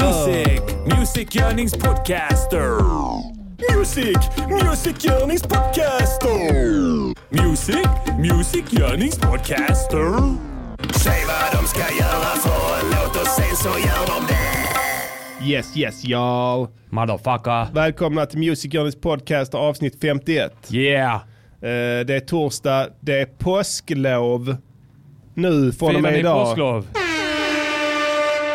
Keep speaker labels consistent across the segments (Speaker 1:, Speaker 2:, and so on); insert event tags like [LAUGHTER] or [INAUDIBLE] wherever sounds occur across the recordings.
Speaker 1: Music, musikgörningspodcaster. Music, musikgörningspodcaster. Music, musikgörningspodcaster. Säg vad de ska göra för en låt och sen så gör de det.
Speaker 2: Yes, yes y'all.
Speaker 1: Motherfucker.
Speaker 2: Välkomna till Music Journeys podcast avsnitt 51.
Speaker 1: Yeah.
Speaker 2: Eh, det är torsdag, det är påsklov. Nu från och
Speaker 1: Firar
Speaker 2: med
Speaker 1: ni
Speaker 2: idag.
Speaker 1: påsklov?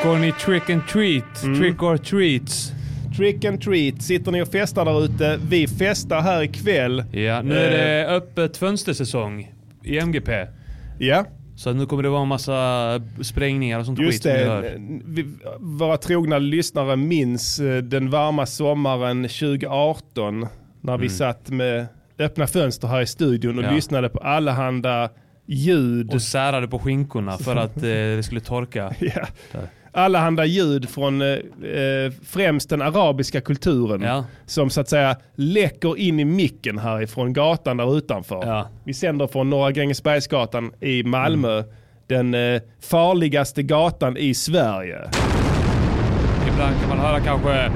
Speaker 1: Går ni trick and treat?
Speaker 2: Mm.
Speaker 1: Trick or treats?
Speaker 2: Trick and treat. Sitter ni och festar där ute? Vi festar här ikväll.
Speaker 1: Ja, nu är det öppet fönstersäsong i MGP.
Speaker 2: Ja,
Speaker 1: Så nu kommer det vara en massa sprängningar och sånt skit
Speaker 2: just
Speaker 1: som ni
Speaker 2: det. Eh,
Speaker 1: hör.
Speaker 2: Vi, våra trogna lyssnare minns eh, den varma sommaren 2018. När vi satt med öppna fönster här i studion och
Speaker 1: Mm. Ja.
Speaker 2: lyssnade på allehanda ljud.
Speaker 1: Och särade på skinkorna för att eh, det skulle torka.
Speaker 2: [LAUGHS] Ja.
Speaker 1: Där.
Speaker 2: Allehanda ljud från eh, eh, främst den arabiska kulturen.
Speaker 1: Ja.
Speaker 2: Som så att säga läcker in i micken härifrån gatan där utanför.
Speaker 1: Ja.
Speaker 2: Vi sänder från Norra Grängesbergsgatan i Malmö.
Speaker 1: Mm.
Speaker 2: Den eh, farligaste gatan i Sverige.
Speaker 1: Ibland kan man höra kanske...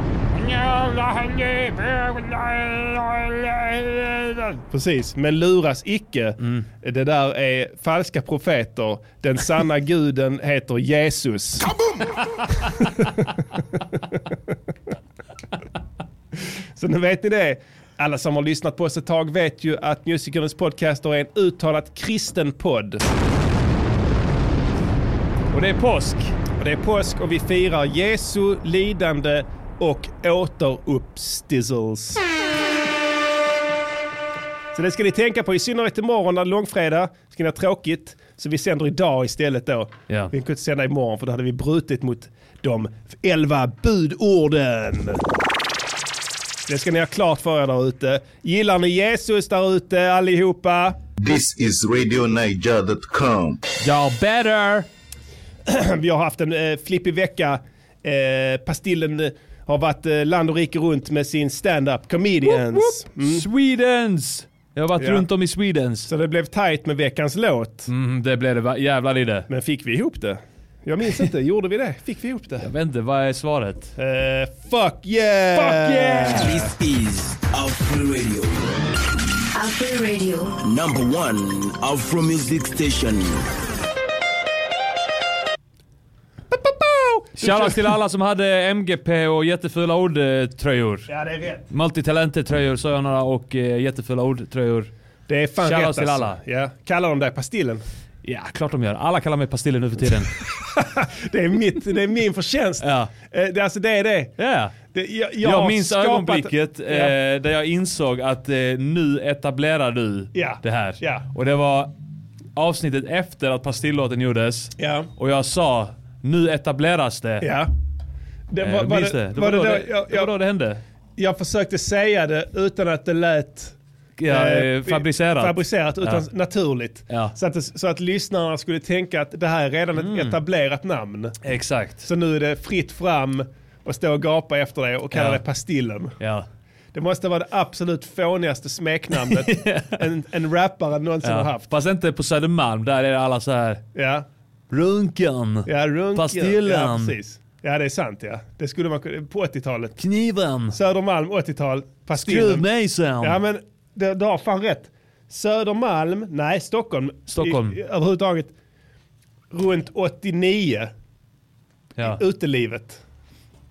Speaker 2: Precis, men luras icke. Det där är falska profeter. Den sanna guden heter Jesus. [LAUGHS] Så nu vet ni det. Alla som har lyssnat på oss ett tag vet ju att Musikernas podcaster är en uttalat kristen podd.
Speaker 1: Och det är påsk.
Speaker 2: Och det är påsk och vi firar Jesu lidande och återuppstillelse. Så det ska ni tänka på, i synnerhet imorgon när det är långfredag. Ska ni ha tråkigt. Så vi sänder idag istället då.
Speaker 1: Ja.
Speaker 2: Vi kunde inte sända imorgon för då hade vi brutit mot de elva budorden. Det ska ni ha klart för er där ute. Gillar ni Jesus där ute allihopa?
Speaker 3: This is RadioNiger.com.
Speaker 1: Y'all better!
Speaker 2: [CLEARS THROAT] Vi har haft en eh, flippig vecka. Eh, Pastillen eh, har varit eh, land och rike runt med sin stand-up comedians.
Speaker 1: Swedens! Jag har varit
Speaker 2: Mm. Ja.
Speaker 1: runt om i Swedens.
Speaker 2: Så det blev tight med veckans låt.
Speaker 1: Mm, det blev det. va- Jävlar i det.
Speaker 2: Men fick vi ihop det? Jag minns
Speaker 1: [LAUGHS]
Speaker 2: inte, gjorde vi det? Fick vi ihop det?
Speaker 1: Jag vet inte, vad är svaret?
Speaker 2: Eh, fuck yeah! Fuck yeah!
Speaker 4: This is Afro Radio,
Speaker 5: Afro Radio.
Speaker 4: number one Afro music station.
Speaker 1: Shoutout till alla som hade MGP och jättefula ord-tröjor.
Speaker 2: Ja, det är rätt.
Speaker 1: Multitalenter-tröjor sa jag några och eh, jättefula ord-tröjor.
Speaker 2: Det är fan
Speaker 1: Shoutout
Speaker 2: rätt
Speaker 1: till alla.
Speaker 2: Alltså. Ja. Kallar de dig Pastillen? [LAUGHS]
Speaker 1: Ja, klart de gör. Alla kallar mig Pastillen nu för tiden.
Speaker 2: Det är, mitt, det är min förtjänst.
Speaker 1: Ja.
Speaker 2: Eh, det, alltså det är det.
Speaker 1: Ja.
Speaker 2: det jag, jag
Speaker 1: Jag,
Speaker 2: har
Speaker 1: minns
Speaker 2: skapat-
Speaker 1: ögonblicket eh,
Speaker 2: Ja.
Speaker 1: där jag insåg att eh, nu etablerar du
Speaker 2: Ja.
Speaker 1: det här.
Speaker 2: Ja.
Speaker 1: Och det var avsnittet efter att Pastillåten gjordes.
Speaker 2: Ja.
Speaker 1: Och jag sa, nu etableras det.
Speaker 2: Ja. Det,
Speaker 1: Eh,
Speaker 2: var, var
Speaker 1: minns
Speaker 2: det,
Speaker 1: det.
Speaker 2: var det,
Speaker 1: då
Speaker 2: då-
Speaker 1: det,
Speaker 2: jag,
Speaker 1: det var
Speaker 2: jag,
Speaker 1: då det hände.
Speaker 2: jag försökte säga det utan att det lät
Speaker 1: Ja,
Speaker 2: eh,
Speaker 1: eh, fabricerat.
Speaker 2: fabricerat utan
Speaker 1: Ja.
Speaker 2: naturligt.
Speaker 1: Ja. Mm.
Speaker 2: Så, att, så att lyssnarna skulle tänka att det här är redan ett etablerat namn.
Speaker 1: Exakt.
Speaker 2: Så nu är det fritt fram och stå och gapa efter det och kalla
Speaker 1: Ja.
Speaker 2: det Pastillen.
Speaker 1: Ja.
Speaker 2: Det måste vara det absolut fånigaste
Speaker 1: [LAUGHS]
Speaker 2: smeknamnet en, en rappare någonsin har
Speaker 1: Ja.
Speaker 2: haft.
Speaker 1: Fast inte på Södermalm, där är det alla så här.
Speaker 2: Ja,
Speaker 1: Runken,
Speaker 2: ja runken. Ja,
Speaker 1: Pastillen.
Speaker 2: precis. ja, det är sant ja. Det skulle man kunna- på 80-talet.
Speaker 1: kniven,
Speaker 2: Södermalm 80-tal, Pastillen.
Speaker 1: skruvmejseln.
Speaker 2: Ja men det- du har fan rätt. Södermalm, nej Stockholm.
Speaker 1: Stockholm.
Speaker 2: I, i, överhuvudtaget runt 89,
Speaker 1: Ja.
Speaker 2: utelivet.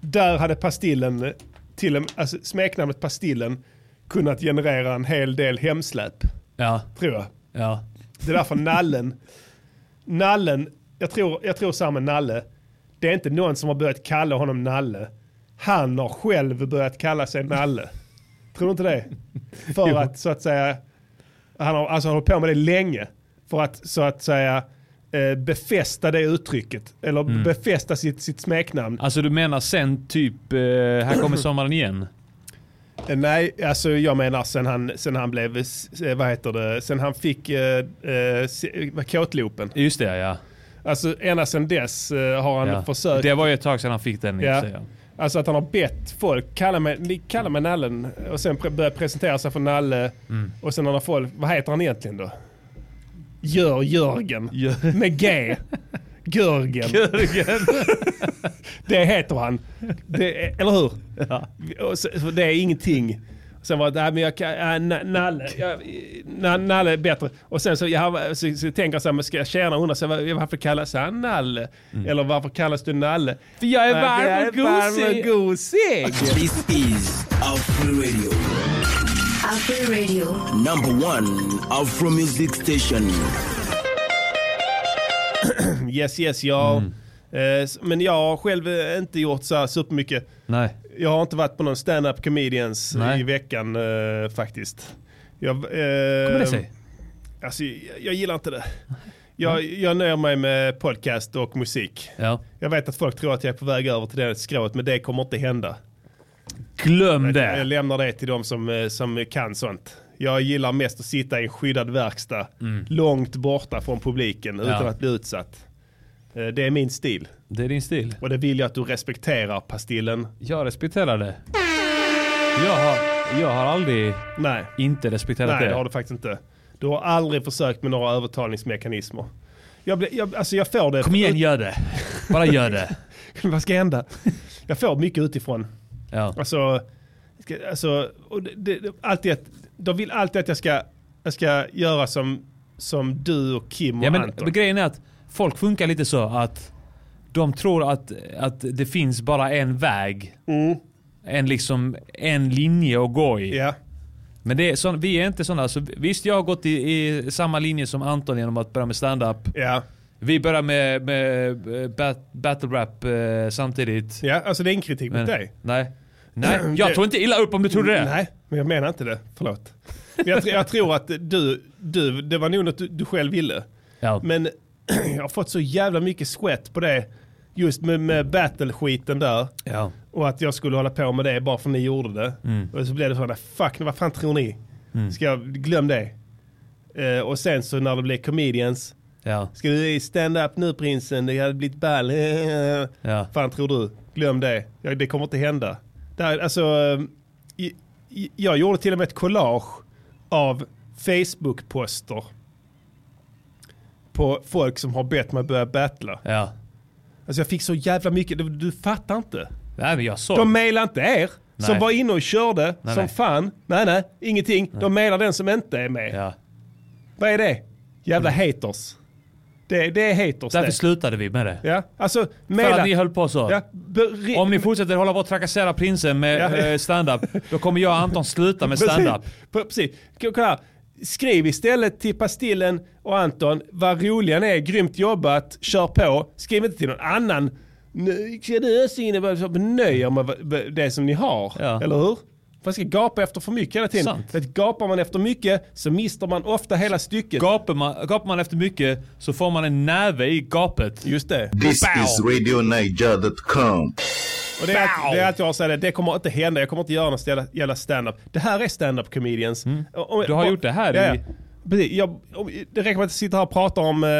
Speaker 2: Där hade Pastillen, till och med, alltså smeknamnet Pastillen, kunnat generera en hel del hemsläp.
Speaker 1: Ja.
Speaker 2: Tror jag.
Speaker 1: Ja.
Speaker 2: Det är därför Nallen, Nallen, jag tror, jag tror samma Nalle. Det är inte någon som har börjat kalla honom Nalle. Han har själv börjat kalla sig Nalle. Tror du inte det? För att så att säga, han har, alltså, han har hållit på med det länge. För att så att säga eh, befästa det uttrycket. Eller befästa sitt, sitt smeknamn.
Speaker 1: Alltså du menar sen typ, eh, här kommer sommaren igen?
Speaker 2: Eh, Nej, alltså jag menar sen han, sen han blev, s- eh, vad heter det, sen han fick eh, eh, se- eh, kåtloopen.
Speaker 1: Just det ja. Alltså,
Speaker 2: Ända sedan dess eh, har han
Speaker 1: ja.
Speaker 2: försökt.
Speaker 1: Det var ju ett tag sedan han fick den. i och
Speaker 2: Ja.
Speaker 1: för sig, Ja.
Speaker 2: Alltså att han har bett folk, kalla mig, ni kallar mig Nallen. Och sen pre- börjar presentera sig för Nalle.
Speaker 1: Mm.
Speaker 2: Och sen har folk, vad heter han egentligen då? Gör Jörgen.
Speaker 1: Gör-
Speaker 2: Med G. Görgen. det heter han. Det, är- eller hur? Och så- så Det är ingenting. Sen var det, nej men jag kan, ja, na- Nalle, jag, na, Nalle är bättre. Och sen så, jag, så, så tänker jag så här, men ska tjejerna undra så här, varför kallas han Nalle? Eller varför kallas du Nalle?
Speaker 1: För Mm. jag är
Speaker 2: Nej, det
Speaker 1: varm
Speaker 2: är
Speaker 1: och
Speaker 2: varm
Speaker 1: gosig.
Speaker 2: och gosig.
Speaker 4: This is Afro Radio,
Speaker 5: Afro Radio.
Speaker 4: number one Afro music station.
Speaker 2: [LAUGHS] Yes, yes, jag.
Speaker 1: Mm.
Speaker 2: Eh, s- men jag har själv eh, inte gjort så här supermycket.
Speaker 1: Nej.
Speaker 2: Jag har inte varit på någon stand-up comedians
Speaker 1: Nej.
Speaker 2: i veckan eh, faktiskt. Jag, eh,
Speaker 1: Kommer det sig?
Speaker 2: Alltså, jag, jag gillar inte det. Jag, jag nöjer mig med podcast och musik.
Speaker 1: Ja.
Speaker 2: Jag vet att folk tror att jag är på väg över till det skrået, men det kommer inte hända.
Speaker 1: Glöm
Speaker 2: Jag
Speaker 1: det.
Speaker 2: lämnar det till de som, eh, som kan sånt. Jag gillar mest att sitta i en skyddad verkstad, långt borta från publiken utan
Speaker 1: Mm. Ja.
Speaker 2: att bli utsatt. Eh, Det är min stil.
Speaker 1: Det är din stil.
Speaker 2: Och det vill jag att du respekterar, Pastillen.
Speaker 1: Jag respekterar det. Jag har, jag har aldrig
Speaker 2: Nej,
Speaker 1: inte respekterat
Speaker 2: nej
Speaker 1: det.
Speaker 2: det har du faktiskt inte. Du har aldrig försökt med några övertalningsmekanismer. Jag, blir- jag, alltså jag får det...
Speaker 1: Kom igen, gör det. Bara
Speaker 2: [LAUGHS]
Speaker 1: gör det.
Speaker 2: Vad ska hända? Jag får mycket utifrån.
Speaker 1: Ja.
Speaker 2: Alltså, ska, alltså och det, det, det- alltid att, de vill alltid att jag ska, jag ska göra som, som du och Kim och
Speaker 1: Ja, men
Speaker 2: Anton.
Speaker 1: grejen är att folk funkar lite så att de tror att, att det finns bara en väg. En, liksom, en linje att gå i.
Speaker 2: Mm. Ja,
Speaker 1: Men det är sån, vi är inte sådana. Så visst, jag har gått i, i samma linje som Anton genom att börja med stand-up.
Speaker 2: ja,
Speaker 1: Vi börjar med, med eh, bat, battle rap eh, samtidigt.
Speaker 2: ja, alltså det är ingen kritik mot
Speaker 1: Men-
Speaker 2: dig.
Speaker 1: Nej. Nej,
Speaker 2: [CLEARS THROAT]
Speaker 1: jag tog inte illa upp om du trodde det.
Speaker 2: Nej, men jag menar inte det. Förlåt. Men Jag, tr- jag tror att du, du, det var nog något du, du själv ville.
Speaker 1: Ja.
Speaker 2: Men [CLEARS THROAT] jag har fått så jävla mycket sweat på det. Just med, med battle-skiten där.
Speaker 1: ja.
Speaker 2: Och att jag skulle hålla på med det bara för ni gjorde det. Och så blev det sådär, fuck vad fan tror ni? Ska jag, glöm det. Eh, och sen så när det blev comedians,
Speaker 1: Ja.
Speaker 2: ska du stand up nu prinsen, det hade blivit ball. [LAUGHS]
Speaker 1: Ja.
Speaker 2: Fan tror du, glöm det. Ja, det kommer inte hända. Där, alltså, eh, i- i- jag gjorde till och med ett collage av Facebook-poster på folk som har bett mig börja battla.
Speaker 1: Ja.
Speaker 2: Alltså jag fick så jävla mycket, du, du fattar inte.
Speaker 1: Nej, men jag såg.
Speaker 2: De mailar inte er som
Speaker 1: Nej.
Speaker 2: var inne och körde
Speaker 1: Nej,
Speaker 2: som
Speaker 1: nej.
Speaker 2: fan. Nej, nej, ingenting. De mailar den som inte är med.
Speaker 1: Ja. Mm.
Speaker 2: Vad är det? Jävla haters. Det, det är haters
Speaker 1: Därför
Speaker 2: det.
Speaker 1: slutade vi med det.
Speaker 2: Ja, alltså
Speaker 1: För
Speaker 2: maila.
Speaker 1: att ni höll på så.
Speaker 2: ja, be-
Speaker 1: Om ni fortsätter hålla på att trakassera prinsen med
Speaker 2: Ja.
Speaker 1: eh, stand-up, då kommer jag och Anton sluta med stand-up.
Speaker 2: [LAUGHS] Precis. P- Precis. K- Kolla här. Skriv istället till Pastillen och Anton, vad roliga ni är, grymt jobbat, kör på. Skriv inte till någon annan. "Nu Ska du ösa in i vad- vad- Nöj er med vad- det som ni har,
Speaker 1: Ja.
Speaker 2: eller hur? Man ska gapa efter för mycket hela tiden.
Speaker 1: Sant.
Speaker 2: För att gapar man efter mycket så mister man ofta hela stycket.
Speaker 1: Gapar man, gapar man efter mycket så får man en näve i gapet.
Speaker 2: Just det.
Speaker 3: This is RadioNiger.com.
Speaker 2: Och det, är allt, det är allt jag har att säga, det kommer inte hända. Jag kommer inte göra något jävla- jävla stand-up. Det här är stand-up comedians. Och- och-
Speaker 1: Mm. Du har
Speaker 2: och-
Speaker 1: gjort det här
Speaker 2: Ja,
Speaker 1: i-
Speaker 2: ja. Precis. Jag, om- det räcker med att sitta här och prata om eh,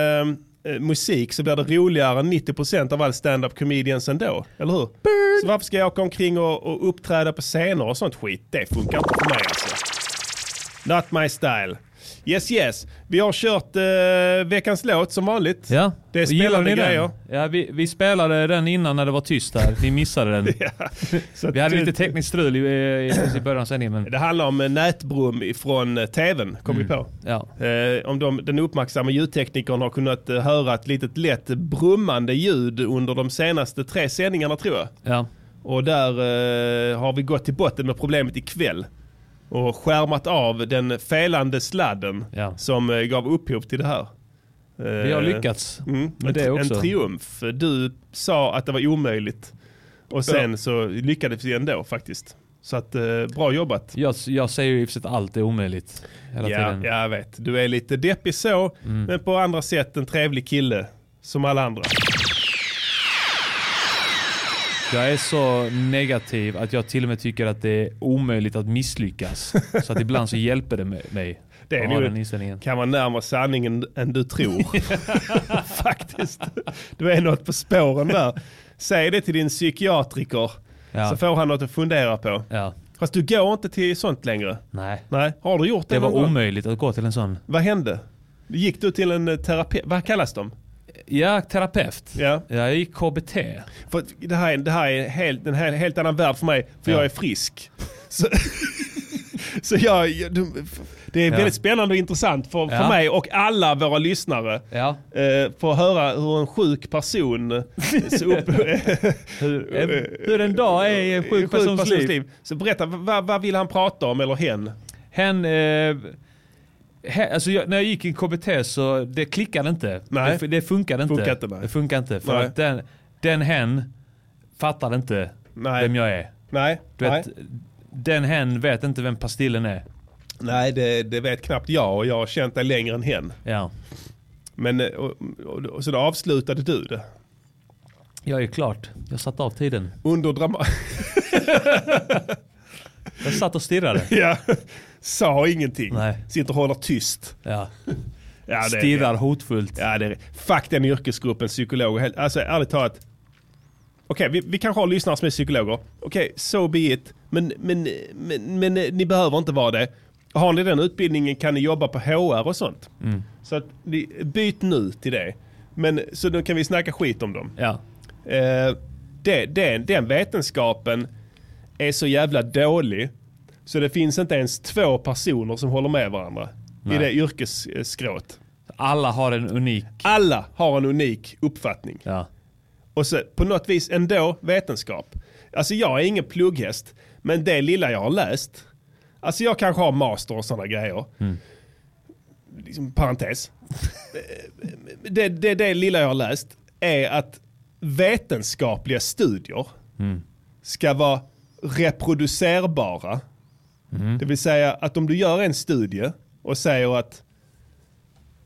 Speaker 2: eh, musik så blir det roligare än 90% av all stand-up comedians ändå. Eller hur? Så varför ska jag åka omkring och, och uppträda på scener och sånt skit? Det funkar inte för mig alltså. Not my style. Yes yes, vi har kört eh, veckans låt som vanligt.
Speaker 1: Ja.
Speaker 2: Det är
Speaker 1: Och gillar
Speaker 2: spännande
Speaker 1: ni den?
Speaker 2: grejer.
Speaker 1: Ja, vi, vi spelade den innan när det var tyst där. Ni missade
Speaker 2: [LAUGHS]
Speaker 1: den.
Speaker 2: Så
Speaker 1: Vi hade
Speaker 2: att-
Speaker 1: lite tekniskt strul i, i, i början av sändningen, men
Speaker 2: Det handlar om eh, nätbrum från eh, tvn, kom vi på.
Speaker 1: Mm. ja.
Speaker 2: Eh, om de, den uppmärksamma ljudteknikern har kunnat eh, höra ett litet lätt brummande ljud under de senaste tre sändningarna tror jag.
Speaker 1: ja.
Speaker 2: Och där eh, har vi gått till botten med problemet ikväll. Och skärmat av den felande sladden
Speaker 1: Ja.
Speaker 2: som eh, gav upphov till det här.
Speaker 1: Vi har lyckats
Speaker 2: Mm,
Speaker 1: med
Speaker 2: en,
Speaker 1: det också.
Speaker 2: en triumf. Du sa att det var omöjligt. Och sen så lyckades vi ändå faktiskt. Så att, eh, bra jobbat.
Speaker 1: Jag, jag säger ju i och för sig att allt är omöjligt hela
Speaker 2: Ja,
Speaker 1: tiden. Mm.
Speaker 2: ja, jag vet. Du är lite deppig så, men på andra sätt en trevlig kille. Som alla andra.
Speaker 1: Jag är så negativ att jag till och med tycker att det är omöjligt
Speaker 2: [LAUGHS]
Speaker 1: att misslyckas. Så att ibland så hjälper det mig- mig.
Speaker 2: Det är
Speaker 1: att ha
Speaker 2: nog-
Speaker 1: den inställningen.
Speaker 2: Kan vara närmare sanningen än du
Speaker 1: [LAUGHS]
Speaker 2: tror. Faktiskt. Du är något på spåren där. Säg det till din psykiatriker.
Speaker 1: Ja.
Speaker 2: Så får han något att fundera på.
Speaker 1: Ja.
Speaker 2: Fast du går inte till sånt längre.
Speaker 1: Nej.
Speaker 2: Nej, har du gjort det?
Speaker 1: Det var
Speaker 2: någon gång?
Speaker 1: omöjligt att gå till en sån.
Speaker 2: Vad hände? Gick du till en eh, terapeut? Vad kallas de?
Speaker 1: Ja, terapeut.
Speaker 2: Ja.
Speaker 1: jag gick KBT.
Speaker 2: För att det här är, det här är, helt, en helt, helt annan värld för mig, för
Speaker 1: Ja.
Speaker 2: jag är frisk. Så, så jag, jag- du- det är
Speaker 1: Ja.
Speaker 2: väldigt spännande och intressant för, för
Speaker 1: Ja.
Speaker 2: mig och alla våra lyssnare.
Speaker 1: Ja.
Speaker 2: Eh, få höra hur en sjuk person så
Speaker 1: [LAUGHS]
Speaker 2: upp,
Speaker 1: Hur, en, hur en dag är i en sjuk persons liv.
Speaker 2: Så berätta, vad, vad vill han prata om eller hen?
Speaker 1: Hen, eh, he, alltså jag, när jag gick i KBT så det klickade inte.
Speaker 2: Nej.
Speaker 1: Det, det funkade inte.
Speaker 2: Funkar inte, nej.
Speaker 1: det funkar inte. För
Speaker 2: Nej.
Speaker 1: att den, den hen fattade inte
Speaker 2: Nej.
Speaker 1: vem jag är.
Speaker 2: Nej,
Speaker 1: Du
Speaker 2: nej.
Speaker 1: vet, den hen vet inte vem Pastillen är.
Speaker 2: nej det, det vet knappt jag och jag har känt dig längre än hen.
Speaker 1: Ja.
Speaker 2: Men, eh, och, och, och så då avslutade du det.
Speaker 1: Jag är klart. Jag satte av tiden.
Speaker 2: Under drama... [LAUGHS]
Speaker 1: Jag satt och stirrade.
Speaker 2: Ja. Sa ingenting.
Speaker 1: Nej.
Speaker 2: Sitter och håller tyst.
Speaker 1: Ja.
Speaker 2: Ja, det är,
Speaker 1: Stirrar hotfullt.
Speaker 2: ja, det är, fuck den yrkesgruppen psykologer. Helt- Alltså ärligt talat. Okej, vi, vi kanske har lyssnare som är psykologer. Okej, so be it. Men, men, men, men eh, ni behöver inte vara det. Har ni den utbildningen kan ni jobba på HR och sånt.
Speaker 1: Mm.
Speaker 2: Så att, ni, byt nu till det. Men, så då kan vi snacka skit om dem.
Speaker 1: Ja.
Speaker 2: Eh, det, det, den vetenskapen är så jävla dålig så det finns inte ens två personer som håller med varandra i
Speaker 1: Nej.
Speaker 2: det yrkesskrået.
Speaker 1: Alla har en unik...
Speaker 2: Alla har en unik uppfattning.
Speaker 1: Ja.
Speaker 2: Och så på något vis ändå vetenskap. Alltså jag är ingen plugghäst, men det lilla jag har läst. Alltså jag kanske har master och sådana grejer.
Speaker 1: Mm.
Speaker 2: Liksom, parentes. [LAUGHS] det, det, det lilla jag har läst är att vetenskapliga studier
Speaker 1: Mm.
Speaker 2: ska vara reproducerbara.
Speaker 1: Mm.
Speaker 2: Det vill säga att om du gör en studie och säger att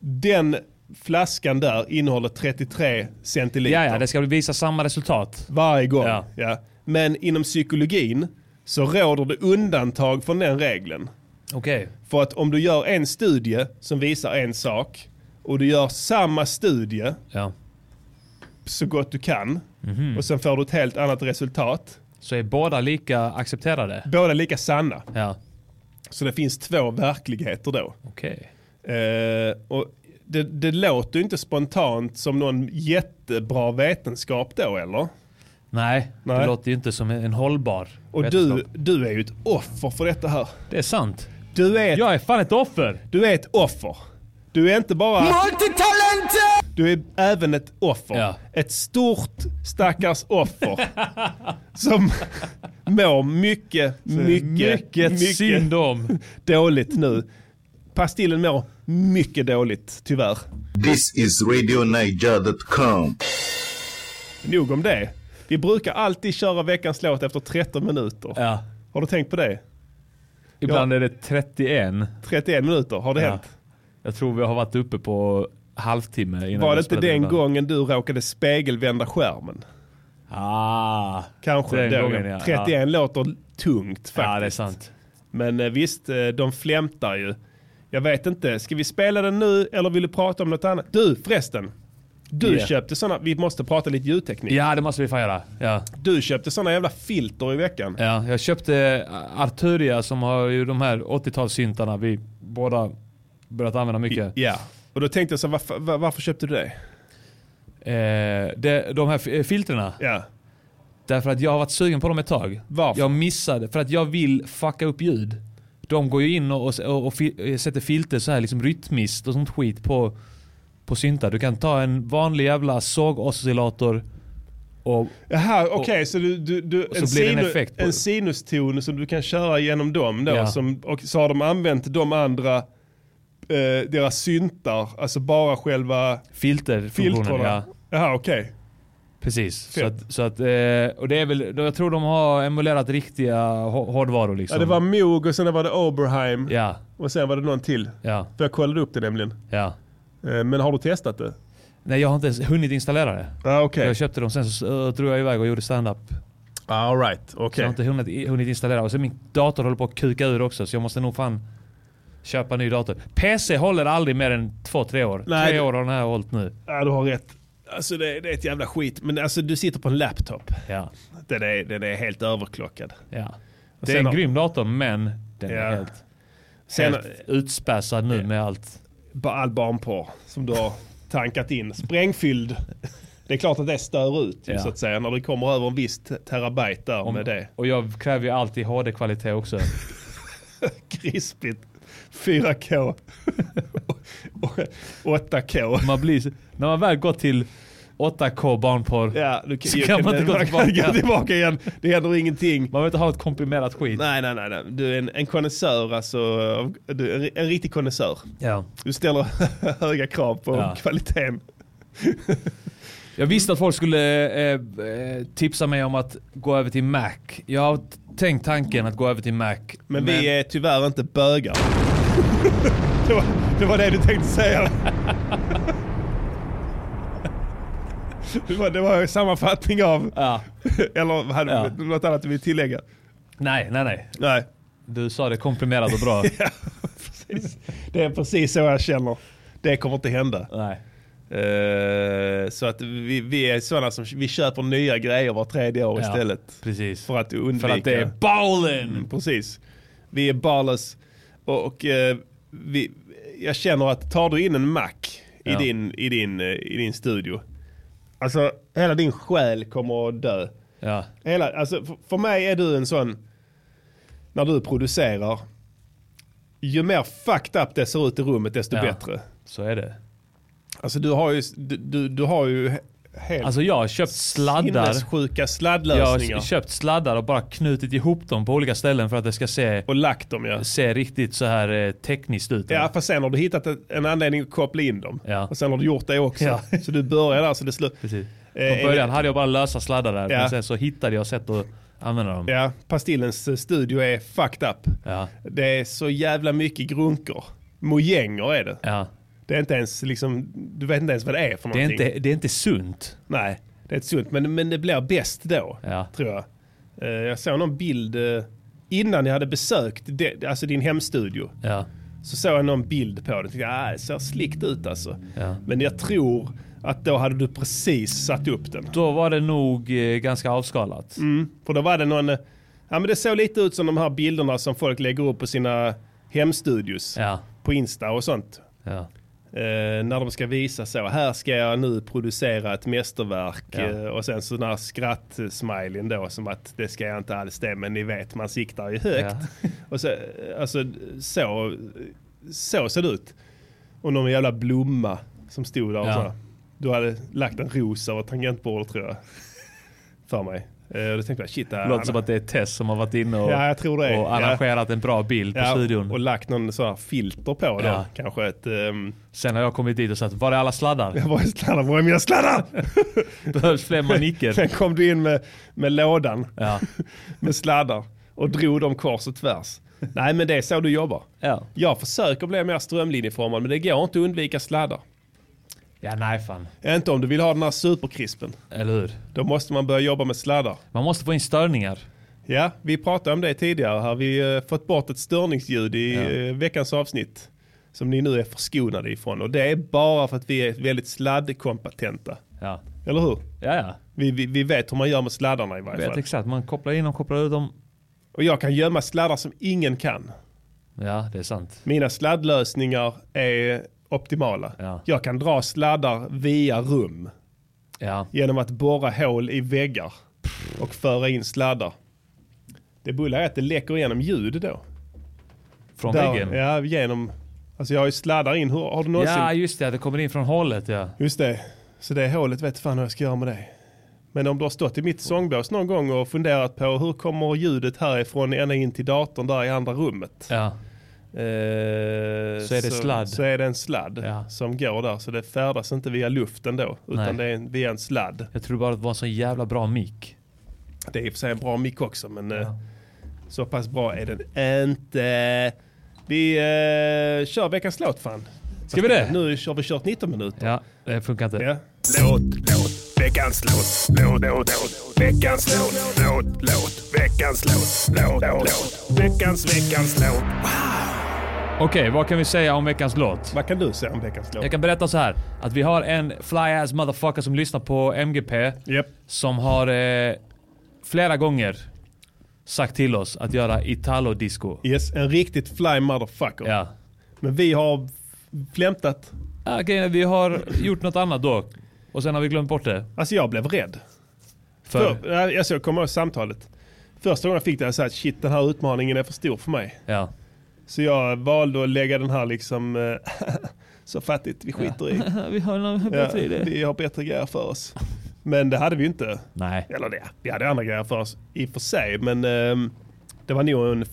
Speaker 2: den flaskan där innehåller 33 centiliter
Speaker 1: Ja, ja, det ska visa samma resultat.
Speaker 2: varje gång. Ja.
Speaker 1: Ja.
Speaker 2: Men inom psykologin så råder det undantag från den regeln.
Speaker 1: Okej.
Speaker 2: För att om du gör en studie som visar en sak och du gör samma studie
Speaker 1: Ja.
Speaker 2: så gott du kan
Speaker 1: Mhm.
Speaker 2: och sen får du ett helt annat resultat.
Speaker 1: Så är båda lika accepterade?
Speaker 2: Båda lika sanna.
Speaker 1: Ja.
Speaker 2: Så det finns två verkligheter då.
Speaker 1: Okej.
Speaker 2: Eh, och det, det låter ju inte spontant som någon jättebra vetenskap då eller?
Speaker 1: Nej,
Speaker 2: Nej.
Speaker 1: det låter ju inte som en hållbar
Speaker 2: Och du,
Speaker 1: vetenskap.
Speaker 2: du är ju ett offer för detta här.
Speaker 1: Det är sant.
Speaker 2: Du är ett
Speaker 1: Jag är fan ett offer.
Speaker 2: Du är ett offer. Du är inte bara... Du är även ett offer.
Speaker 1: Ja.
Speaker 2: Ett stort stackars offer. [LAUGHS] som mår mycket, mycket,
Speaker 1: Mycket, synd om.
Speaker 2: dåligt nu. Pastillen mår mycket dåligt, tyvärr.
Speaker 3: This is RadioNiger.com.
Speaker 2: Nog om det. Vi brukar alltid köra veckans låt efter 13 minuter.
Speaker 1: Ja.
Speaker 2: Har du tänkt på det?
Speaker 1: Ibland är det 31.
Speaker 2: 31 minuter, har det
Speaker 1: Ja.
Speaker 2: hänt?
Speaker 1: Jag tror vi har varit uppe på halvtimme innan
Speaker 2: Var
Speaker 1: vi
Speaker 2: det inte
Speaker 1: spelade
Speaker 2: den
Speaker 1: in.
Speaker 2: gången du råkade spegelvända skärmen?
Speaker 1: Ah.
Speaker 2: Kanske.
Speaker 1: Den
Speaker 2: då,
Speaker 1: gången, ja.
Speaker 2: 31 låter tungt faktiskt.
Speaker 1: Ja, det är sant.
Speaker 2: Men eh, visst, eh, de flämtar ju. Jag vet inte, ska vi spela den nu eller vill du prata om något annat? Du förresten, du
Speaker 1: Ja.
Speaker 2: köpte sådana, vi måste prata lite ljudteknik.
Speaker 1: Ja, det måste vi fan göra. Ja.
Speaker 2: Du köpte sådana jävla filter i veckan.
Speaker 1: Ja, jag köpte Arturia som har ju de här 80-talssyntarna vi båda börjat använda mycket.
Speaker 2: Ja. Och då tänkte jag så här, varför, var- varför köpte du det?
Speaker 1: Eh, det, de här fi- eh, filtrerna.
Speaker 2: Ja.
Speaker 1: Därför att jag har varit sugen på dem ett tag.
Speaker 2: Varför?
Speaker 1: Jag missade, för att jag vill fucka upp ljud. De går ju in och, och, och fi, eh, sätter filter så här liksom rytmiskt och sånt skit på, på syntar. Du kan ta en vanlig jävla sågoscillator och...
Speaker 2: Jaha, okej, så du, du, du
Speaker 1: så blir det en
Speaker 2: sinu-
Speaker 1: effekt på
Speaker 2: en
Speaker 1: det.
Speaker 2: sinuston som du kan köra genom dem då,
Speaker 1: Ja.
Speaker 2: som, och så har de använt de andra, eh, deras syntar, alltså bara själva
Speaker 1: Filterfunktionen,
Speaker 2: filtrerna.
Speaker 1: ja.
Speaker 2: Jaha, okej.
Speaker 1: Precis. Så
Speaker 2: Fett.
Speaker 1: att, så att, eh, och det är väl, jag tror de har emulerat riktiga hå- hårdvaror liksom.
Speaker 2: Ja, det var Moog och sen var det Oberheim.
Speaker 1: Ja,
Speaker 2: Och sen var det någon till.
Speaker 1: ja,
Speaker 2: För jag kollade upp det nämligen.
Speaker 1: ja.
Speaker 2: Eh, Men har du testat det?
Speaker 1: Nej, jag har inte ens hunnit installera det.
Speaker 2: Ja, okej.
Speaker 1: Jag köpte dem sen så eh, drog jag iväg och gjorde stand-up.
Speaker 2: All right,
Speaker 1: Så
Speaker 2: Ah, okej.
Speaker 1: jag har inte hunnit, hunnit installera. Och så min dator håller på att kuka ur också så jag måste nog fan köpa en ny dator. PC håller aldrig mer än två, tre år.
Speaker 2: Nej,
Speaker 1: tre
Speaker 2: det-
Speaker 1: år har den här hållit nu.
Speaker 2: Ja, du har rätt. Alltså det, det är ett jävla skit. Men alltså du sitter på en laptop.
Speaker 1: Ja,
Speaker 2: Den är, den är helt överklockad.
Speaker 1: ja.
Speaker 2: Och
Speaker 1: Det
Speaker 2: sen
Speaker 1: är en
Speaker 2: har-
Speaker 1: grym dator men den
Speaker 2: Ja.
Speaker 1: är helt,
Speaker 2: Sen
Speaker 1: helt utspäsad nu med allt.
Speaker 2: bara all barnporr som du har tankat in, sprängfylld. Det är klart att det stör ut ju,
Speaker 1: Ja.
Speaker 2: så att säga när du kommer över en viss te- terabyte där med det.
Speaker 1: Och jag kräver ju alltid HD-kvalitet också.
Speaker 2: Krispigt. 4K. Och 8K.
Speaker 1: Man blir, så- när man väl går till 8K barnporr.
Speaker 2: Ja, du
Speaker 1: Så kan man inte gå tillbaka.
Speaker 2: gå tillbaka igen. Det händer ingenting.
Speaker 1: Man vill inte ha ett komprimerat skit.
Speaker 2: Nej, nej, nej. nej. Du är en, en konnässör alltså. av- Du är en riktig konnässör.
Speaker 1: Ja.
Speaker 2: Du ställer [LAUGHS] höga krav på
Speaker 1: Ja.
Speaker 2: kvaliteten.
Speaker 1: Jag visste att folk skulle eh, eh, tipsa mig om att gå över till Mac. Jag har t- tänkt tanken att gå över till Mac.
Speaker 2: Men, vi är tyvärr inte bögar. [LAUGHS] det, var, det var det du tänkte
Speaker 1: [LAUGHS]
Speaker 2: säga. det, var, det var en sammanfattning av...
Speaker 1: Ja.
Speaker 2: [LAUGHS] Eller hade
Speaker 1: Ja.
Speaker 2: du något annat du vill tillägga?
Speaker 1: Nej, nej, nej.
Speaker 2: Nej.
Speaker 1: Du sa det komprimerat och
Speaker 2: [LAUGHS]
Speaker 1: bra.
Speaker 2: Precis. [LAUGHS] Det är precis så jag känner. Det kommer inte hända.
Speaker 1: nej.
Speaker 2: Eh, så att vi, vi är sådana som vi köper nya grejer var tredje år
Speaker 1: Ja,
Speaker 2: istället.
Speaker 1: Precis.
Speaker 2: För att undvika.
Speaker 1: För att det är ballen!
Speaker 2: Precis. Vi är barless. Och, och eh, vi, jag känner att tar du in en Mac i,
Speaker 1: Ja.
Speaker 2: din, i, din, eh, i din studio. Alltså hela din själ kommer att dö.
Speaker 1: Ja.
Speaker 2: Hela, alltså, för, för mig är du en sån, när du producerar, ju mer fucked up det ser ut i rummet desto
Speaker 1: Ja.
Speaker 2: bättre.
Speaker 1: Så är det.
Speaker 2: Alltså du har ju, du, du, du har ju he- helt
Speaker 1: Alltså jag har köpt sladdar.
Speaker 2: sinnessjuka
Speaker 1: Jag
Speaker 2: sladdlösningar.
Speaker 1: har köpt sladdar och bara knutit ihop dem på olika ställen för att det ska se,
Speaker 2: och lagt dem ja.
Speaker 1: se riktigt så här eh, tekniskt ut.
Speaker 2: Ja, fast sen har du hittat ett- en anledning att koppla in dem.
Speaker 1: Ja.
Speaker 2: Och sen har du gjort det också.
Speaker 1: Ja.
Speaker 2: [LAUGHS] Så du börjar där så det slutar.
Speaker 1: Precis.
Speaker 2: Eh,
Speaker 1: Från början hade jag bara lösa sladdar där,
Speaker 2: Ja.
Speaker 1: men sen så hittade jag sätt att använda dem.
Speaker 2: Ja, Pastillens eh, studio är fucked up.
Speaker 1: Ja.
Speaker 2: Det är så jävla mycket grunkor. Mojänger är det.
Speaker 1: Ja.
Speaker 2: Det är inte ens liksom, du vet inte ens vad det är för
Speaker 1: Det, är
Speaker 2: någonting.
Speaker 1: inte, det är inte sunt.
Speaker 2: Nej, det är inte sunt. Men, men det blir bäst då,
Speaker 1: Ja.
Speaker 2: tror jag. Eh, Jag såg någon bild eh, innan jag hade besökt det, alltså din hemstudio.
Speaker 1: Ja.
Speaker 2: Så såg jag någon bild på det och tänkte ah, det ser slickt ut alltså.
Speaker 1: Ja.
Speaker 2: Men jag tror att då hade du precis satt upp den.
Speaker 1: Då var det nog eh, ganska avskalat.
Speaker 2: För då var det någon, eh, ja men det såg lite ut som de här bilderna som folk lägger upp på sina hemstudios.
Speaker 1: Ja.
Speaker 2: På Insta och sånt.
Speaker 1: Ja.
Speaker 2: Eh, när de ska visa så, här ska jag nu producera ett mästerverk.
Speaker 1: Ja.
Speaker 2: Eh, och sen så den här skrattsmileyn då som att det ska jag inte alls det, men ni vet man siktar ju högt. [LAUGHS] Och så, eh, alltså så, så ser det ut. Och någon jävla blomma som stod där och
Speaker 1: Ja.
Speaker 2: så. Du hade lagt en ros över tangentbordet tror jag. För mig. Eh, och då tänkte jag, shit.
Speaker 1: Det låter som att det är Tess som har varit inne och,
Speaker 2: Ja, jag tror det.
Speaker 1: och arrangerat en bra bild på
Speaker 2: ja,
Speaker 1: studion.
Speaker 2: Och lagt någon sån här filter på då.
Speaker 1: Ja.
Speaker 2: Kanske ett... ehm, [LAUGHS]
Speaker 1: Sen har jag kommit dit och sagt, var är alla sladdar?
Speaker 2: var är sladdar? Var är mina sladdar?
Speaker 1: [LAUGHS] Behövs fler manicker?
Speaker 2: Sen kom du in med, med lådan
Speaker 1: Ja.
Speaker 2: med sladdar och drog dem kors och tvärs. Nej men det är så du jobbar.
Speaker 1: Ja.
Speaker 2: Jag försöker bli mer strömlinjeformad men det går inte att undvika sladdar.
Speaker 1: ja, nej fan.
Speaker 2: Inte om du vill ha den här superkrispen.
Speaker 1: Eller hur?
Speaker 2: Då måste man börja jobba med sladdar.
Speaker 1: Man måste få in störningar.
Speaker 2: Ja, vi pratade om det tidigare här. Vi har fått bort ett störningsljud i
Speaker 1: Ja.
Speaker 2: eh, veckans avsnitt. Som ni nu är förskonade ifrån. Och det är bara för att vi är väldigt sladdkompetenta.
Speaker 1: Ja,
Speaker 2: Eller hur?
Speaker 1: ja. ja.
Speaker 2: Vi, vi, vi vet hur man gör med sladdarna i varje
Speaker 1: Jag vet
Speaker 2: fall.
Speaker 1: exakt. Man kopplar in dem, kopplar ut dem.
Speaker 2: Och jag kan gömma sladdar som ingen kan.
Speaker 1: Ja, det är sant.
Speaker 2: Mina sladdlösningar är optimala.
Speaker 1: Ja.
Speaker 2: Jag kan dra sladdar via rum
Speaker 1: Ja,
Speaker 2: genom att borra hål i väggar och föra in sladdar. Det bullar är att det läcker igenom ljud då.
Speaker 1: från väggen.
Speaker 2: Där,
Speaker 1: Ja,
Speaker 2: ja, genom... Alltså jag har ju sladdar in. Hur, har du någonsin...
Speaker 1: just det. Det kommer in från hållet, ja.
Speaker 2: Just det. Så det hålet vet fan hur jag ska göra med det. Men om du har stått i mitt sångbås någon gång och funderat på hur kommer ljudet härifrån ända in till datorn där i andra rummet.
Speaker 1: Ja,
Speaker 2: Eh,
Speaker 1: Så är det sladd.
Speaker 2: Så är det en sladd
Speaker 1: Ja.
Speaker 2: som går där. Så det färdas inte via luften då. Utan
Speaker 1: Nej.
Speaker 2: det är en, via en sladd.
Speaker 1: jag tror bara att det var en så jävla bra mick.
Speaker 2: Det är i och för sig en bra mick också men eh, så pass bra är den inte. Vi eh, kör veckans låt fan.
Speaker 1: Ska vi det?
Speaker 2: Nu har vi kört 19 minuter.
Speaker 1: Ja, det funkar inte.
Speaker 2: Ja.
Speaker 6: Låt, låt, veckans låt, låt, låt, låt, veckans låt, låt, låt, veckans låt, låt, låt, låt, veckans, veckans låt.
Speaker 1: Okej, vad kan vi säga om veckans låt?
Speaker 2: Vad kan du säga om veckans låt?
Speaker 1: Jag kan berätta så här att vi har en fly-ass motherfucker som lyssnar på MGP
Speaker 2: Japp.
Speaker 1: som har eh, flera gånger sagt till oss att göra Italo-disco.
Speaker 2: Yes, en riktigt fly motherfucker.
Speaker 1: Ja.
Speaker 2: Men vi har flämtat.
Speaker 1: Ja, grejen är, vi har gjort något annat då. Och sen har vi glömt bort det.
Speaker 2: Alltså jag blev rädd.
Speaker 1: För,
Speaker 2: För, alltså jag kommer ihåg samtalet. Första gången jag fick det, jag sa att shit den här utmaningen är för stor för mig.
Speaker 1: ja.
Speaker 2: Så jag valde att lägga den här liksom, eh, [LAUGHS] så fattigt, vi skiter
Speaker 1: [LAUGHS]
Speaker 2: i.
Speaker 1: [LAUGHS] Vi har någon
Speaker 2: Ja, vi har bättre grejer för oss. Men det hade vi ju inte.
Speaker 1: Nej.
Speaker 2: Eller det, vi hade andra grejer för oss i och för sig. Men ehm, det var nog en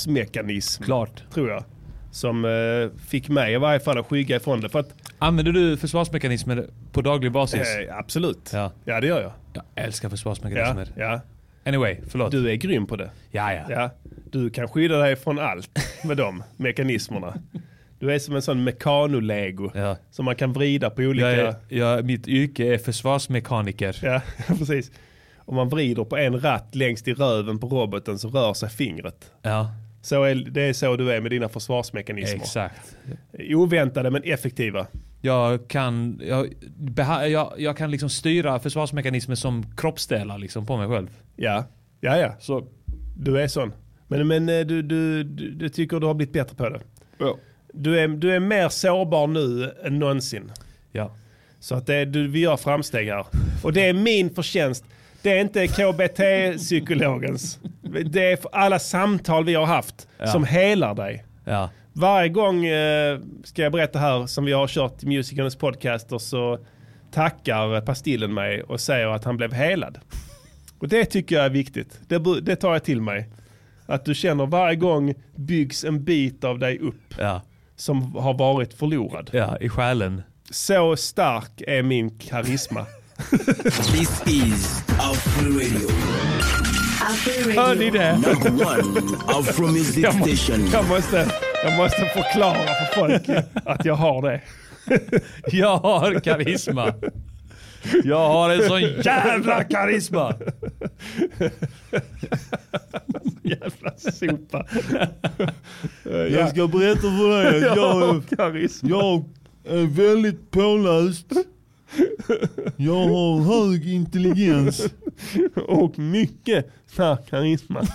Speaker 2: försvarsmekanism,
Speaker 1: Klart.
Speaker 2: tror jag. Som eh, fick mig i varje fall att skygga ifrån det. För att,
Speaker 1: Använder du försvarsmekanismer på daglig basis?
Speaker 2: eh, absolut.
Speaker 1: Ja.
Speaker 2: ja, det gör jag.
Speaker 1: Jag älskar
Speaker 2: Ja,
Speaker 1: försvarsmekanismer.
Speaker 2: ja.
Speaker 1: Anyway, förlåt.
Speaker 2: Du är grym på det.
Speaker 1: Ja, ja.
Speaker 2: Ja, du kan skydda dig från allt med de mekanismerna. Du är som en sån mekanolego
Speaker 1: Ja.
Speaker 2: som man kan vrida på olika...
Speaker 1: Jag är, jag, mitt yrke är försvarsmekaniker.
Speaker 2: Ja, [LAUGHS] precis. Om man vrider på en ratt längst i röven på roboten så rör sig fingret.
Speaker 1: Ja,
Speaker 2: Så är, det är så du är med dina försvarsmekanismer.
Speaker 1: exakt.
Speaker 2: Oväntade men effektiva.
Speaker 1: Jag kan, jag, beha, jag, jag kan liksom styra försvarsmekanismer som kroppsdelar liksom på mig själv.
Speaker 2: Ja, ja, ja.
Speaker 1: Så,
Speaker 2: Du är sån. Men, men eh, du, du, du, du tycker du har blivit bättre på det. Du är, du är mer sårbar nu än någonsin.
Speaker 1: ja.
Speaker 2: Så att det, du, vi gör framsteg här. Och det är min förtjänst. Det är inte KBT-psykologens. Det är för alla samtal vi har haft som helar dig.
Speaker 1: Ja.
Speaker 2: Varje gång, eh, ska jag berätta här, som vi har kört i musikernas podcaster så tackar Pastillen mig och säger att han blev helad. Och det tycker jag är viktigt. Det, bu- det tar jag till mig. Att du känner varje gång byggs en bit av dig upp
Speaker 1: Ja.
Speaker 2: som har varit förlorad.
Speaker 1: ja, i själen. [LAUGHS]
Speaker 2: Så stark är min karisma.
Speaker 4: This is Afro Radio.
Speaker 5: Afro
Speaker 2: Hör ni
Speaker 5: Radio.
Speaker 2: det?
Speaker 4: Number one Afro Music
Speaker 2: Jag, må,
Speaker 4: Station.
Speaker 2: jag, måste, jag måste förklara för folk att jag har det.
Speaker 1: Jag har
Speaker 2: [LAUGHS]
Speaker 1: karisma. Jag har en sån jävla karisma.
Speaker 2: Jävla sopa.
Speaker 7: Jag ska berätta för dig
Speaker 1: [LAUGHS]
Speaker 7: att
Speaker 2: Jag
Speaker 7: jag,
Speaker 2: har karisma.
Speaker 7: jag är väldigt påläst. Jag har hög intelligens.
Speaker 2: och mycket stark karisma.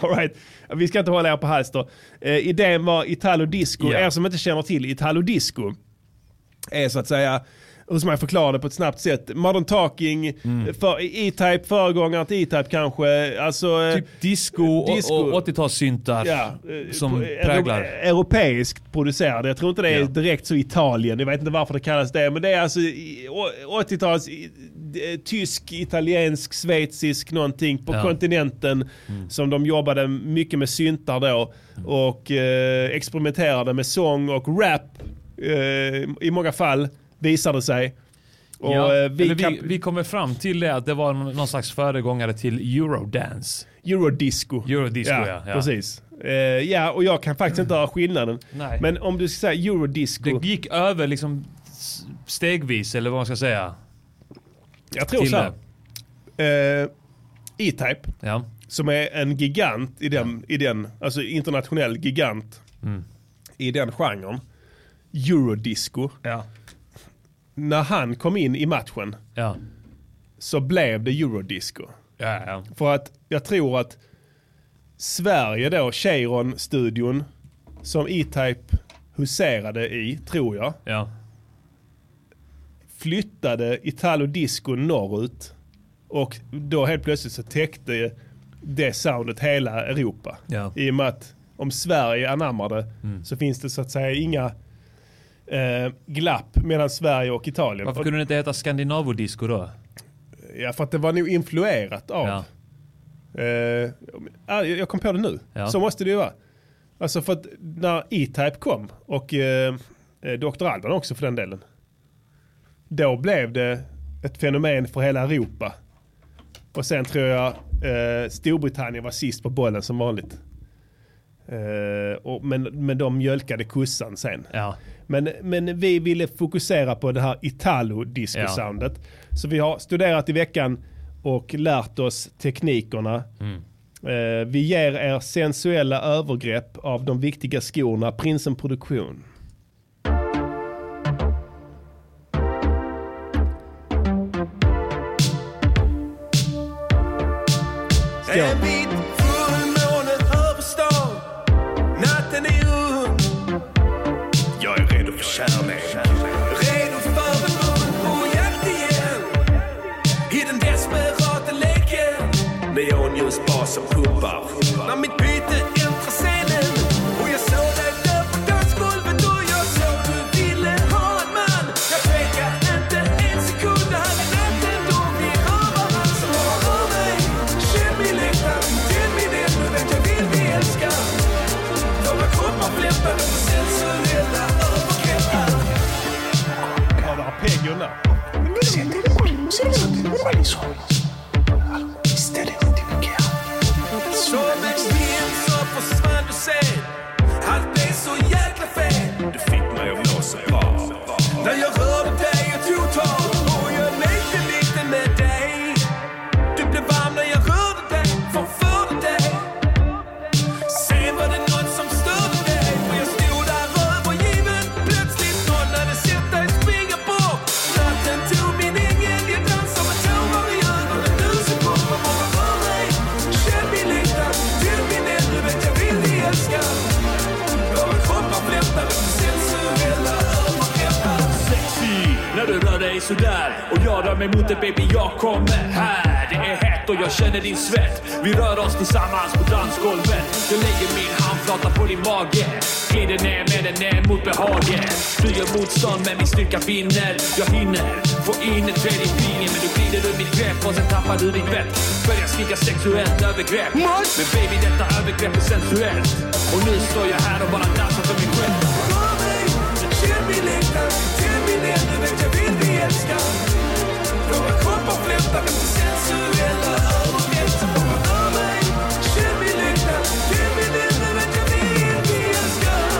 Speaker 2: All right. Vi ska inte hålla er på halster. Eh, idén var Italo Disco.
Speaker 1: Ja.
Speaker 2: Er som inte känner till Italo Disco är så att säga, hur ska man förklara det på ett snabbt sätt? Modern Talking, för, E-Type, föregångaren till E-Type kanske. Alltså, eh,
Speaker 1: Typ disco och,
Speaker 2: Disco.
Speaker 1: och 80-talssyntar
Speaker 2: ja, eh,
Speaker 1: som
Speaker 2: på- eh,
Speaker 1: präglar.
Speaker 2: euro- Europeiskt producerade. Jag tror inte det är
Speaker 1: Ja.
Speaker 2: direkt så Italien. Jag vet inte varför det kallas det. Men det är alltså i- å- 80-tals i- eh, tysk, italiensk, schweizisk någonting på
Speaker 1: Ja. Mm.
Speaker 2: kontinenten. Som de jobbade mycket med syntar då. Och eh, experimenterade med sång och rap. Eh, I många fall visade det sig. Och,
Speaker 1: ja.
Speaker 2: eh,
Speaker 1: vi,
Speaker 2: vi
Speaker 1: Eller
Speaker 2: kan,
Speaker 1: vi, vi kommer fram till det att det var någon någon slags föregångare till eurodance.
Speaker 2: Eurodisco.
Speaker 1: Eurodisco, ja, ja.
Speaker 2: Precis. Eh, ja, och jag kan faktiskt inte höra skillnaden.
Speaker 1: Nej.
Speaker 2: Men om du ska säga eurodisco.
Speaker 1: Det gick över liksom s- stegvis, eller vad man ska säga.
Speaker 2: Jag tror
Speaker 1: till
Speaker 2: så här. Eh, E-Type,
Speaker 1: Ja.
Speaker 2: som är en gigant i den, i den alltså internationell gigant
Speaker 1: Mm.
Speaker 2: i den genren. Eurodisco.
Speaker 1: Ja.
Speaker 2: När han kom in i matchen
Speaker 1: Ja.
Speaker 2: så blev det eurodisco.
Speaker 1: Ja, ja.
Speaker 2: För att jag tror att Sverige då, Cheiron-studion som E-Type huserade i, tror jag,
Speaker 1: ja.
Speaker 2: flyttade Italo Disco norrut. Och då helt plötsligt så täckte det soundet hela Europa.
Speaker 1: Ja. Mm.
Speaker 2: I och med att om Sverige anammar det så finns det så att säga inga eh, glapp mellan Sverige och Italien.
Speaker 1: Varför
Speaker 2: Och-
Speaker 1: kunde det inte heta Scandinavo-disco då?
Speaker 2: Ja, för att det var nog influerat av.
Speaker 1: Ja.
Speaker 2: Eh, ja, jag kom på det nu.
Speaker 1: Ja.
Speaker 2: Så måste det ju vara. Alltså för att när E-Type kom och eh, eh, Dr. Alban också för den delen. Då blev det ett fenomen för hela Europa. Och sen tror jag eh, Storbritannien var sist på bollen som vanligt. Eh, och, men, men de mjölkade kussan sen.
Speaker 1: Ja.
Speaker 2: Men, men vi ville fokusera på det här Italo-disco-soundet. Så vi har studerat i veckan och lärt oss teknikerna. Eh, vi ger er sensuella övergrepp av de viktiga skorna Prinsen Produktion.
Speaker 8: En vit fullmåne över stan Natten är ung Jag är redo för Neonljusbar som pumpar. När mitt byte äntrar scenen och jag såg dig där på dansgolvet och jag såg du ville ha en man. Jag tvekade inte en sekund. Det här är natten då vi har varann. Så rör mig, känn min längtan, tänd min eld. Du vet jag vill bli älskad. Våra kroppar fläppar och sensuella överkroppar.
Speaker 2: Har du arpeggion där?
Speaker 8: Som en vind så försvann du sen Allt blev så jäkla fel Du fick mig att må så bra När jag rörde dig och tog tag Och jag lekte lite med dig Du blev varm när jag rörde dig Förförde dig Sen var det något som störde dig Och jag stod där övergiven Plötsligt någon hade sett dig springa bort Natten tog min ängel Jag dansar med tårar i ögonen Nu så kommer bara rör mig Känn min längtan Till min eld Du vet jag vill bli älskad Våra kroppar flämtar med sensuella överkroppar
Speaker 9: sexy när du rör dig sådär Och jag rör mig mot dig baby, jag kommer här Det är hett och jag känner din svett Vi rör oss tillsammans på dansgolvet Jag lägger min handflata på din mage Glider ner med den ner mot behaget Du gör motstånd men min styrka vinner Jag hinner få in ett tredje finger Men du glider ur mitt grepp och sen tappar du ditt vett Börjar skrika sexuellt övergrepp Men baby detta övergrepp är sensuellt Och nu står jag här och bara dansar för mig själv
Speaker 8: Rör mig, känn min längtan Till min eld Du vet jag vill bli älskad Våra kroppar flämtar efter sensuella ögonblick Så bara rör mig, känn min längtan Till min eld Du vet jag vill bli älskad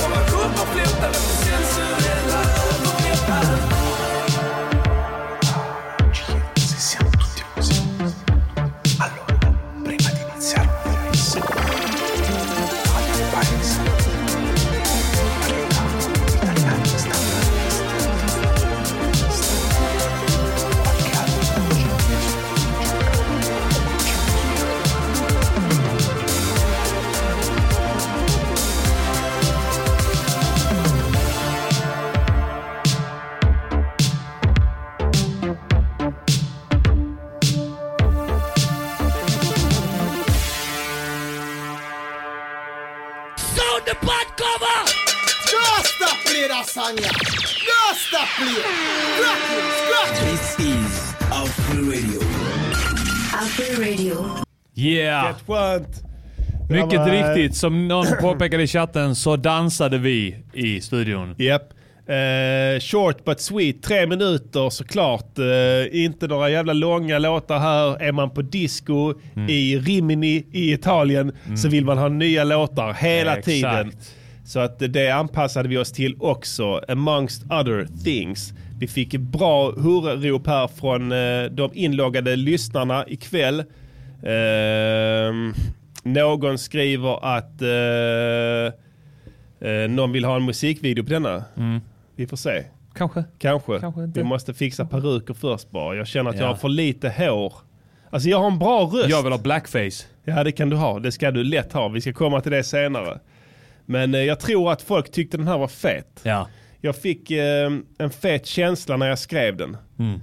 Speaker 8: Våra kroppar flämtar efter sensuella ögonblick
Speaker 4: This is Afro Radio.
Speaker 5: Afro Radio.
Speaker 1: Yeah!
Speaker 2: Rätt skönt.
Speaker 1: Mycket
Speaker 2: var-
Speaker 1: riktigt,
Speaker 2: [CLEARS THROAT]
Speaker 1: som någon påpekade i chatten så dansade vi i studion.
Speaker 2: Japp. Eh, short but sweet, tre minuter såklart. Eh, inte några jävla långa låtar här. Är man på disco i Rimini i Italien så vill man ha nya låtar hela
Speaker 1: Exakt.
Speaker 2: tiden. Så att eh, det anpassade vi oss till också, amongst other things. Vi fick bra hurrop här från eh, de inloggade lyssnarna ikväll. Ehm, någon skriver att eh, Eh, någon vill ha en musikvideo på denna? Vi får se.
Speaker 1: Kanske.
Speaker 2: Kanske.
Speaker 1: Mm. Kanske inte.
Speaker 2: Vi måste fixa peruker först bara. Jag känner att
Speaker 1: Ja.
Speaker 2: jag har för lite hår. Alltså jag har en bra röst.
Speaker 1: Jag vill ha blackface.
Speaker 2: Ja det kan du ha. Det ska du lätt ha. Vi ska komma till det senare. Men eh, jag tror att folk tyckte den här var fet.
Speaker 1: Ja.
Speaker 2: Jag fick eh, en fet känsla när jag skrev den.
Speaker 1: Mm.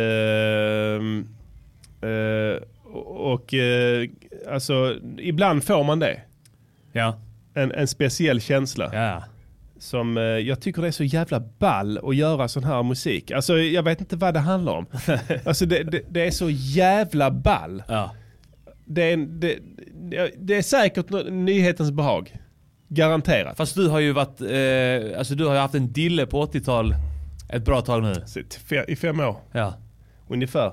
Speaker 2: Ehm, eh, och eh, alltså ibland får man det.
Speaker 1: Ja.
Speaker 2: En, en speciell känsla
Speaker 1: Ja.
Speaker 2: som eh, jag tycker det är så jävla ball att göra sån här musik. Alltså jag vet inte vad det handlar om. Alltså det, det, det är så jävla ball.
Speaker 1: Ja.
Speaker 2: Det är, en- det, det- det är säkert nå- nyhetens behag. Garanterat.
Speaker 1: Fast du har ju varit, eh, alltså du har ju haft en dille på 80-tal ett bra tag nu.
Speaker 2: Fast I fem år
Speaker 1: Ja.
Speaker 2: ungefär.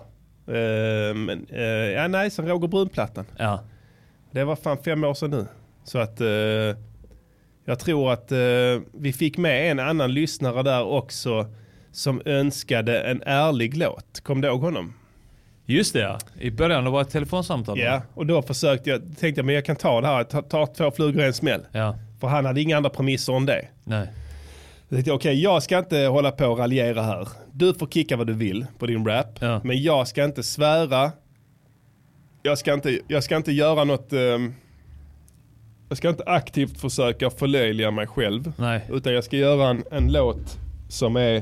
Speaker 2: Eh, men, eh, ja, nej, sen Roger Brunplattan.
Speaker 1: Ja.
Speaker 2: Det var fan fem år sedan nu. Så att eh, jag tror att eh, vi fick med en annan lyssnare där också som önskade en ärlig låt. Kom du ihåg honom?
Speaker 1: Just det ja. I början det var ett telefonsamtal. va?
Speaker 2: Ja, och då försökte jag, tänkte jag men jag kan ta det här, ta, ta två flugor i en smäll.
Speaker 1: Ja.
Speaker 2: För han hade inga andra premisser om det.
Speaker 1: Nej.
Speaker 2: Jag tänkte okej, jag ska inte hålla på och raljera här. Du får kicka vad du vill på din rap,
Speaker 1: Ja.
Speaker 2: men jag ska inte svära. Jag ska inte, jag ska inte göra något, ehm, jag ska inte aktivt försöka förlöjliga mig själv.
Speaker 1: Nej.
Speaker 2: Utan jag ska göra en, en låt som är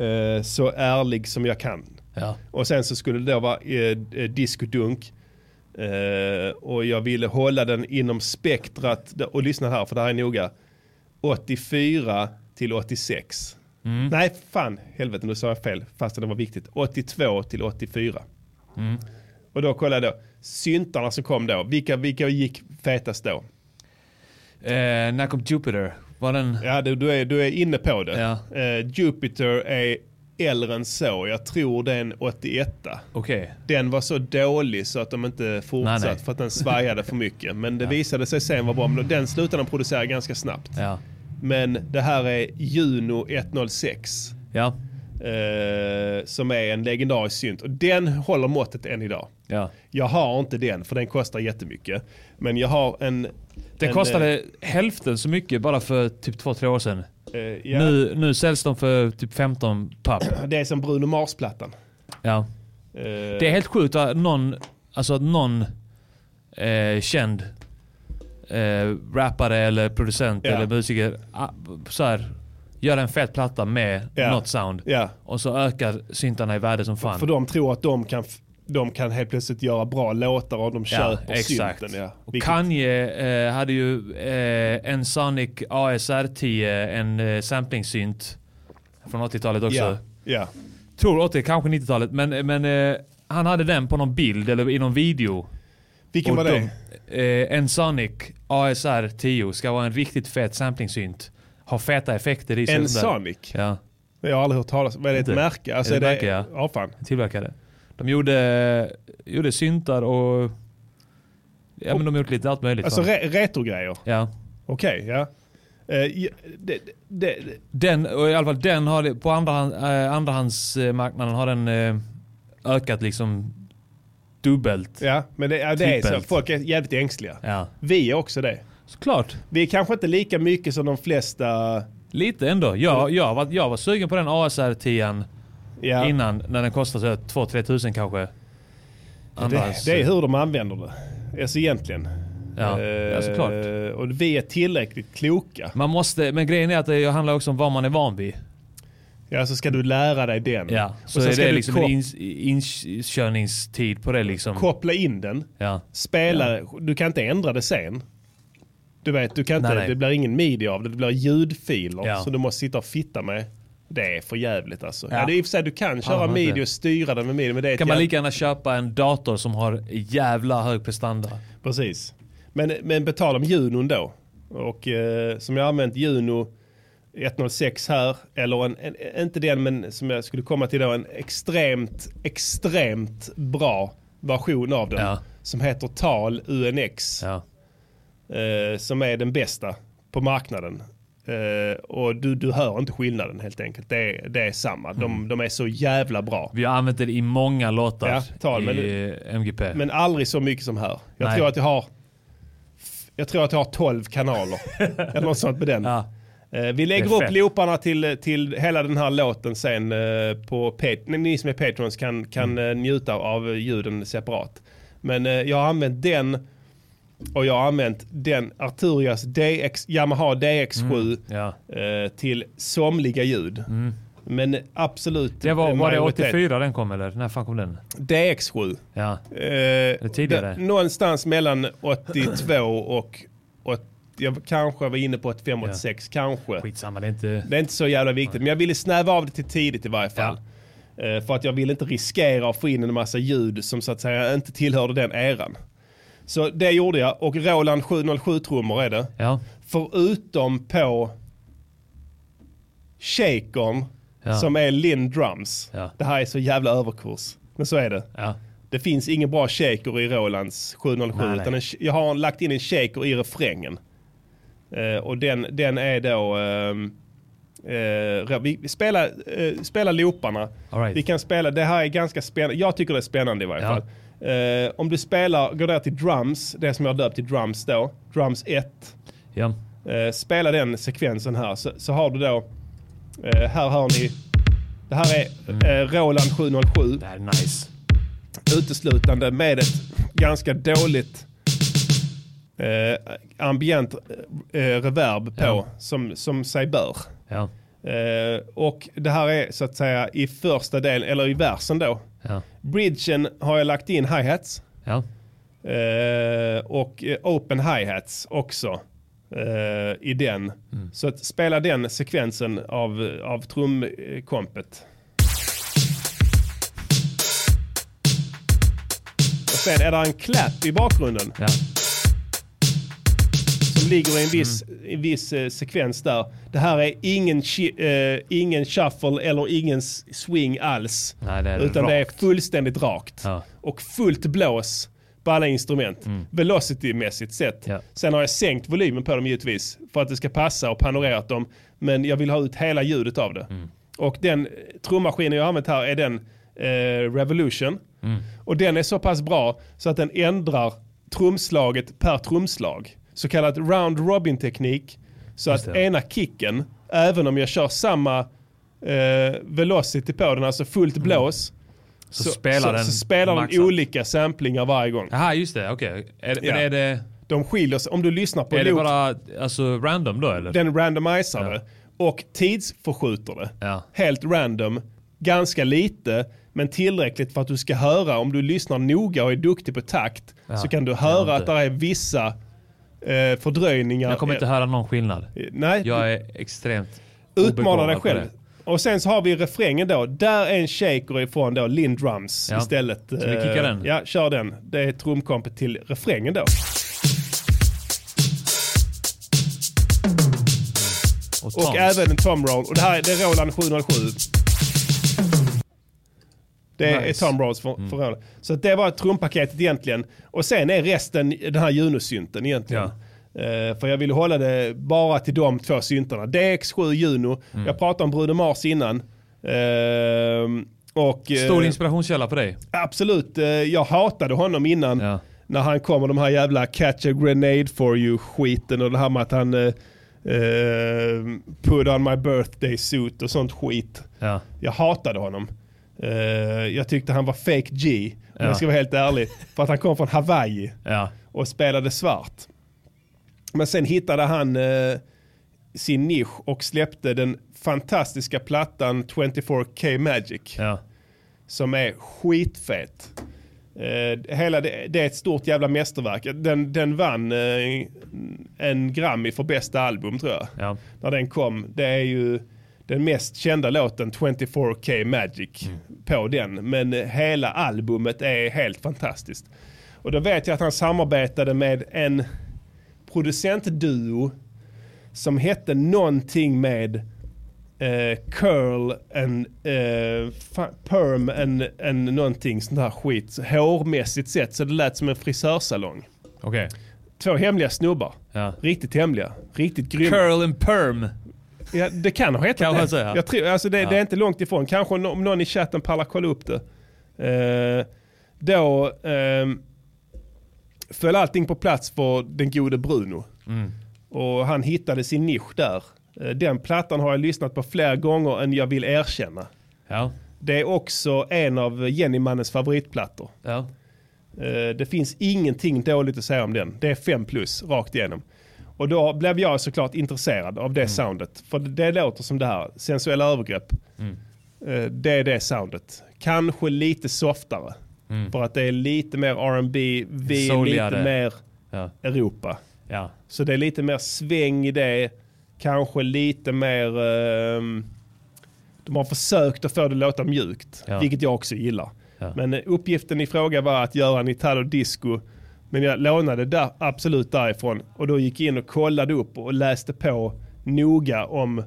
Speaker 2: eh, så ärlig som jag kan.
Speaker 1: Ja.
Speaker 2: Och sen så skulle det då vara eh, eh, discodunk. Eh, och jag ville hålla den inom spektrat, och lyssna här för det här är noga, 84 till 86. Nej, fan, helvete nu sa jag fel, fast det var viktigt. 82 till 84. Och då kollade jag då, syntarna som kom då, vilka, vilka gick fetast då?
Speaker 1: Eh, när kom Jupiter? Var den...
Speaker 2: Ja, du, du, är, du är inne på det.
Speaker 1: Ja.
Speaker 2: Eh, Jupiter är äldre än så, jag tror det är en 81.
Speaker 1: Okej.
Speaker 2: den var så dålig så att de inte fortsatt
Speaker 1: Nej, nej.
Speaker 2: för att den svajade för mycket. Men det visade sig sen vara bra. Men den slutade de producera ganska snabbt.
Speaker 1: Ja.
Speaker 2: Men det här är Juno 106.
Speaker 1: Ja.
Speaker 2: Eh, som är en legendarisk synt. Och den håller måttet än idag.
Speaker 1: Ja.
Speaker 2: Jag har inte den för den kostar jättemycket. Men jag har en...
Speaker 1: Den
Speaker 2: en,
Speaker 1: kostade hälften så mycket bara för typ två, tre år sedan.
Speaker 2: eh, eh, ja,
Speaker 1: Nu, nu säljs de för typ 15 papp.
Speaker 2: Det är som Bruno Mars-plattan.
Speaker 1: Ja.
Speaker 2: Eh,
Speaker 1: Det är helt sjukt att någon, alltså att någon eh, känd eh, rappare eller producent
Speaker 2: Ja.
Speaker 1: eller musiker ah, så här, gör en fet platta med
Speaker 2: Ja.
Speaker 1: något sound.
Speaker 2: Ja.
Speaker 1: Och så ökar syntarna i värde som fan.
Speaker 2: För de tror att de kan, f- de kan helt plötsligt göra bra låtar om de köper synten. Ja.
Speaker 1: Och
Speaker 2: Vilket-
Speaker 1: Kanye eh, hade ju eh, en Sonic ASR-10, en eh, sampling-synt från 80-talet också.
Speaker 2: ja. ja.
Speaker 1: Tror 80, kanske 90-talet. Men, men eh, han hade den på någon bild eller i någon video.
Speaker 2: Vilken var
Speaker 1: Och
Speaker 2: det?
Speaker 1: de- Eh, en Sonic ASR 10 ska vara en riktigt fet samplingssynt. Har feta effekter i sig.
Speaker 2: En
Speaker 1: och sådär.
Speaker 2: Sonic?
Speaker 1: Ja,
Speaker 2: Jag har aldrig hört talas om. Vad är det ett
Speaker 1: Inte.
Speaker 2: märke? Alltså
Speaker 1: Är
Speaker 2: är
Speaker 1: det
Speaker 2: det,
Speaker 1: märke, ja.
Speaker 2: ja, fan.
Speaker 1: tillverkade. De gjorde, gjorde syntar och... Ja men de har gjort lite allt möjligt.
Speaker 2: Alltså
Speaker 1: va?
Speaker 2: re retrogrejer.
Speaker 1: ja.
Speaker 2: Okej, ja. Eh, ja, det, det, det,
Speaker 1: Den, och i alla fall den har det- på andrahand, eh, andrahandsmarknaden har den eh, ökat liksom dubbelt.
Speaker 2: ja, men det, ja, det är så.
Speaker 1: Trippelt.
Speaker 2: Folk är jävligt ängsliga.
Speaker 1: Typ Ja.
Speaker 2: Vi är också det.
Speaker 1: Såklart.
Speaker 2: Vi är kanske inte lika mycket som de flesta.
Speaker 1: Lite ändå. Jag, jag, var, jag var sugen på den ASR 10
Speaker 2: Ja,
Speaker 1: innan när den kostade 2-3 tusen kanske.
Speaker 2: det,
Speaker 1: Annars,
Speaker 2: det är hur de använder det. Alltså egentligen.
Speaker 1: ja, ja, såklart.
Speaker 2: Eh, och vi är tillräckligt kloka.
Speaker 1: Man måste, men grejen är att det handlar också om vad man är van vid.
Speaker 2: Ja, så ska du lära dig den.
Speaker 1: Ja, så
Speaker 2: Mm. och sen
Speaker 1: är
Speaker 2: ska
Speaker 1: det
Speaker 2: du
Speaker 1: liksom
Speaker 2: kop-
Speaker 1: en ins- inkörningstid på det liksom.
Speaker 2: koppla in den.
Speaker 1: Ja.
Speaker 2: spela, du kan inte ändra det sen. Du vet, du kan inte,
Speaker 1: Nej, nej.
Speaker 2: det blir ingen midi av det, det blir ljudfiler
Speaker 1: Ja.
Speaker 2: som du måste sitta och fitta med. Det är för jävligt alltså. Ja.
Speaker 1: Ja.
Speaker 2: det är i och för sig, du kan köra
Speaker 1: man
Speaker 2: midi
Speaker 1: inte.
Speaker 2: och styra den med midi, men det är ett
Speaker 1: Kan man
Speaker 2: jävla-
Speaker 1: lika gärna köpa en dator som har jävla hög prestanda?
Speaker 2: Precis. Men, men betala om Junon då. Och eh, som jag har använt Juno 106 här, eller en, en, inte den men som jag skulle komma till då, en extremt, extremt bra version av den.
Speaker 1: Ja.
Speaker 2: Som heter Tal UNX.
Speaker 1: Ja.
Speaker 2: eh, som är den bästa på marknaden. Eh, och du, du hör inte skillnaden helt enkelt. Det är, det är samma.
Speaker 1: Mm.
Speaker 2: De, de är så jävla bra.
Speaker 1: Vi har använt det i många låtar
Speaker 2: Ja, tal,
Speaker 1: i
Speaker 2: men-
Speaker 1: eh, MGP.
Speaker 2: Men aldrig så mycket som här. Jag
Speaker 1: Nej.
Speaker 2: tror att jag har jag tror att jag har 12
Speaker 1: [LAUGHS]
Speaker 2: kanaler. Eller något sånt med den.
Speaker 1: ja.
Speaker 2: Eh, vi
Speaker 1: Det är
Speaker 2: lägger upp
Speaker 1: fett.
Speaker 2: looparna till, till hela den här låten sen eh, på Pat- ni, ni som är patrons kan, kan
Speaker 1: Mm.
Speaker 2: eh, njuta av eh, ljuden separat. Men eh, jag har använt den och jag har använt den Arturias DX, Yamaha DX7
Speaker 1: Mm, ja.
Speaker 2: eh, till somliga ljud. Men absolut
Speaker 1: Mm. Det var,
Speaker 2: eh,
Speaker 1: var det
Speaker 2: majoritet-
Speaker 1: 84 den kom eller? När fan kom den?
Speaker 2: DX7.
Speaker 1: Ja.
Speaker 2: Eh,
Speaker 1: tidigare?
Speaker 2: d- någonstans mellan 82 och, och jag kanske var inne på 85, 86, kanske.
Speaker 1: Skitsamma, det är inte...
Speaker 2: Det är inte så jävla viktigt, men jag ville snäva av det till tidigt i varje fall. Eh, För att jag ville inte riskera att få in en massa ljud som så att säga inte tillhörde den eran. Så det gjorde jag och Roland 707-trummor är det.
Speaker 1: Ja.
Speaker 2: Förutom på shakern
Speaker 1: Ja.
Speaker 2: som är Linn Drums.
Speaker 1: Ja.
Speaker 2: Det här är så jävla överkurs. Men så är det.
Speaker 1: Ja.
Speaker 2: Det finns ingen bra shaker i Rolands 707
Speaker 1: Nej, nej.
Speaker 2: utan en, jag har lagt in en shaker i refrängen. Eh, och den, den är då... ehm, eh, vi vi spelar, uh, spelar looparna.
Speaker 1: All right.
Speaker 2: Vi kan spela, det här är ganska spännande. Jag tycker det är spännande i varje
Speaker 1: Ja.
Speaker 2: fall. Eh, om du spelar, går där till drums, det som jag har döpt till drums då, drums 1.
Speaker 1: Ja.
Speaker 2: Eh, spela den sekvensen här så, så har du då, eh, här har ni, det här är eh, Roland 707
Speaker 1: Det här är nice.
Speaker 2: uteslutande med ett ganska dåligt eh, ambient eh, reverb på
Speaker 1: Ja.
Speaker 2: som, som sig bör.
Speaker 1: Ja.
Speaker 2: Eh, och det här är så att säga i första delen, eller i versen då.
Speaker 1: Ja.
Speaker 2: Bridgen har jag lagt in hi-hats.
Speaker 1: Ja.
Speaker 2: Eh, och eh, open hi-hats också eh, i den.
Speaker 1: Mm.
Speaker 2: Så att spela den sekvensen av, av trumkompet. Och sen är det en clap i bakgrunden
Speaker 1: Ja.
Speaker 2: som ligger i en viss,
Speaker 1: Mm.
Speaker 2: i viss eh, sekvens där. Det här är ingen, chi- eh, ingen shuffle eller ingen s- swing alls.
Speaker 1: Nej, det är
Speaker 2: utan det
Speaker 1: rakt.
Speaker 2: är fullständigt rakt.
Speaker 1: Ja.
Speaker 2: Och fullt blås på alla instrument. Velocity-mässigt sett.
Speaker 1: Ja.
Speaker 2: Sen har jag sänkt volymen på dem givetvis för att det ska passa och panorerat dem. Men jag vill ha ut hela ljudet av det. Och den eh, trummaskinen jag har använt här är den eh, Revolution. Och den är så pass bra så att den ändrar trumslaget per trumslag. Så kallad round robin teknik. Så att ena kicken, även om jag kör samma eh, velocity på den, alltså fullt blås.
Speaker 1: Så, spelar den
Speaker 2: så, spelar den
Speaker 1: maxat.
Speaker 2: olika samplingar varje gång.
Speaker 1: Jaha, just det. Okej. Är-
Speaker 2: Ja.
Speaker 1: Men är det,
Speaker 2: De skiljer sig, om du lyssnar på
Speaker 1: är det
Speaker 2: loop-
Speaker 1: bara alltså, random då eller?
Speaker 2: den randomiserar det och tidsförskjuter det.
Speaker 1: Ja.
Speaker 2: Helt random, ganska lite, men tillräckligt för att du ska höra, om du lyssnar noga och är duktig på takt, så kan du höra att
Speaker 1: inte.
Speaker 2: det är vissa eh, fördröjningar.
Speaker 1: Jag kommer inte höra någon skillnad.
Speaker 2: Eh, Nej,
Speaker 1: Jag är extremt
Speaker 2: utmana
Speaker 1: obegåvad
Speaker 2: dig
Speaker 1: på
Speaker 2: själv.
Speaker 1: det.
Speaker 2: Och sen så har vi refrängen då, där är en shaker ifrån då, Lindrums
Speaker 1: Ja.
Speaker 2: istället.
Speaker 1: Ska vi kicka
Speaker 2: Eh,
Speaker 1: den?
Speaker 2: Ja, kör den. Det är trumkompet till refrängen då.
Speaker 1: Och,
Speaker 2: Och
Speaker 1: Toms.
Speaker 2: även en Tom Roll. Och det här är, det är Roland 707. Det är
Speaker 1: Nice. Mm.
Speaker 2: Tom Rolls för, för Roland. Så att det var trumpaketet egentligen. Och sen är resten den här Juno-synten egentligen.
Speaker 1: Ja.
Speaker 2: Eh, för jag ville hålla det bara till de två syntarna. DX7 Juno.
Speaker 1: Mm.
Speaker 2: Jag pratade om Bruno Mars innan. Ehm, och, eh,
Speaker 1: Stor inspirationskälla för dig.
Speaker 2: Absolut, eh, jag hatade honom innan.
Speaker 1: Ja.
Speaker 2: När han kom och de här jävla catch a grenade for you skiten och det här med att han eh, eh, put on my birthday suit och sånt skit.
Speaker 1: Ja.
Speaker 2: Jag hatade honom. Eh, jag tyckte han var fake G, om
Speaker 1: Ja.
Speaker 2: jag ska vara helt ärlig. För att han kom från Hawaii
Speaker 1: Ja.
Speaker 2: och spelade svart. Men sen hittade han eh, sin nisch och släppte den fantastiska plattan 24K Magic
Speaker 1: Ja.
Speaker 2: som är skitfett. Eh, hela det, det är ett stort jävla mästerverk. Den, den vann eh, en Grammy för bästa album tror jag.
Speaker 1: Ja.
Speaker 2: När den kom. Det är ju den mest kända låten 24K Magic på den. Men eh, hela albumet är helt fantastiskt. Och då vet jag att han samarbetade med en producentduo som hette någonting med eh, curl and eh, fa- perm and, and någonting sånt här skit. Så Hårmässigt sett så det lät som en frisörsalong.
Speaker 1: Okej.
Speaker 2: Två hemliga snubbar.
Speaker 1: Ja.
Speaker 2: Riktigt hemliga. Riktigt grymma.
Speaker 1: Curl and perm.
Speaker 2: Ja, det kan ha hetat
Speaker 1: Kan
Speaker 2: det.
Speaker 1: man säga.
Speaker 2: Jag tror, alltså det, det är inte långt ifrån. Kanske om om någon i chatten pallar kolla upp det. Eh, då ehm, föll allting på plats för den gode Bruno.
Speaker 1: Mm.
Speaker 2: Och han hittade sin nisch där. Eh, Den plattan har jag lyssnat på fler gånger än jag vill erkänna.
Speaker 1: Ja.
Speaker 2: Det är också en av Jennymannens favoritplattor.
Speaker 1: Ja.
Speaker 2: Eh, Det finns ingenting dåligt att säga om den. Det är 5 plus rakt igenom. Och då blev jag såklart intresserad av det soundet. För det, det låter som det här, sensuella övergrepp. Eh, Det är det soundet. Kanske lite softare. För att det är lite mer R&B, vi är lite
Speaker 1: Souligare.
Speaker 2: mer
Speaker 1: Ja.
Speaker 2: Europa.
Speaker 1: Ja.
Speaker 2: Så det är lite mer sväng i det. Kanske lite mer... ehm, de har försökt att få det att låta mjukt,
Speaker 1: Ja.
Speaker 2: vilket jag också gillar.
Speaker 1: Ja.
Speaker 2: Men eh, uppgiften i fråga var att göra en Italo Disco. Men jag lånade där, absolut därifrån och då gick jag in och kollade upp och läste på noga om eh,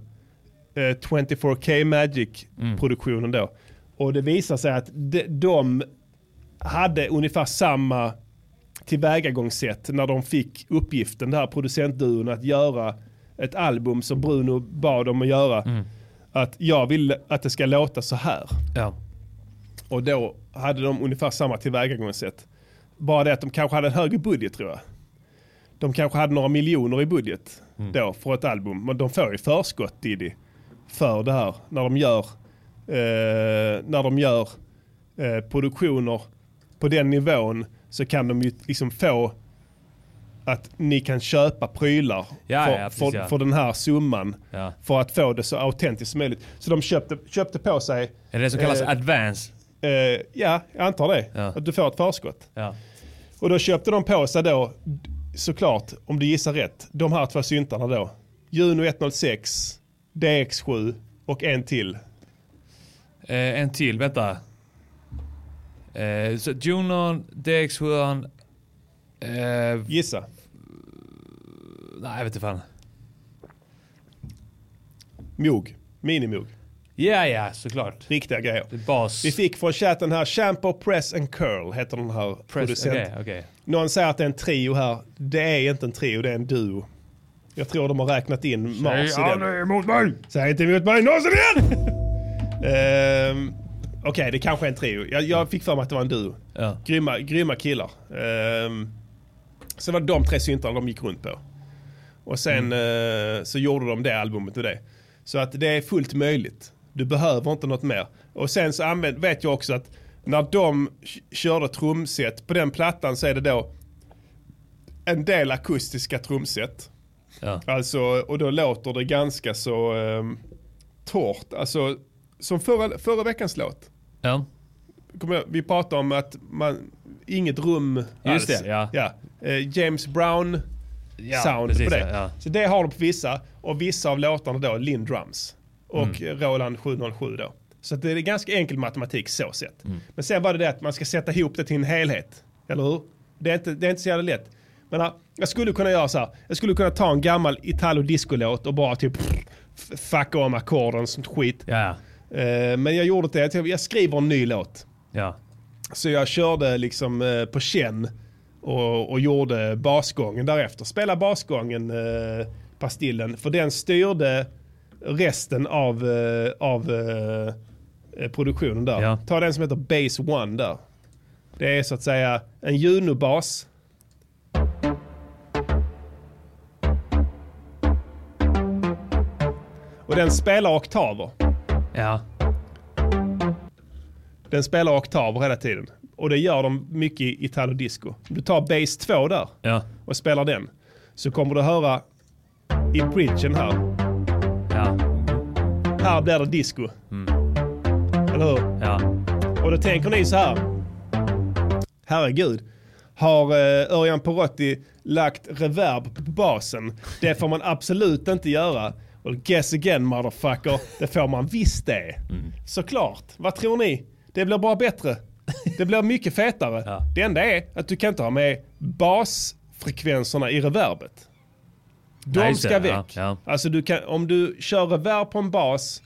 Speaker 2: 24K
Speaker 1: Mm.
Speaker 2: Magic-produktionen då. Och det visar sig att de, de hade ungefär samma tillvägagångssätt när de fick uppgiften, den här producentduon, att göra ett album som Bruno bad dem att göra. Att jag vill att det ska låta så här.
Speaker 1: Ja.
Speaker 2: Och då hade de ungefär samma tillvägagångssätt. Bara det att de kanske hade en högre budget tror jag. De kanske hade några miljoner i budget
Speaker 1: Mm.
Speaker 2: då för ett album. Men de får ju förskott Diddy för det här när de gör, eh, när de gör eh, produktioner på den nivån så kan de ju liksom få att ni kan köpa prylar
Speaker 1: Ja,
Speaker 2: för,
Speaker 1: ja, precis,
Speaker 2: för,
Speaker 1: ja.
Speaker 2: för den här summan
Speaker 1: Ja.
Speaker 2: för att få det så autentiskt som möjligt. Så de köpte, köpte på sig
Speaker 1: Är det det som kallas
Speaker 2: Eh,
Speaker 1: advance?
Speaker 2: Eh, ja, jag antar det.
Speaker 1: Ja.
Speaker 2: Att du får ett förskott.
Speaker 1: Ja.
Speaker 2: Och då köpte de på sig då, såklart, om du gissar rätt, de här två syntarna då. Juno 106, DX7 och en till.
Speaker 1: Eh, en till, vänta. Eh, så Junon, DX7, eh, nej
Speaker 2: Gissa.
Speaker 1: jag vet inte fan.
Speaker 2: Mog. Minimog.
Speaker 1: Ja, ja, såklart.
Speaker 2: Riktiga grejer.
Speaker 1: Det är bas.
Speaker 2: Vi fick från chatten här, Shampoo Press and Curl heter den här
Speaker 1: Press-
Speaker 2: producenten.
Speaker 1: Okej, okej.
Speaker 2: Någon säger att det är en trio här. Det är inte en trio, det är en duo. Jag tror de har räknat in Mars i den.
Speaker 6: emot mig!
Speaker 2: Säg inte emot mig någonsin igen! [LAUGHS] Ehm, Okej, det kanske är en trio. Jag, jag fick för mig att det var en duo.
Speaker 1: Ja.
Speaker 2: Grymma, grymma killar. Ehm, sen var det de tre syntarna de gick runt på. Och sen eh, så gjorde de det albumet och det. Så att det är fullt möjligt. Du behöver inte något mer. Och sen så använd, vet jag också att när de k- körde trumset på den plattan så är det då en del akustiska trumset.
Speaker 1: Ja.
Speaker 2: Alltså, och då låter det ganska så um, torrt. Alltså, som förra, förra veckans låt.
Speaker 1: Ja.
Speaker 2: Kommer jag, vi pratade om att man, inget rum alls.
Speaker 1: det, ja.
Speaker 2: Eh, James Brown
Speaker 1: Ja,
Speaker 2: sound
Speaker 1: precis,
Speaker 2: på det.
Speaker 1: ja, ja.
Speaker 2: Så det har de på vissa. Och vissa av låtarna då, Linn Drums. Och
Speaker 1: Mm.
Speaker 2: Roland 707 då. Så att det är ganska enkel matematik så sett.
Speaker 1: Mm.
Speaker 2: Men sen var det det att man ska sätta ihop det till en helhet. Eller hur? Det är inte, det är inte så jävla lätt. Men ja, jag skulle kunna göra så här. Jag skulle kunna ta en gammal italo disco-låt och bara typ f- fucka om ackorden och sånt skit.
Speaker 1: Ja,
Speaker 2: Eh, men jag gjorde inte det. Jag tänkte, Jag skriver en ny låt.
Speaker 1: ja.
Speaker 2: Så jag körde liksom eh, på känn och, och gjorde basgången därefter. Spelade basgången, eh, Pastillen, för den styrde resten av, eh, av eh, eh, produktionen där.
Speaker 1: Ja.
Speaker 2: Ta den som heter Base One där. Det är så att säga en Juno-bas. Och den spelar oktaver.
Speaker 1: Ja.
Speaker 2: Den spelar oktaver hela tiden. Och det gör de mycket i Italo Disco. Om du tar Base 2 där
Speaker 1: Ja.
Speaker 2: och spelar den så kommer du höra i bridgen här.
Speaker 1: Ja.
Speaker 2: Här blir det disco. Eller hur?
Speaker 1: Ja.
Speaker 2: Och då tänker ni så här. Herregud. Har eh, Örjan Porotti lagt reverb på basen? Det får man absolut inte göra. Och guess again motherfucker. Det får man visst det.
Speaker 1: Mm.
Speaker 2: Såklart. Vad tror ni? Det blir bara bättre. Det blir mycket fetare.
Speaker 1: [LAUGHS] Ja.
Speaker 2: Det enda är att du kan inte ha med basfrekvenserna i reverbet. De
Speaker 1: Nej, just
Speaker 2: ska
Speaker 1: det.
Speaker 2: väck.
Speaker 1: Ja, ja.
Speaker 2: Alltså du kan, om du kör reverb på en bas,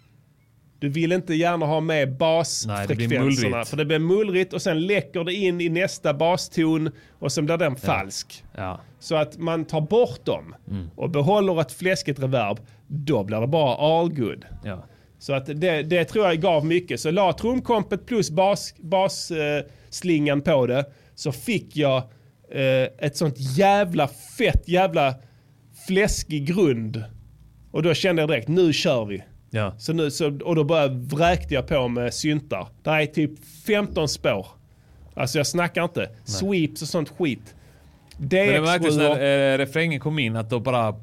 Speaker 2: du vill inte gärna ha med
Speaker 1: Nej, det blir
Speaker 2: basfrekvenserna.
Speaker 1: mullrigt.
Speaker 2: för det blir mullrigt och sen läcker det in i nästa baston och sen blir den falsk.
Speaker 1: Ja.
Speaker 2: Så att man tar bort dem
Speaker 1: Mm.
Speaker 2: och behåller ett fläskigt reverb, då blir det bara all good.
Speaker 1: Ja.
Speaker 2: Så att det, det tror jag gav mycket. Så la trumkompet plus basslingan bas, eh, slingan på det så fick jag eh, ett sånt jävla fett jävla fläskig grund. Och då kände jag direkt, nu kör vi.
Speaker 1: Ja.
Speaker 2: Så nu, så, och då bara vräkte jag på med syntar. Det är typ 15 spår. Alltså jag snackar inte. Sweeps och sånt skit.
Speaker 1: Men det märktes
Speaker 2: DX7
Speaker 1: när eh, refrängen kom in att då bara...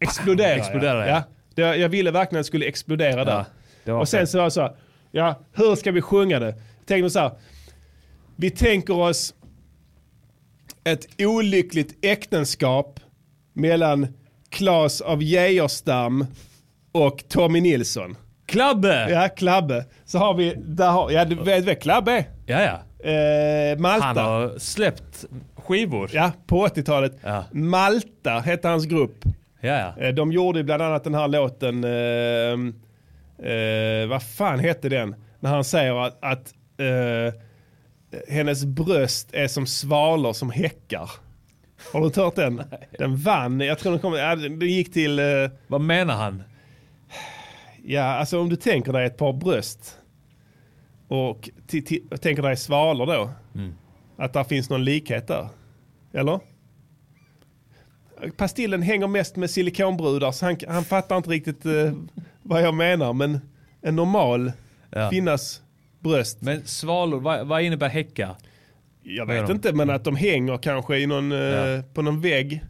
Speaker 2: exploderar.
Speaker 1: Exploderar,
Speaker 2: ja.
Speaker 1: ja.
Speaker 2: ja. Det, jag ville verkligen att det skulle explodera där.
Speaker 1: det var
Speaker 2: Och sen
Speaker 1: fett.
Speaker 2: så var jag så här, ja, hur ska vi sjunga det? Jag tänkte så här, vi tänker oss ett olyckligt äktenskap mellan Claes av Geijerstam och Tommy Nilsson.
Speaker 1: Klabbe!
Speaker 2: Ja, Klabbe. Så har vi, där har, ja du vet vem Klabbe
Speaker 1: Ja, ja.
Speaker 2: är? eh, Malta.
Speaker 1: Han har släppt skivor.
Speaker 2: Ja, på 80-talet.
Speaker 1: Ja.
Speaker 2: Malta hette hans grupp.
Speaker 1: ja. ja.
Speaker 2: Eh, De gjorde ju bland annat den här låten, eh, eh, vad fan hette den? När han säger att, att eh, hennes bröst är som svalor som häckar. Har du inte hört den? Den vann, jag tror den kom, ja, den den gick till, eh,
Speaker 1: Vad menar han?
Speaker 2: ja alltså om du tänker dig ett par bröst och ti- ti- och tänker dig svalor då.
Speaker 1: Mm.
Speaker 2: Att där finns någon likhet där. Eller? Pastillen hänger mest med silikonbrudar så han, han fattar inte riktigt eh, vad jag menar. Men en normal
Speaker 1: Ja.
Speaker 2: kvinnas bröst.
Speaker 1: Men svalor, vad, vad innebär häcka?
Speaker 2: Jag
Speaker 1: Vad
Speaker 2: vet
Speaker 1: gör de?
Speaker 2: inte men att de hänger kanske i någon, eh,
Speaker 1: Ja.
Speaker 2: på någon vägg.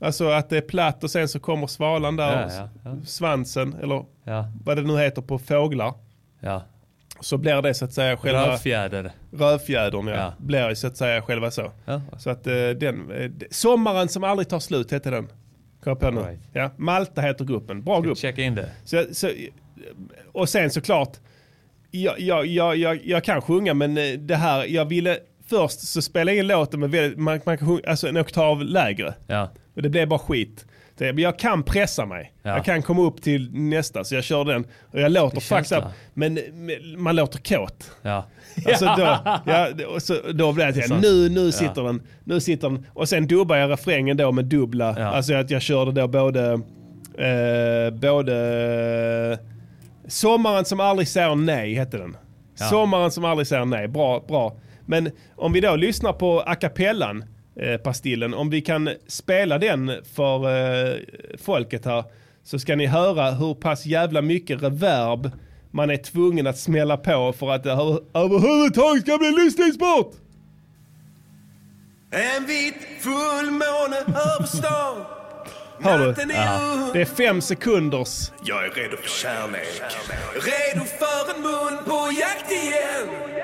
Speaker 2: Alltså att det är platt och sen så kommer svalan där.
Speaker 1: Ja,
Speaker 2: och s-
Speaker 1: ja, ja.
Speaker 2: Svansen eller
Speaker 1: Ja,
Speaker 2: vad det nu heter på fåglar.
Speaker 1: ja.
Speaker 2: så blir det så att säga själva
Speaker 1: Rövfjäder.
Speaker 2: rövfjädern. Ja,
Speaker 1: Ja.
Speaker 2: Blir ju så att säga själva så.
Speaker 1: Ja.
Speaker 2: Så att eh, den, eh, d- Sommaren som aldrig tar slut heter den. Kom jag på nu.
Speaker 1: Alright.
Speaker 2: Ja, Malta heter gruppen. Bra grupp.
Speaker 1: Checka in det.
Speaker 2: Så, så, och sen såklart, jag, jag, jag, jag, jag kan sjunga men eh, det här, jag ville först så spela in låten med väldigt, man, man kan sjunga, alltså en oktav lägre.
Speaker 1: Ja.
Speaker 2: Och det blev bara skit. Så jag- Men jag kan pressa mig.
Speaker 1: Ja.
Speaker 2: Jag kan komma upp till nästa så jag kör den. Och jag låter faktiskt,
Speaker 1: känsla.
Speaker 2: men men man låter kåt.
Speaker 1: Ja.
Speaker 2: Alltså då, ja, det- och så, då blev det att jag, nu, nu sitter den, nu sitter den. Och sen dubbar jag refrängen då med dubbla,
Speaker 1: Ja.
Speaker 2: alltså att jag körde då både, eh, både Sommaren som aldrig säger nej hette den. Sommaren som aldrig säger nej, bra, bra. Men om vi då lyssnar på a cappellan, eh, Pastillen, om vi kan spela den för eh, folket här så ska ni höra hur pass jävla mycket reverb man är tvungen att smälla på för att det över- överhuvudtaget ska bli lyssningsbart!
Speaker 8: En vit fullmåne över stan.
Speaker 2: Hör du?
Speaker 8: Natten är ung.
Speaker 2: Det är fem sekunders...
Speaker 8: Jag är redo för kärlek. Redo för en mun på jakt igen.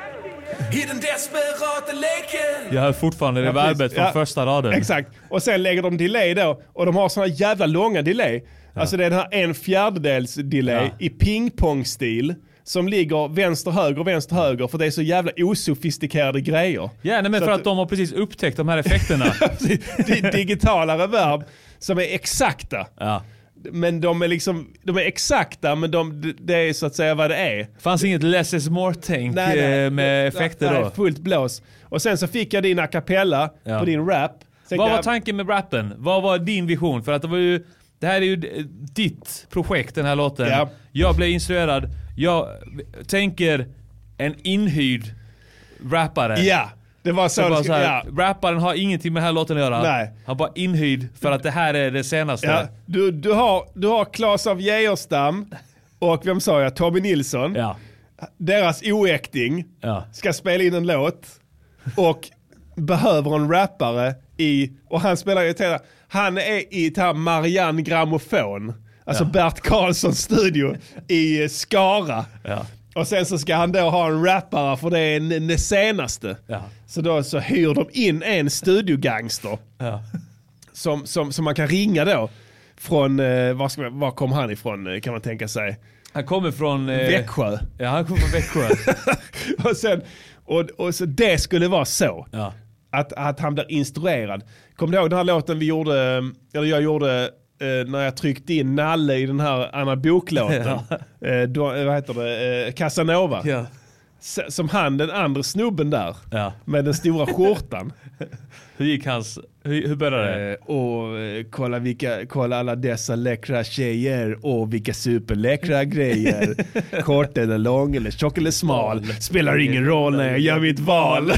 Speaker 8: I den desperata leken.
Speaker 1: Jag hör fortfarande reverbet från
Speaker 2: Ja,
Speaker 1: första raden.
Speaker 2: Exakt. Och sen lägger de delay då. Och de har såna jävla långa delay. Alltså det är den här en fjärdedels delay
Speaker 1: Ja.
Speaker 2: i pingpongstil. Som ligger vänster, höger, vänster, höger. För det är så jävla osofistikerade
Speaker 1: [LAUGHS]
Speaker 2: grejer.
Speaker 1: Ja, nej, men
Speaker 2: Så
Speaker 1: för
Speaker 2: att-
Speaker 1: att de har precis upptäckt de
Speaker 2: [LAUGHS]
Speaker 1: här effekterna.
Speaker 2: Di- Digitala reverb som är exakta.
Speaker 1: ja.
Speaker 2: Men de är liksom, de är exakta men de, d- det är så att säga vad det är.
Speaker 1: Fanns inget less is more-tänk
Speaker 2: Nej, nej.
Speaker 1: eh, med effekter
Speaker 2: nej,
Speaker 1: då?
Speaker 2: Fullt blås. Och sen så fick jag din a cappella
Speaker 1: Ja.
Speaker 2: på din rap. Sen
Speaker 1: Vad
Speaker 2: kan
Speaker 1: var
Speaker 2: jag-
Speaker 1: tanken med rappen? Vad var din vision? För att det var ju... Det här är ju d- ditt projekt, den här låten.
Speaker 2: Ja.
Speaker 1: Jag blev instruerad. Jag tänker en inhyrd rappare.
Speaker 2: Ja, det var så.
Speaker 1: Så
Speaker 2: det
Speaker 1: bara
Speaker 2: skulle-
Speaker 1: så här,
Speaker 2: ja.
Speaker 1: Rapparen har ingenting med den här låten att göra.
Speaker 2: Nej.
Speaker 1: Han bara inhyrd för att det här är det senaste.
Speaker 2: Ja, du, du, har, du har Claes av Geijerstam och vem sa jag? Tommy Nilsson.
Speaker 1: Ja.
Speaker 2: Deras oäkting
Speaker 1: Ja.
Speaker 2: ska spela in en låt och behöver en rappare i, och han spelar gitarr. Han är i det här Marianne Grammofon, alltså Bert Karlssons studio i eh, Skara.
Speaker 1: Ja.
Speaker 2: Och sen så ska han då ha en rappare för det är en- den senaste.
Speaker 1: Ja.
Speaker 2: Så då så hyr de in en studiogangster
Speaker 1: Ja.
Speaker 2: som, som, som man kan ringa då. Från, eh, var, ska man, var kom han ifrån eh, kan man tänka sig? [LAUGHS]
Speaker 1: Han kommer från... eh,
Speaker 2: Växjö.
Speaker 1: Ja, han kommer från Växjö.
Speaker 2: och sen, och, och så det skulle vara så.
Speaker 1: ja.
Speaker 2: Att, att han blir instruerad. Kommer du ihåg den här låten vi gjorde, eller jag gjorde eh, när jag tryckte in Nalle i den här Anna Book-låten? [LAUGHS] Eh, då, eh, vad heter det? Eh, Casanova.
Speaker 1: Ja.
Speaker 2: S- Som han, den andra snubben där.
Speaker 1: Ja.
Speaker 2: Med den stora
Speaker 1: [LAUGHS]
Speaker 2: skjortan.
Speaker 1: Hur gick hans... Hur, hur började det?
Speaker 2: Eh, och eh, kolla, vilka, kolla alla dessa läckra tjejer och vilka
Speaker 1: [LAUGHS]
Speaker 2: superläckra grejer. Kort eller lång eller tjock eller smal. Spelar ingen roll när jag gör mitt
Speaker 1: [LAUGHS]
Speaker 2: val.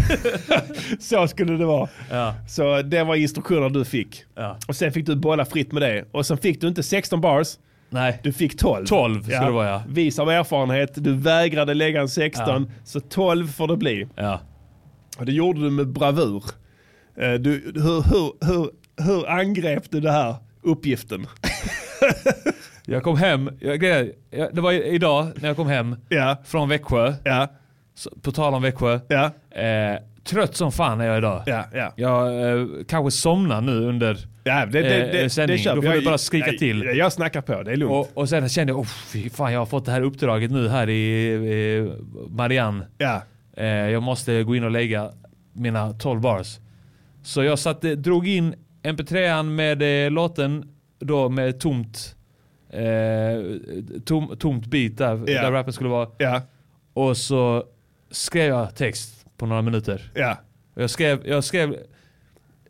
Speaker 2: Så skulle det vara.
Speaker 1: Ja.
Speaker 2: Så det var instruktioner du fick.
Speaker 1: Ja.
Speaker 2: Och sen fick du bolla fritt med det. Och sen fick du inte 16 bars.
Speaker 1: Nej.
Speaker 2: Du fick 12.
Speaker 1: 12 skulle det vara, ja.
Speaker 2: Vis av erfarenhet, du vägrade lägga en 16, så 12 får det bli.
Speaker 1: Ja.
Speaker 2: Och det gjorde du med bravur. Eh, Du, hur, hur, hur, hur angrep du den här
Speaker 1: [LAUGHS]
Speaker 2: uppgiften?
Speaker 1: Jag kom hem, jag, grejen är, jag, det var i- idag när jag kom hem
Speaker 2: Ja,
Speaker 1: från Växjö,
Speaker 2: ja,
Speaker 1: så, på tal om Växjö.
Speaker 2: ja,
Speaker 1: Eh, trött som fan är jag idag.
Speaker 2: ja. ja.
Speaker 1: Jag eh, kanske somnar nu under...
Speaker 2: ja det, det,
Speaker 1: Eh,
Speaker 2: det, det,
Speaker 1: sändning.
Speaker 2: köper
Speaker 1: Då får
Speaker 2: jag.
Speaker 1: du bara skrika
Speaker 2: jag,
Speaker 1: till.
Speaker 2: Jag, jag snackar på, det är lugnt.
Speaker 1: Och, och sen kände jag, oh, fy fan jag har fått det här uppdraget nu här i eh, Marianne.
Speaker 2: ja,
Speaker 1: Eh, jag måste gå in och lägga mina 12 bars. Så jag satte, drog in mp3an med eh, låten då med tomt, eh, tom, tomt beat där,
Speaker 2: Ja.
Speaker 1: där rappen skulle vara.
Speaker 2: ja,
Speaker 1: Och så skrev jag text på några minuter.
Speaker 2: ja,
Speaker 1: Och Jag skrev, jag skrev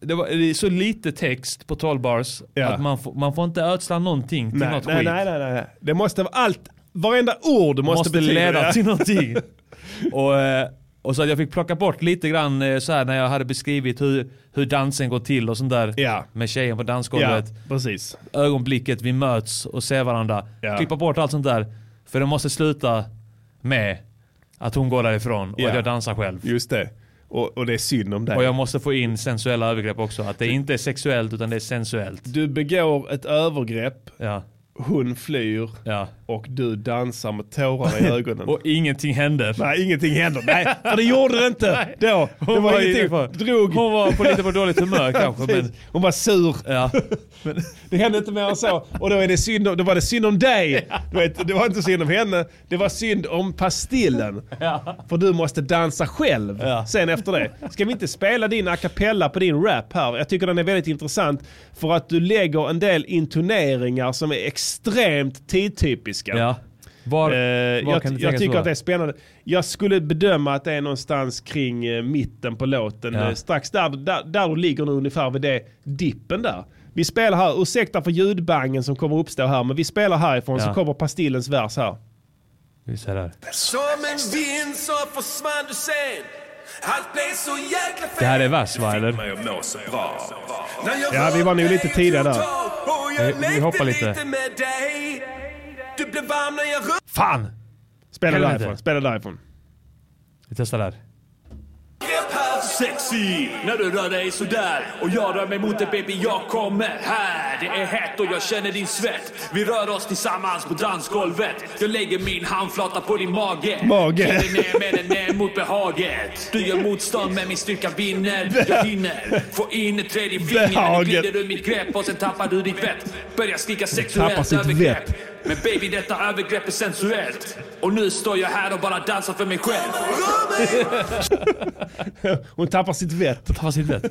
Speaker 1: det, var, det är så lite text på 12 bars
Speaker 2: Ja.
Speaker 1: att man, får- man får inte ödsla någonting till
Speaker 2: nej,
Speaker 1: något
Speaker 2: nej,
Speaker 1: skit.
Speaker 2: nej, nej, nej. Det måste vara allt, varenda ord måste,
Speaker 1: måste,
Speaker 2: betyda
Speaker 1: leda
Speaker 2: det. [LAUGHS]
Speaker 1: till någonting. och, eh, och så att jag fick plocka bort lite grann eh, så här när jag hade beskrivit hur, hur dansen går till och sånt där.
Speaker 2: Ja.
Speaker 1: Med tjejen på
Speaker 2: Ja,
Speaker 1: dansgolvet.
Speaker 2: precis.
Speaker 1: Ögonblicket, vi möts och ser varandra.
Speaker 2: Ja.
Speaker 1: Klippa bort allt sånt där. För det måste sluta med att hon går därifrån och
Speaker 2: Ja.
Speaker 1: att jag dansar själv.
Speaker 2: Just det. Och, och det är synd om dig.
Speaker 1: Och jag måste få in sensuella övergrepp också. Att det inte är sexuellt utan det är sensuellt.
Speaker 2: Du begår ett övergrepp
Speaker 1: Ja.
Speaker 2: hon flyr
Speaker 1: Ja.
Speaker 2: och du dansar med tårar
Speaker 1: [LAUGHS]
Speaker 2: i ögonen.
Speaker 1: Och ingenting hände.
Speaker 2: Nej, ingenting händer. Nej, för det gjorde det inte då.
Speaker 1: Hon
Speaker 2: det var,
Speaker 1: var i-
Speaker 2: ingenting. Drog.
Speaker 1: Hon var på lite på
Speaker 2: [LAUGHS]
Speaker 1: dåligt humör kanske. Men,
Speaker 2: Precis. Hon var sur.
Speaker 1: ja.
Speaker 2: Det hände inte mer än så. Och då, är det synd om, då var det synd om dig. Du vet, det var inte synd om henne. Det var synd om pastillen. För du måste dansa själv sen efter det. Ska vi inte spela din a cappella på din rap här? Jag tycker den är väldigt intressant. För att du lägger en del intoneringar som är extremt tidtypiska.
Speaker 1: ja. Var,
Speaker 2: Eh,
Speaker 1: var
Speaker 2: jag
Speaker 1: kan det
Speaker 2: jag
Speaker 1: tänkas
Speaker 2: tycker
Speaker 1: vara?
Speaker 2: att det är spännande. Jag skulle bedöma att det är någonstans kring eh, mitten på låten.
Speaker 1: Ja.
Speaker 2: Eh, strax där, där, där du ligger nu ungefär vid det dippen där. Vi spelar här, ursäkta för ljudbangen som kommer uppstå här, men vi spelar härifrån
Speaker 1: Ja.
Speaker 2: så kommer Pastillens vers här.
Speaker 1: Vi ser här.
Speaker 8: Som en vind så försvann du sen Allt blev så jäkla fel
Speaker 1: Det här är vers va eller?
Speaker 2: Ja, vi var nog lite tidiga där.
Speaker 1: Vi- vi hoppar lite.
Speaker 8: med dig. Du blev varm när jag rörde
Speaker 1: Fan!
Speaker 2: Spela
Speaker 1: Helvete.
Speaker 2: därifrån, spela därifrån.
Speaker 1: Vi testar där.
Speaker 8: här.
Speaker 9: Sexy när du rör dig sådär och jag rör mig mot dig baby jag kommer här Det är hett och jag känner din svett Vi rör oss tillsammans på dansgolvet Jag lägger min handflata på din mage
Speaker 2: Mage.
Speaker 9: Klämmer ner med den ner mot behaget Du gör motstånd men min styrka vinner Jag hinner få in ett tredje finger Nu
Speaker 2: Behaget.
Speaker 9: glider du mitt grepp och sen tappar du ditt vett Börjar
Speaker 2: Tappar
Speaker 9: skrika sexuellt
Speaker 2: sitt
Speaker 9: övergrepp
Speaker 2: vett.
Speaker 9: Men baby detta övergrepp är sensuellt Och nu står jag här och bara dansar för mig själv
Speaker 2: Hon tappar sitt vett.
Speaker 1: Ta fast hittet.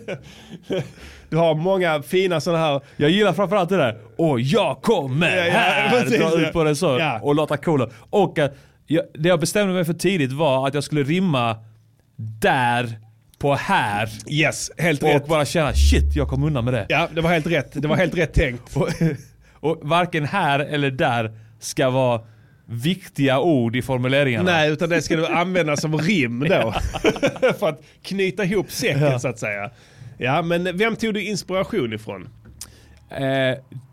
Speaker 2: Du har många fina sådana här...
Speaker 1: Jag gillar framförallt det där. Och jag kommer
Speaker 2: Ja, ja, [LAUGHS]
Speaker 1: här!
Speaker 2: precis,
Speaker 1: Dra
Speaker 2: ja.
Speaker 1: ut på det så.
Speaker 2: Ja.
Speaker 1: Och låta coola. Och att jag, det jag bestämde mig för tidigt var att jag skulle rimma där på här.
Speaker 2: Yes, helt
Speaker 1: Och
Speaker 2: rätt.
Speaker 1: bara känna shit, jag kom undan med det.
Speaker 2: Ja, det var helt rätt. Det var helt rätt tänkt.
Speaker 1: Och, [LAUGHS] och varken här eller där ska vara viktiga ord i formuleringarna.
Speaker 2: Nej, utan det ska du använda som rim då. [LAUGHS] För att knyta ihop säcken så att säga. Ja, men vem tog du inspiration ifrån?
Speaker 1: Eh,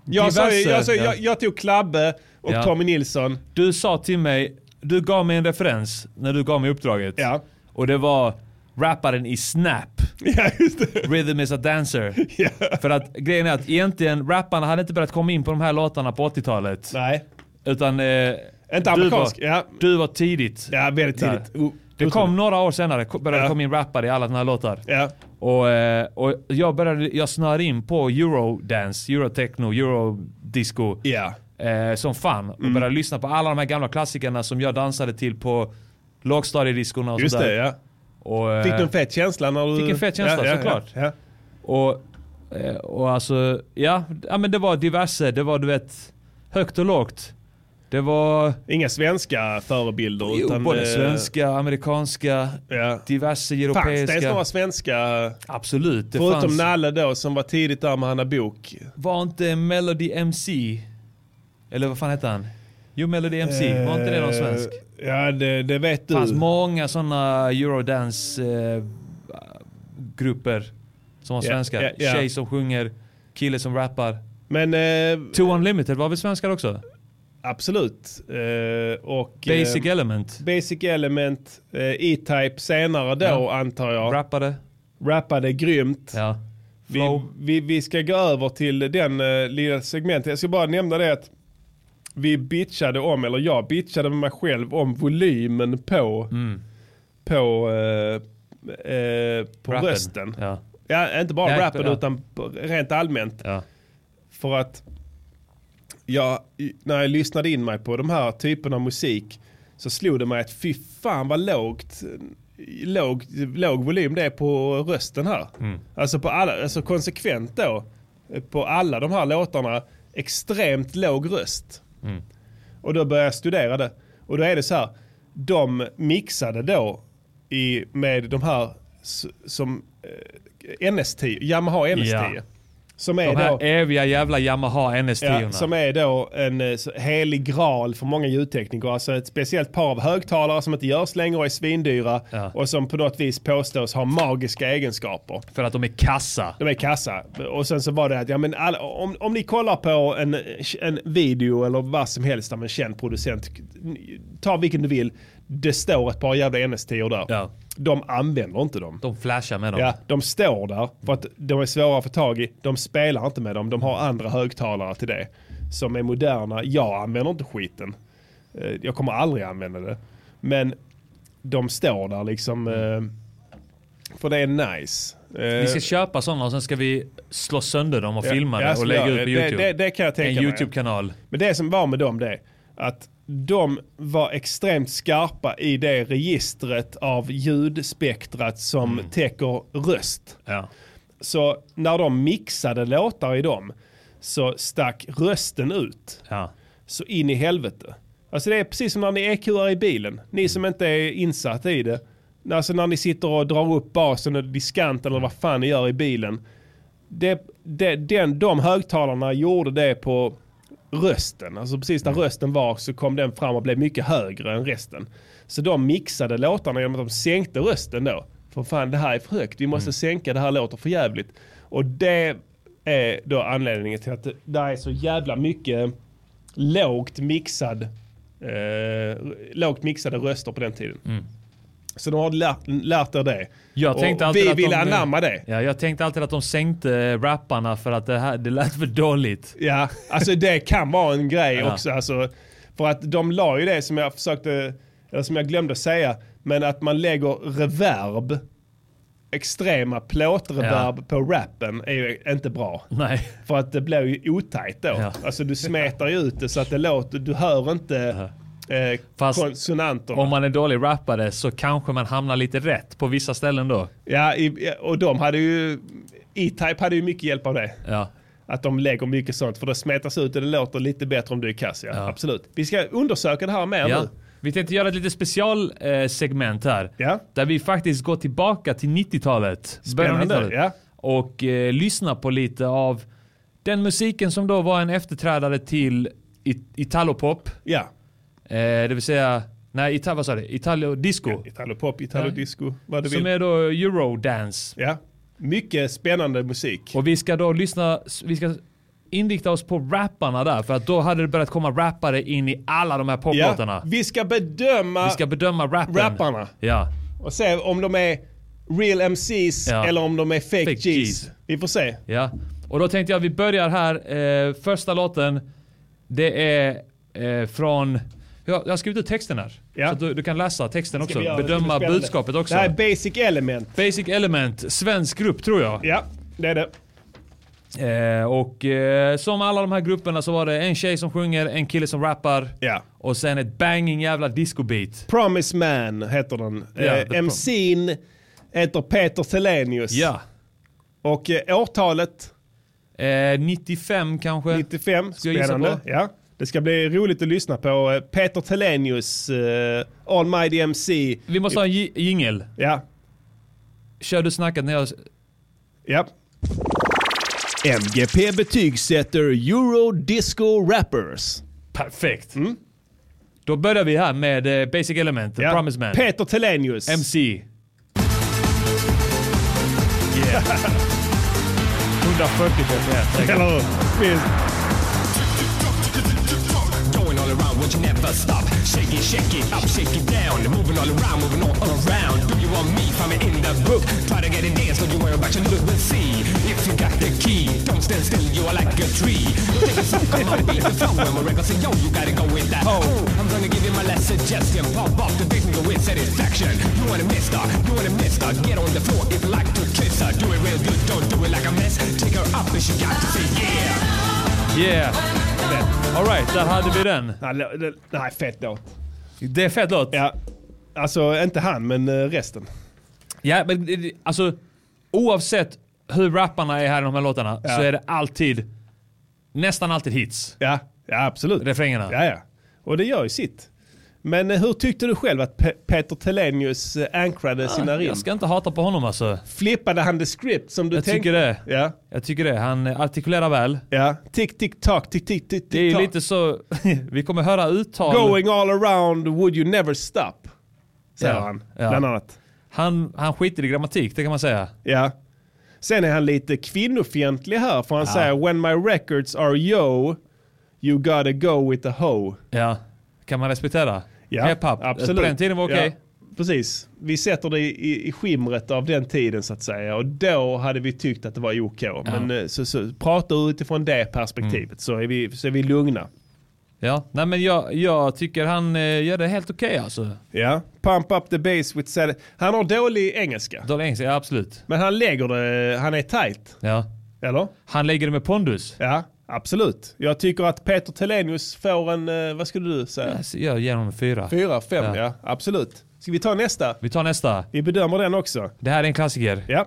Speaker 2: Jag, sa, ju-
Speaker 1: diverse-
Speaker 2: jag, sa,
Speaker 1: ja.
Speaker 2: jag, jag tog Klabbe och
Speaker 1: Ja.
Speaker 2: Tommy
Speaker 1: [LAUGHS]
Speaker 2: Nilsson.
Speaker 1: Du sa till mig, du gav mig en referens när du gav mig uppdraget.
Speaker 2: Ja.
Speaker 1: Och det var rapparen i Snap.
Speaker 2: Ja, just det.
Speaker 1: Rhythm is a dancer.
Speaker 2: [LAUGHS]
Speaker 1: För att grejen är att egentligen rapparna hade inte börjat komma in på de här låtarna på 80-talet.
Speaker 2: Nej,
Speaker 1: Utan... Eh,
Speaker 2: inte amerikansk.
Speaker 1: Du var,
Speaker 2: ja.
Speaker 1: du var tidigt.
Speaker 2: ja, väldigt
Speaker 1: Där.
Speaker 2: tidigt. O-
Speaker 1: Det
Speaker 2: otroligt.
Speaker 1: kom några år senare, ko- började
Speaker 2: Ja.
Speaker 1: komma in rappare i alla såna här låtar.
Speaker 2: Ja.
Speaker 1: Och, eh, och jag började, jag snöade in på eurodance, eurotechno, eurodisco.
Speaker 2: Ja.
Speaker 1: Eh, som fan.
Speaker 2: Mm.
Speaker 1: Och började lyssna på alla de här gamla klassikerna som jag dansade till på lågstadiediskorna och
Speaker 2: Just
Speaker 1: sådär.
Speaker 2: det, ja.
Speaker 1: Och, eh,
Speaker 2: Fick du en fet känsla när du...
Speaker 1: Fick en fet känsla,
Speaker 2: ja, ja,
Speaker 1: såklart.
Speaker 2: Ja, ja.
Speaker 1: Och, eh, och alltså, ja, ja men det var diverse. Det var du vet, högt och lågt. Det var
Speaker 2: Inga svenska förebilder.
Speaker 1: jo,
Speaker 2: utan,
Speaker 1: både
Speaker 2: eh,
Speaker 1: svenska, amerikanska,
Speaker 2: Ja.
Speaker 1: diverse
Speaker 2: Fanns det ens
Speaker 1: europeiska.
Speaker 2: några svenska?
Speaker 1: Absolut, det
Speaker 2: förutom
Speaker 1: fanns.
Speaker 2: Nalle då som var tidigt där med Hanna Bok.
Speaker 1: Var inte Melody MC, eller vad fan hette han? Jo, Melody MC, var inte det någon svensk?
Speaker 2: Eh, Ja, det, det vet du.
Speaker 1: Det fanns många sådana eurodance-grupper som
Speaker 2: Ja,
Speaker 1: var svenska.
Speaker 2: ja, ja.
Speaker 1: Tjej som sjunger, kille som rappar.
Speaker 2: Men eh,
Speaker 1: Two Unlimited var väl svenskar också?
Speaker 2: absolut. Eh, och,
Speaker 1: Basic
Speaker 2: eh,
Speaker 1: Element,
Speaker 2: Basic Element, eh, E-Type senare då
Speaker 1: Ja.
Speaker 2: antar jag.
Speaker 1: rappade.
Speaker 2: Rappade grymt.
Speaker 1: Ja.
Speaker 2: Vi,
Speaker 1: Flow.
Speaker 2: vi, vi ska gå över till den eh, lilla segmentet. Jag ska bara nämna det att vi bitchade om, eller jag bitchade med mig själv om volymen på,
Speaker 1: Mm.
Speaker 2: på, eh, eh, på
Speaker 1: Rappen.
Speaker 2: rösten.
Speaker 1: Ja.
Speaker 2: Ja, inte bara
Speaker 1: Nej,
Speaker 2: rappen
Speaker 1: ja.
Speaker 2: utan på- rent allmänt.
Speaker 1: Ja.
Speaker 2: För att jag, i- när jag lyssnade in mig på de här typerna av musik så slog det mig att fy fan vad lågt, låg, låg volym det är på rösten här.
Speaker 1: Mm.
Speaker 2: Alltså, på alla, alltså konsekvent då eh, på alla de här låtarna extremt låg röst.
Speaker 1: Mm.
Speaker 2: Och då började jag studera det. Och då är det så här, de mixade då i, med de här s- som eh, NS10, Yamaha NS10.
Speaker 1: Ja.
Speaker 2: Som är
Speaker 1: De här
Speaker 2: då,
Speaker 1: eviga jävla Yamaha
Speaker 2: Ja,
Speaker 1: NS10.
Speaker 2: som är då en eh, så- helig graal för många ljudtekniker. Alltså ett speciellt par av högtalare som inte görs längre och är svindyra.
Speaker 1: Ja.
Speaker 2: Och som på något vis påstås ha magiska egenskaper.
Speaker 1: För att de är kassa.
Speaker 2: De är kassa. Och sen så var det att, ja men alla, om, om ni kollar på en, en video eller vad som helst av en känd producent, ta vilken du vill, det står ett par jävla NS10 där.
Speaker 1: Ja.
Speaker 2: De använder inte dem.
Speaker 1: De flashar med dem.
Speaker 2: Ja, de står där för att de är svåra att få tag i. De spelar inte med dem, de har andra högtalare till det. som är moderna. Jag använder inte skiten. Eh, Jag kommer aldrig använda det. Men de står där liksom. eh, För det är nice.
Speaker 1: Vi ska köpa sådana och sen ska vi slå sönder dem och filma det och lägga ut på
Speaker 2: Det, det,
Speaker 1: YouTube.
Speaker 2: det kan jag tänka
Speaker 1: En
Speaker 2: mig.
Speaker 1: YouTube-kanal.
Speaker 2: Men det som var med dem det, att de var extremt skarpa i det registret av ljudspektrat som
Speaker 1: Mm.
Speaker 2: täcker röst.
Speaker 1: Ja.
Speaker 2: Så när de mixade låtar i dem så stack rösten ut
Speaker 1: Ja.
Speaker 2: så in i helvete. Alltså det är precis som när ni EQar i bilen. Ni som inte är insatta i det. Alltså när ni sitter och drar upp basen och diskanten eller vad fan ni gör i bilen. Det, det, den, de högtalarna gjorde det på rösten. Alltså precis
Speaker 1: Mm.
Speaker 2: där rösten var så kom den fram och blev mycket högre än resten. Så de mixade låtarna genom att de sänkte rösten då. För fan det här är för högt, vi
Speaker 1: Mm.
Speaker 2: måste sänka, det här låter för jävligt. Och det är då anledningen till att det där är så jävla mycket lågt mixad eh, lågt mixade röster på den tiden. Så de har lärt, lärt er det.
Speaker 1: Mm. Jag
Speaker 2: Och
Speaker 1: tänkte alltid
Speaker 2: vi
Speaker 1: att
Speaker 2: vill
Speaker 1: de,
Speaker 2: anamma det.
Speaker 1: Ja, jag tänkte alltid att de sänkte rapparna för att det, här, det lät för dåligt.
Speaker 2: Ja, alltså det kan vara en grej
Speaker 1: Ja.
Speaker 2: också. Alltså, för att de la ju det som jag försökte, eller som jag glömde säga, men att man lägger reverb, extrema plåtreverb på rappen är ju inte bra.
Speaker 1: Nej.
Speaker 2: För att det blir ju otajt då.
Speaker 1: Ja.
Speaker 2: Alltså du smetar ju ut det så att det låter, du hör inte eh,
Speaker 1: Fast-
Speaker 2: konsonanterna.
Speaker 1: Om man är dålig rappare så kanske man hamnar lite rätt på vissa ställen då.
Speaker 2: Ja, i, och de hade ju, E-Type hade ju mycket hjälp av det.
Speaker 1: Ja.
Speaker 2: Att de lägger mycket sånt, för det smetas ut och det låter lite bättre om du är kass. Ja.
Speaker 1: Ja.
Speaker 2: Absolut. Vi ska undersöka det här mer
Speaker 1: ja.
Speaker 2: nu.
Speaker 1: Vi tänkte göra ett litet specialsegment här.
Speaker 2: Ja.
Speaker 1: Där vi faktiskt går tillbaka till 90-talet. början av
Speaker 2: Spännande,
Speaker 1: 90-talet.
Speaker 2: ja.
Speaker 1: Och eh, lyssnar på lite av den musiken som då var en efterträdare till it- Italopop.
Speaker 2: Ja.
Speaker 1: Eh, det vill säga, nej, ita- vad sa du? Italo disco.
Speaker 2: Italopop, italodisco, vad du
Speaker 1: Som
Speaker 2: vill.
Speaker 1: är då eurodance.
Speaker 2: Ja. Mycket spännande musik.
Speaker 1: Och vi ska då lyssna, vi ska inrikta oss på rapparna där. För att då hade det börjat komma rappare in i alla de här poplåtarna.
Speaker 2: ja. Vi ska bedöma
Speaker 1: Vi ska bedöma rappen.
Speaker 2: Rapparna.
Speaker 1: Ja.
Speaker 2: och se om de är real MCs
Speaker 1: Ja.
Speaker 2: eller om de är fake,
Speaker 1: Fake
Speaker 2: Gs.
Speaker 1: Gs.
Speaker 2: Vi får se.
Speaker 1: ja. Och då tänkte jag vi börjar här. Eh, första låten. Det är eh, från... Jag, jag har skrivit ut texten här.
Speaker 2: Ja.
Speaker 1: Så att du, du kan läsa texten
Speaker 2: Ska
Speaker 1: också.
Speaker 2: vi göra det? Det blir
Speaker 1: Bedöma
Speaker 2: spännande.
Speaker 1: budskapet också.
Speaker 2: Det här är Basic Element.
Speaker 1: Basic Element, svensk grupp tror jag.
Speaker 2: Ja, det är det.
Speaker 1: Eh, och eh, som alla de här grupperna så var det en tjej som sjunger, en kille som rappar.
Speaker 2: Ja.
Speaker 1: Och sen ett banging jävla discobeat.
Speaker 2: Promise Man heter den.
Speaker 1: Ja, The
Speaker 2: eh,
Speaker 1: Prom-
Speaker 2: MC'n heter Peter Selenius.
Speaker 1: Ja.
Speaker 2: Och eh, årtalet
Speaker 1: Eh, 95 kanske?
Speaker 2: 95.
Speaker 1: Ska jag gissa
Speaker 2: Spännande.
Speaker 1: på?
Speaker 2: Ja. Det ska bli roligt att lyssna på eh, Peter Telenius, eh, Almighty MC.
Speaker 1: Vi måste ha en ji- jingel.
Speaker 2: Ja,
Speaker 1: Kör du snacket när jag... s-
Speaker 2: ja. MGP betygsätter Euro Disco Rappers. Mm,
Speaker 1: Perfekt. Då börjar vi här med eh, Basic Element, The
Speaker 2: Ja.
Speaker 1: Promise Man.
Speaker 2: Peter Telenius.
Speaker 1: MC.
Speaker 2: 140 BPM. [LAUGHS] Eller hur? Minst.
Speaker 9: Going all around, would you never stop? Shake it, shake it, up, shake it down. Moving all around, moving all, all around. Do you want me? Find me in the book. Try to get a dance, don't you worry about your look. We'll see if you got the key. Don't stand still, you are like a tree. Take a sip, come on, beat the flow. When we're ready, say, yo, you gotta go with that. Oh, I'm gonna give you my last suggestion. Pop off the big nigga with satisfaction. You want a mister, you want a mister. Get on the floor if you like to kiss her. Do it real good, don't do it like a mess. Take her up and she got to say, yeah.
Speaker 1: Yeah. Alright, där hade vi den.
Speaker 2: Nej, lo- det- Nej, fett låt.
Speaker 1: Det är fett låt.
Speaker 2: Ja. Alltså, inte han, men eh, resten.
Speaker 1: Ja, men det- det- alltså oavsett hur rapparna är här i de här låtarna så är det alltid, nästan alltid hits.
Speaker 2: Ja, ja absolut.
Speaker 1: Refrängerna.
Speaker 2: Ja, ja. Och det gör ju sitt. Men eh, hur tyckte du själv att Pe- Peter Telenius eh, ankrade sina rim?
Speaker 1: Jag ska inte hata på honom alltså.
Speaker 2: Flippade han det script som du
Speaker 1: Jag
Speaker 2: tänkte?
Speaker 1: tycker det.
Speaker 2: Ja,
Speaker 1: Jag tycker det. Han eh, artikulerar väl.
Speaker 2: ja. Tick, tick, tack, tick, tick, tick,
Speaker 1: Det är ju
Speaker 2: tack.
Speaker 1: lite så, [LAUGHS] vi kommer höra uttal.
Speaker 2: Going all around, would you never stop? Säger
Speaker 1: Ja,
Speaker 2: han,
Speaker 1: ja.
Speaker 2: bland annat.
Speaker 1: Han, han skiter i grammatik, det kan man säga.
Speaker 2: Ja. Sen är han lite kvinnofientlig här, för han säger When my records are yo, you gotta go with a hoe.
Speaker 1: Ja. Kan man respektera?
Speaker 2: Ja,
Speaker 1: Hiphop.
Speaker 2: absolut.
Speaker 1: På den tiden var okej.
Speaker 2: Ja. Precis. Vi sätter det i, i skimret av den tiden så att säga. Och då hade vi tyckt att det var OK. Men eh, så, så, prata utifrån det perspektivet så, är vi, så är vi lugna.
Speaker 1: Ja, nej men jag, jag tycker han eh, gör det helt okej alltså.
Speaker 2: Ja. Pump up the bass with sad... Han har dålig engelska.
Speaker 1: Daniel Engels, ja absolut.
Speaker 2: Men han lägger det, han är tight.
Speaker 1: Ja.
Speaker 2: Eller?
Speaker 1: Han lägger det med pondus.
Speaker 2: Ja, absolut. Jag tycker att Peter Telenius får en, eh, vad skulle du säga?
Speaker 1: Alltså, Jag ger honom en fyra.
Speaker 2: Fyra, fem, ja.
Speaker 1: Ja.
Speaker 2: Absolut. Ska vi ta nästa?
Speaker 1: Vi tar nästa.
Speaker 2: Vi bedömer den också.
Speaker 1: Det här är en klassiker.
Speaker 2: Ja.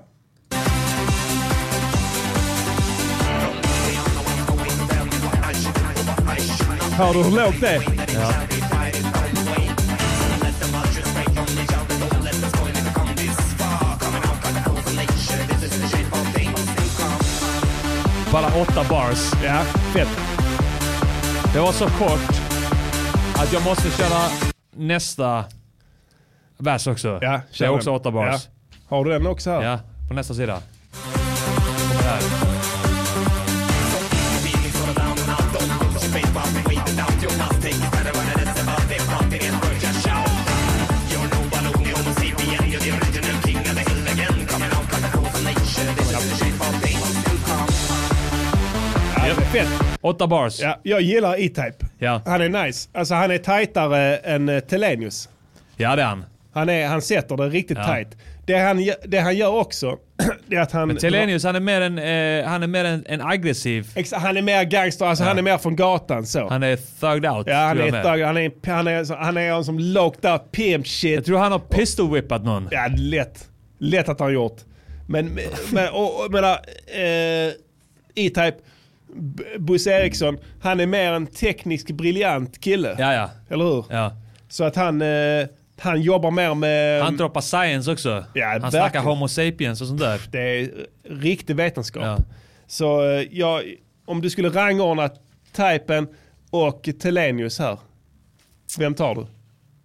Speaker 2: Hör du hur lågt det är?
Speaker 1: Bara åtta bars.
Speaker 2: Ja, fett.
Speaker 1: Det var så kort att jag måste köra nästa vers också.
Speaker 2: Ja,
Speaker 1: det
Speaker 2: kör
Speaker 1: är
Speaker 2: den.
Speaker 1: också åtta bars.
Speaker 2: Ja. Har du den också här?
Speaker 1: Ja, på nästa sida.
Speaker 2: Ja, fett.
Speaker 1: Åtta bars.
Speaker 2: Ja, jag gillar E-Type.
Speaker 1: Ja.
Speaker 2: Han är nice. Alltså han är tajtare än eh, Telenius.
Speaker 1: Ja, det är han.
Speaker 2: Han, är, han sätter det riktigt
Speaker 1: Ja.
Speaker 2: tight. Det han, gö- det han gör också, [CLEARS THROAT] det är att han...
Speaker 1: Telenius, han är mer en, eh, han är mer en, en aggressiv.
Speaker 2: Exa- Han är mer gangster, alltså han är mer från gatan så.
Speaker 1: Han är thugged out.
Speaker 2: ja, han
Speaker 1: tror
Speaker 2: är,
Speaker 1: jag med.
Speaker 2: thug, han är han är så- han är en som locked up pimp shit.
Speaker 1: Jag tror han har pistol whippat någon.
Speaker 2: Ja, lätt. Lätt att han gjort. Men, men och, och, menar, eh, E-Type, B- Bosse Eriksson, han är mer en teknisk briljant kille.
Speaker 1: Ja, ja.
Speaker 2: Eller hur?
Speaker 1: ja.
Speaker 2: Så att han, eh, han jobbar mer med...
Speaker 1: Han droppar science också.
Speaker 2: Um, Ja,
Speaker 1: han
Speaker 2: verkligen.
Speaker 1: snackar homo sapiens och sånt där.
Speaker 2: Det är riktig vetenskap.
Speaker 1: Ja.
Speaker 2: Så eh, jag, om du skulle rangordna Typen och Telenius här. Vem tar du?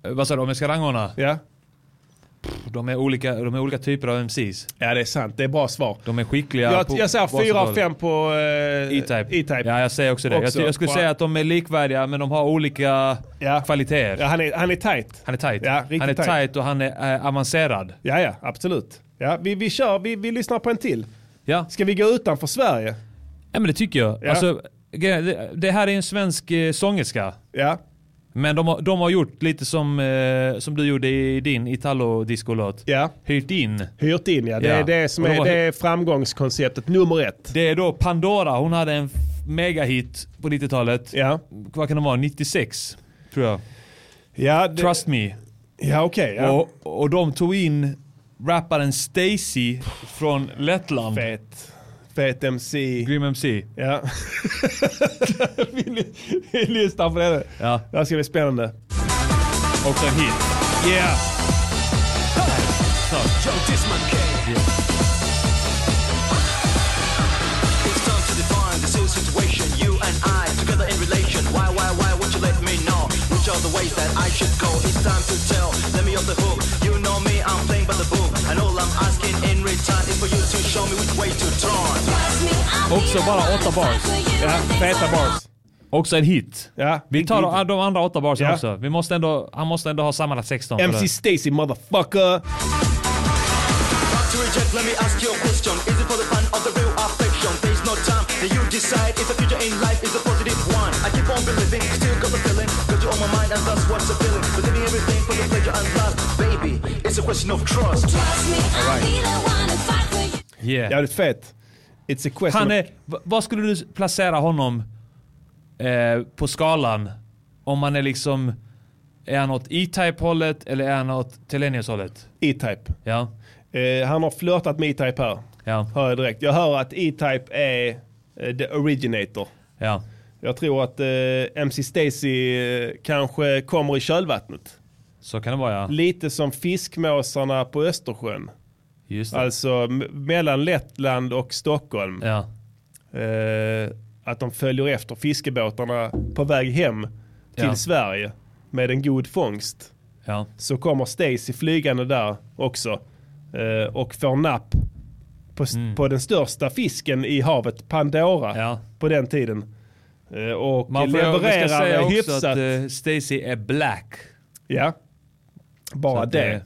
Speaker 1: Eh, Vad sa du, om jag ska rangordna?
Speaker 2: Ja?
Speaker 1: De är olika, de är olika typer av MCs.
Speaker 2: ja, det är sant. Det är bra svar.
Speaker 1: De är skickliga
Speaker 2: jag,
Speaker 1: på
Speaker 2: jag säger fyra av
Speaker 1: basketboll.
Speaker 2: fem på eh,
Speaker 1: E-Type.
Speaker 2: E-type.
Speaker 1: Ja, jag säger också det.
Speaker 2: Också.
Speaker 1: Jag, jag skulle
Speaker 2: Bra.
Speaker 1: säga att de är likvärdiga, men de har olika
Speaker 2: Ja.
Speaker 1: kvaliteter.
Speaker 2: Ja, han, är, han är tight.
Speaker 1: Han är tight.
Speaker 2: Ja, riktigt
Speaker 1: han är
Speaker 2: tight.
Speaker 1: tight. och han är eh, avancerad.
Speaker 2: Ja, ja, absolut. Ja, vi, vi kör, vi, vi lyssnar på en till.
Speaker 1: Ja.
Speaker 2: Ska vi gå utanför Sverige?
Speaker 1: ja, men det tycker jag.
Speaker 2: Ja.
Speaker 1: Alltså, grejen- det- det här är en svensk eh, sångerska.
Speaker 2: Ja,
Speaker 1: Men de har, de har gjort lite som, eh, som du gjorde i din Italo-discolåt.
Speaker 2: ja.
Speaker 1: Hyrt in.
Speaker 2: Hyrt in ja. Det är
Speaker 1: Ja.
Speaker 2: det som
Speaker 1: Och de
Speaker 2: är,
Speaker 1: har-
Speaker 2: det är framgångskonceptet nummer ett.
Speaker 1: Det är då Pandora, hon hade en f- megahit på 90-talet.
Speaker 2: Ja,
Speaker 1: Vad kan det vara? 96? Tror jag.
Speaker 2: ja, det,
Speaker 1: Trust me.
Speaker 2: ja okej. ja.
Speaker 1: Och, och de tog in rapparen Stacy från Lettland.
Speaker 2: Fet. Fet MC.
Speaker 1: Grym MC.
Speaker 2: Ja. [LAUGHS] vi, ly- vi lyssnar på det nu.
Speaker 1: Ja,
Speaker 2: Det här ska bli spännande.
Speaker 1: också en hit.
Speaker 2: Yeah.
Speaker 10: It's time to define this whole situation. You and I, together in relation. Why, why, why would you let me know? Which are the ways that I should go? It's time to tell. Let me off the hook. You know me, I'm playing by the book. And all I'm asking in return is for you to show me which way to turn.
Speaker 1: Också bara åtta bars.
Speaker 2: Ja, feta bars.
Speaker 1: Också en hit.
Speaker 2: Ja,
Speaker 1: Vi tar
Speaker 2: riktigt.
Speaker 1: de, de andra åtta barsen
Speaker 2: Ja.
Speaker 1: också. Vi måste ändå, han måste ändå ha sammanlagt 16. för
Speaker 2: MC
Speaker 1: det.
Speaker 2: Stacy motherfucker.
Speaker 10: To reject, let me ask you a question. Is it for the fun of the real affection? There's no time that you decide if the future in life is a positive one. I keep on believing, still got the feeling. Got you on my mind and that's what's appealing. Believing everything for the pleasure and lust. Baby, it's a question of trust.
Speaker 1: Yeah.
Speaker 2: Jävligt fet. It's a question.
Speaker 1: Han är, v- vad skulle du placera honom eh, på skalan? Om man är liksom, är han åt E-Type hållet eller är han åt Telenius hållet?
Speaker 2: E-Type.
Speaker 1: Ja.
Speaker 2: Eh, han har flörtat med E-Type här.
Speaker 1: Ja.
Speaker 2: Hör jag direkt. Jag hör att E-Type är eh, the originator.
Speaker 1: Ja.
Speaker 2: Jag tror att eh, MC Stacy eh, kanske kommer i kölvattnet.
Speaker 1: Så kan det vara ja.
Speaker 2: Lite som fiskmåsarna på Östersjön.
Speaker 1: Just det.
Speaker 2: Alltså m- mellan Lettland och Stockholm.
Speaker 1: Ja.
Speaker 2: Eh, att de följer efter fiskebåtarna på väg hem till
Speaker 1: Ja.
Speaker 2: Sverige med en god fångst.
Speaker 1: Ja.
Speaker 2: Så kommer Stacy flygande där också eh, och får napp på, s- på den största fisken i havet, Pandora,
Speaker 1: Mm. Ja.
Speaker 2: på den tiden. Eh, och
Speaker 1: Man får jag ska säga eh,
Speaker 2: levererar
Speaker 1: också
Speaker 2: hyfsat.
Speaker 1: att eh, Stacy är black.
Speaker 2: ja, bara
Speaker 1: Så att,
Speaker 2: det.
Speaker 1: eh,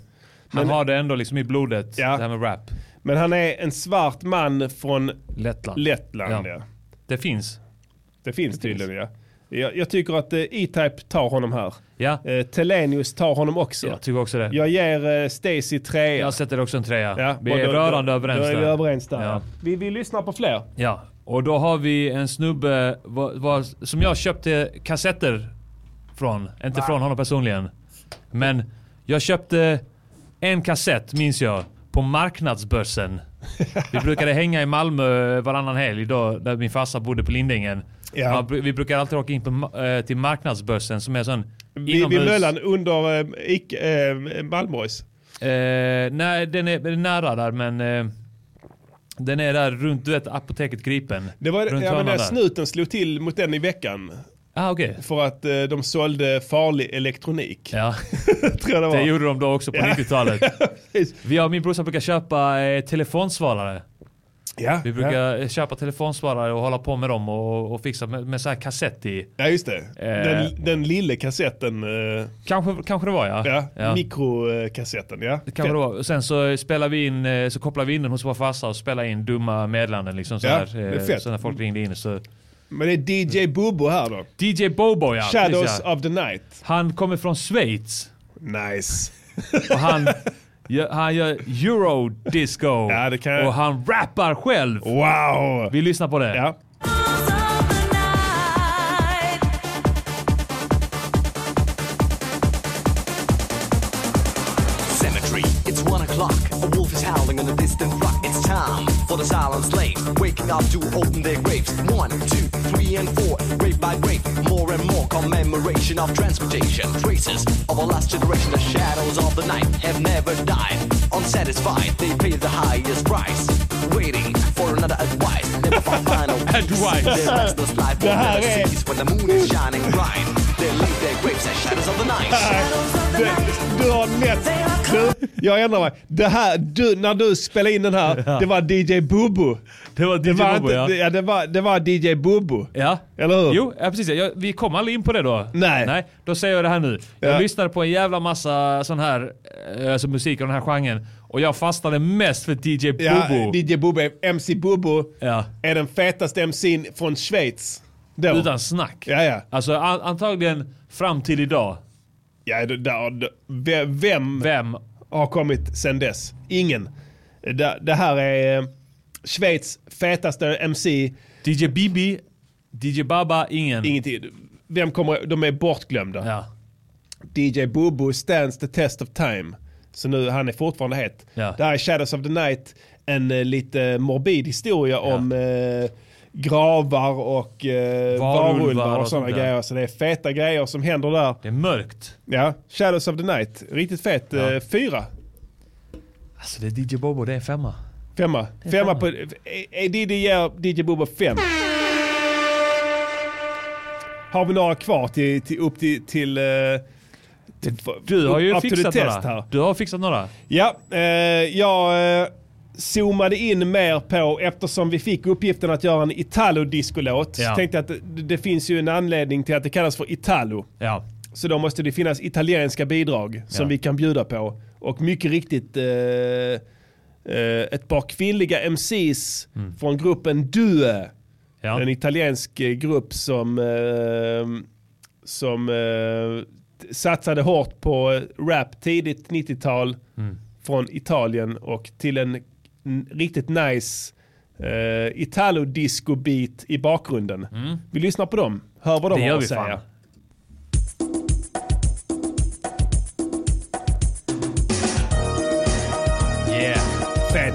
Speaker 1: Han
Speaker 2: Men-
Speaker 1: har det ändå liksom i blodet, det här med rap.
Speaker 2: Men han är en svart man från
Speaker 1: Lettland.
Speaker 2: Lettland, ja.
Speaker 1: Det finns.
Speaker 2: Det finns tydligen ja. Jag, jag tycker att eh, E-Type tar honom här.
Speaker 1: Ja.
Speaker 2: Eh, Telenius tar honom också.
Speaker 1: Jag tycker också det.
Speaker 2: Jag ger eh, Stacy trea.
Speaker 1: Jag sätter också en trea.
Speaker 2: Ja,
Speaker 1: vi
Speaker 2: och
Speaker 1: är
Speaker 2: då-
Speaker 1: rörande
Speaker 2: då-
Speaker 1: överens
Speaker 2: Då är vi
Speaker 1: där.
Speaker 2: överens där.
Speaker 1: Ja.
Speaker 2: Vi, vi lyssnar på fler.
Speaker 1: Ja, och då har vi en snubbe va- va- som jag köpte kassetter från. Inte från honom personligen. Men jag köpte en kassett, minns jag, på marknadsbörsen. Vi brukade hänga i Malmö varannan helg då, där min farsa bodde på Lindängen.
Speaker 2: Ja.
Speaker 1: Man br- vi brukar alltid åka in på, ma- eh, till marknadsbörsen som är sån
Speaker 2: Vi, vid Möllan under eh, Ic- eh, Malmborgs.
Speaker 1: Eh, nej, den är, den är nära där men... Eh, den är där runt, du vet, apoteket Gripen.
Speaker 2: Det var
Speaker 1: runt
Speaker 2: ja, men
Speaker 1: hörnan
Speaker 2: när
Speaker 1: där.
Speaker 2: snuten slog till mot den i veckan.
Speaker 1: Ah, okej.
Speaker 2: För att eh, de sålde farlig elektronik. [LAUGHS]
Speaker 1: Ja.
Speaker 2: Tror jag det var.
Speaker 1: Det gjorde de då också
Speaker 2: [LAUGHS]
Speaker 1: på 90-talet. Vi och min brorsa brukar köpa eh, telefonsvarare.
Speaker 2: ja,
Speaker 1: Vi brukar eh, köpa telefonsvarare och hålla på med dem och, och fixa med, med så här kassett i.
Speaker 2: ja, just det.
Speaker 1: Eh.
Speaker 2: Den, den lilla kassetten. Eh,
Speaker 1: Kanske, kanske det var ja.
Speaker 2: ja, Mikrokassetten, ja.
Speaker 1: Det kanske det var. Och Sen så spelar vi in, eh, så kopplar vi in den hos vår farsa och spelar in dumma meddelanden liksom så
Speaker 2: Ja,
Speaker 1: här.
Speaker 2: det är
Speaker 1: eh,
Speaker 2: fett.
Speaker 1: Så när folk ringde in så.
Speaker 2: Men det är DJ Bobo här då.
Speaker 1: DJ Bobo Mm. ja.
Speaker 2: Shadows
Speaker 1: precis, ja.
Speaker 2: of the night.
Speaker 1: Han kommer från Schweiz
Speaker 2: Nice.
Speaker 1: och han, gör- han gör eurodisco
Speaker 2: Ja, det kan jag-
Speaker 1: och han rappar själv.
Speaker 2: [LAUGHS] Wow!
Speaker 1: Vi lyssnar på det.
Speaker 2: Ja.
Speaker 10: Cemetery, it's one o'clock. A wolf is howling on a distant rock. It's time for the silent slaves. Waking up to open their graves. One, two, three, and four. Grave by grave, more and more commemoration of transportation. Traces of a last generation. The shadows of the night have never died. Unsatisfied, they pay the highest price. Waiting for another advice. Never for final advice. Their restless life will never cease when the moon is shining bright. They leave their graves as shadows of the night.
Speaker 2: Du, du har lätt. Du, jag ändrar mig. Det här, du, när du spelade in den här, det var DJ Bobo.
Speaker 1: Det var DJ
Speaker 2: Det var,
Speaker 1: Bobo
Speaker 2: inte,
Speaker 1: ja.
Speaker 2: det- ja, det var, det var DJ Bobo.
Speaker 1: Ja.
Speaker 2: Eller hur?
Speaker 1: Jo, ja, precis. Jag, vi kom aldrig in på det då.
Speaker 2: Nej.
Speaker 1: Nej. Då säger jag det här nu. Jag
Speaker 2: Ja.
Speaker 1: lyssnade på en jävla massa sån här eh, alltså musik av den här genren. Och jag fastnade mest för DJ Bobo.
Speaker 2: Ja, DJ Bobo, är- MC Bobo
Speaker 1: Ja.
Speaker 2: är den fetaste MCn från Schweiz. Då.
Speaker 1: Utan snack.
Speaker 2: Ja, ja.
Speaker 1: Alltså an- antagligen fram till idag.
Speaker 2: ja det- där, det- ve- vem,
Speaker 1: Vem?
Speaker 2: har kommit sen dess? Ingen. Det, det här är eh, Schweiz fetaste MC.
Speaker 1: DJ Bibi? DJ Baba? Ingen.
Speaker 2: Ingenting. Vem kommer, de är bortglömda.
Speaker 1: Mm. Ja.
Speaker 2: DJ Bobo stands the test of time. Så nu, han är fortfarande het.
Speaker 1: Ja.
Speaker 2: Det här är Shadows of the Night, en eh, lite morbid historia om eh, gravar och eh,
Speaker 1: Varulvar
Speaker 2: varulvar och
Speaker 1: och
Speaker 2: sådana
Speaker 1: sånt där.
Speaker 2: grejer. Så det är feta grejer som händer där.
Speaker 1: Det är mörkt.
Speaker 2: Ja, Shadows of the Night, riktigt fet. Eh, fyra,
Speaker 1: Alltså det är DJ Bobo, det är en femma.
Speaker 2: femma. Femma på... Eh, Diddy ger DJ Bobo fem. Har vi några kvar till, till, upp till... till eh, till-
Speaker 1: Du har ju
Speaker 2: up to the
Speaker 1: fixat några.
Speaker 2: test här.
Speaker 1: Du har fixat några.
Speaker 2: Ja, eh, jag eh, zoomade in mer på, eftersom vi fick uppgiften att göra en Italo-discolåt,
Speaker 1: Ja.
Speaker 2: så tänkte jag att det, det finns ju en anledning till att det kallas för Italo.
Speaker 1: Ja.
Speaker 2: Så då måste det finnas italienska bidrag som
Speaker 1: Ja.
Speaker 2: vi kan bjuda på. Och mycket riktigt eh, eh, ett par kvinnliga MCs från gruppen Due.
Speaker 1: Mm. Ja.
Speaker 2: En italiensk eh, grupp som, eh, som eh, t- satsade hårt på eh, rap tidigt 90-tal
Speaker 1: Mm.
Speaker 2: från Italien och till en n- riktigt nice eh, Italo-disco-beat i bakgrunden. Vi lyssnar på dem, hör vad de
Speaker 1: Mm. Det
Speaker 2: har
Speaker 1: gör
Speaker 2: att
Speaker 1: vi
Speaker 2: säga.
Speaker 1: fan. Yeah.
Speaker 2: Fett.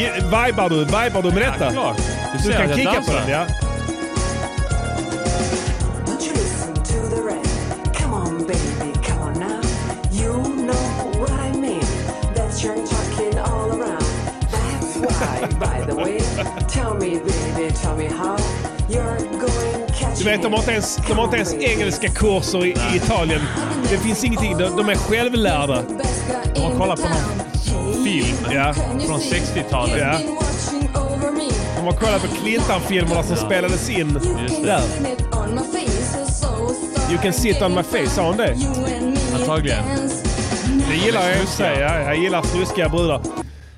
Speaker 2: Ja, Vibar du, vibar du med detta?
Speaker 1: Ja, klart. Du
Speaker 2: Du
Speaker 1: ser att
Speaker 2: kan
Speaker 1: jag
Speaker 2: kicka på
Speaker 1: dansar.
Speaker 2: den ja.
Speaker 5: Don't you listen to the rest. Come on, baby, come on now. You know what I mean. That's your talking all around. That's why, by the way, tell me, baby, tell me how you're going catch
Speaker 2: Du vet de har inte ens, de har inte ens engelska kurser i, i Italien. Det finns ingenting, de, de är självlärda.
Speaker 1: De har kollat på någon film
Speaker 2: Ja.
Speaker 1: från 60-talet.
Speaker 2: Ja.
Speaker 11: Watching over me.
Speaker 2: Om man kollar på Clintan-filmerna som spelades in där. You can sit on my face, sa hon det?
Speaker 1: Antagligen.
Speaker 2: Det gillar jag i och för sig. Ja, Jag gillar snuskiga brudar.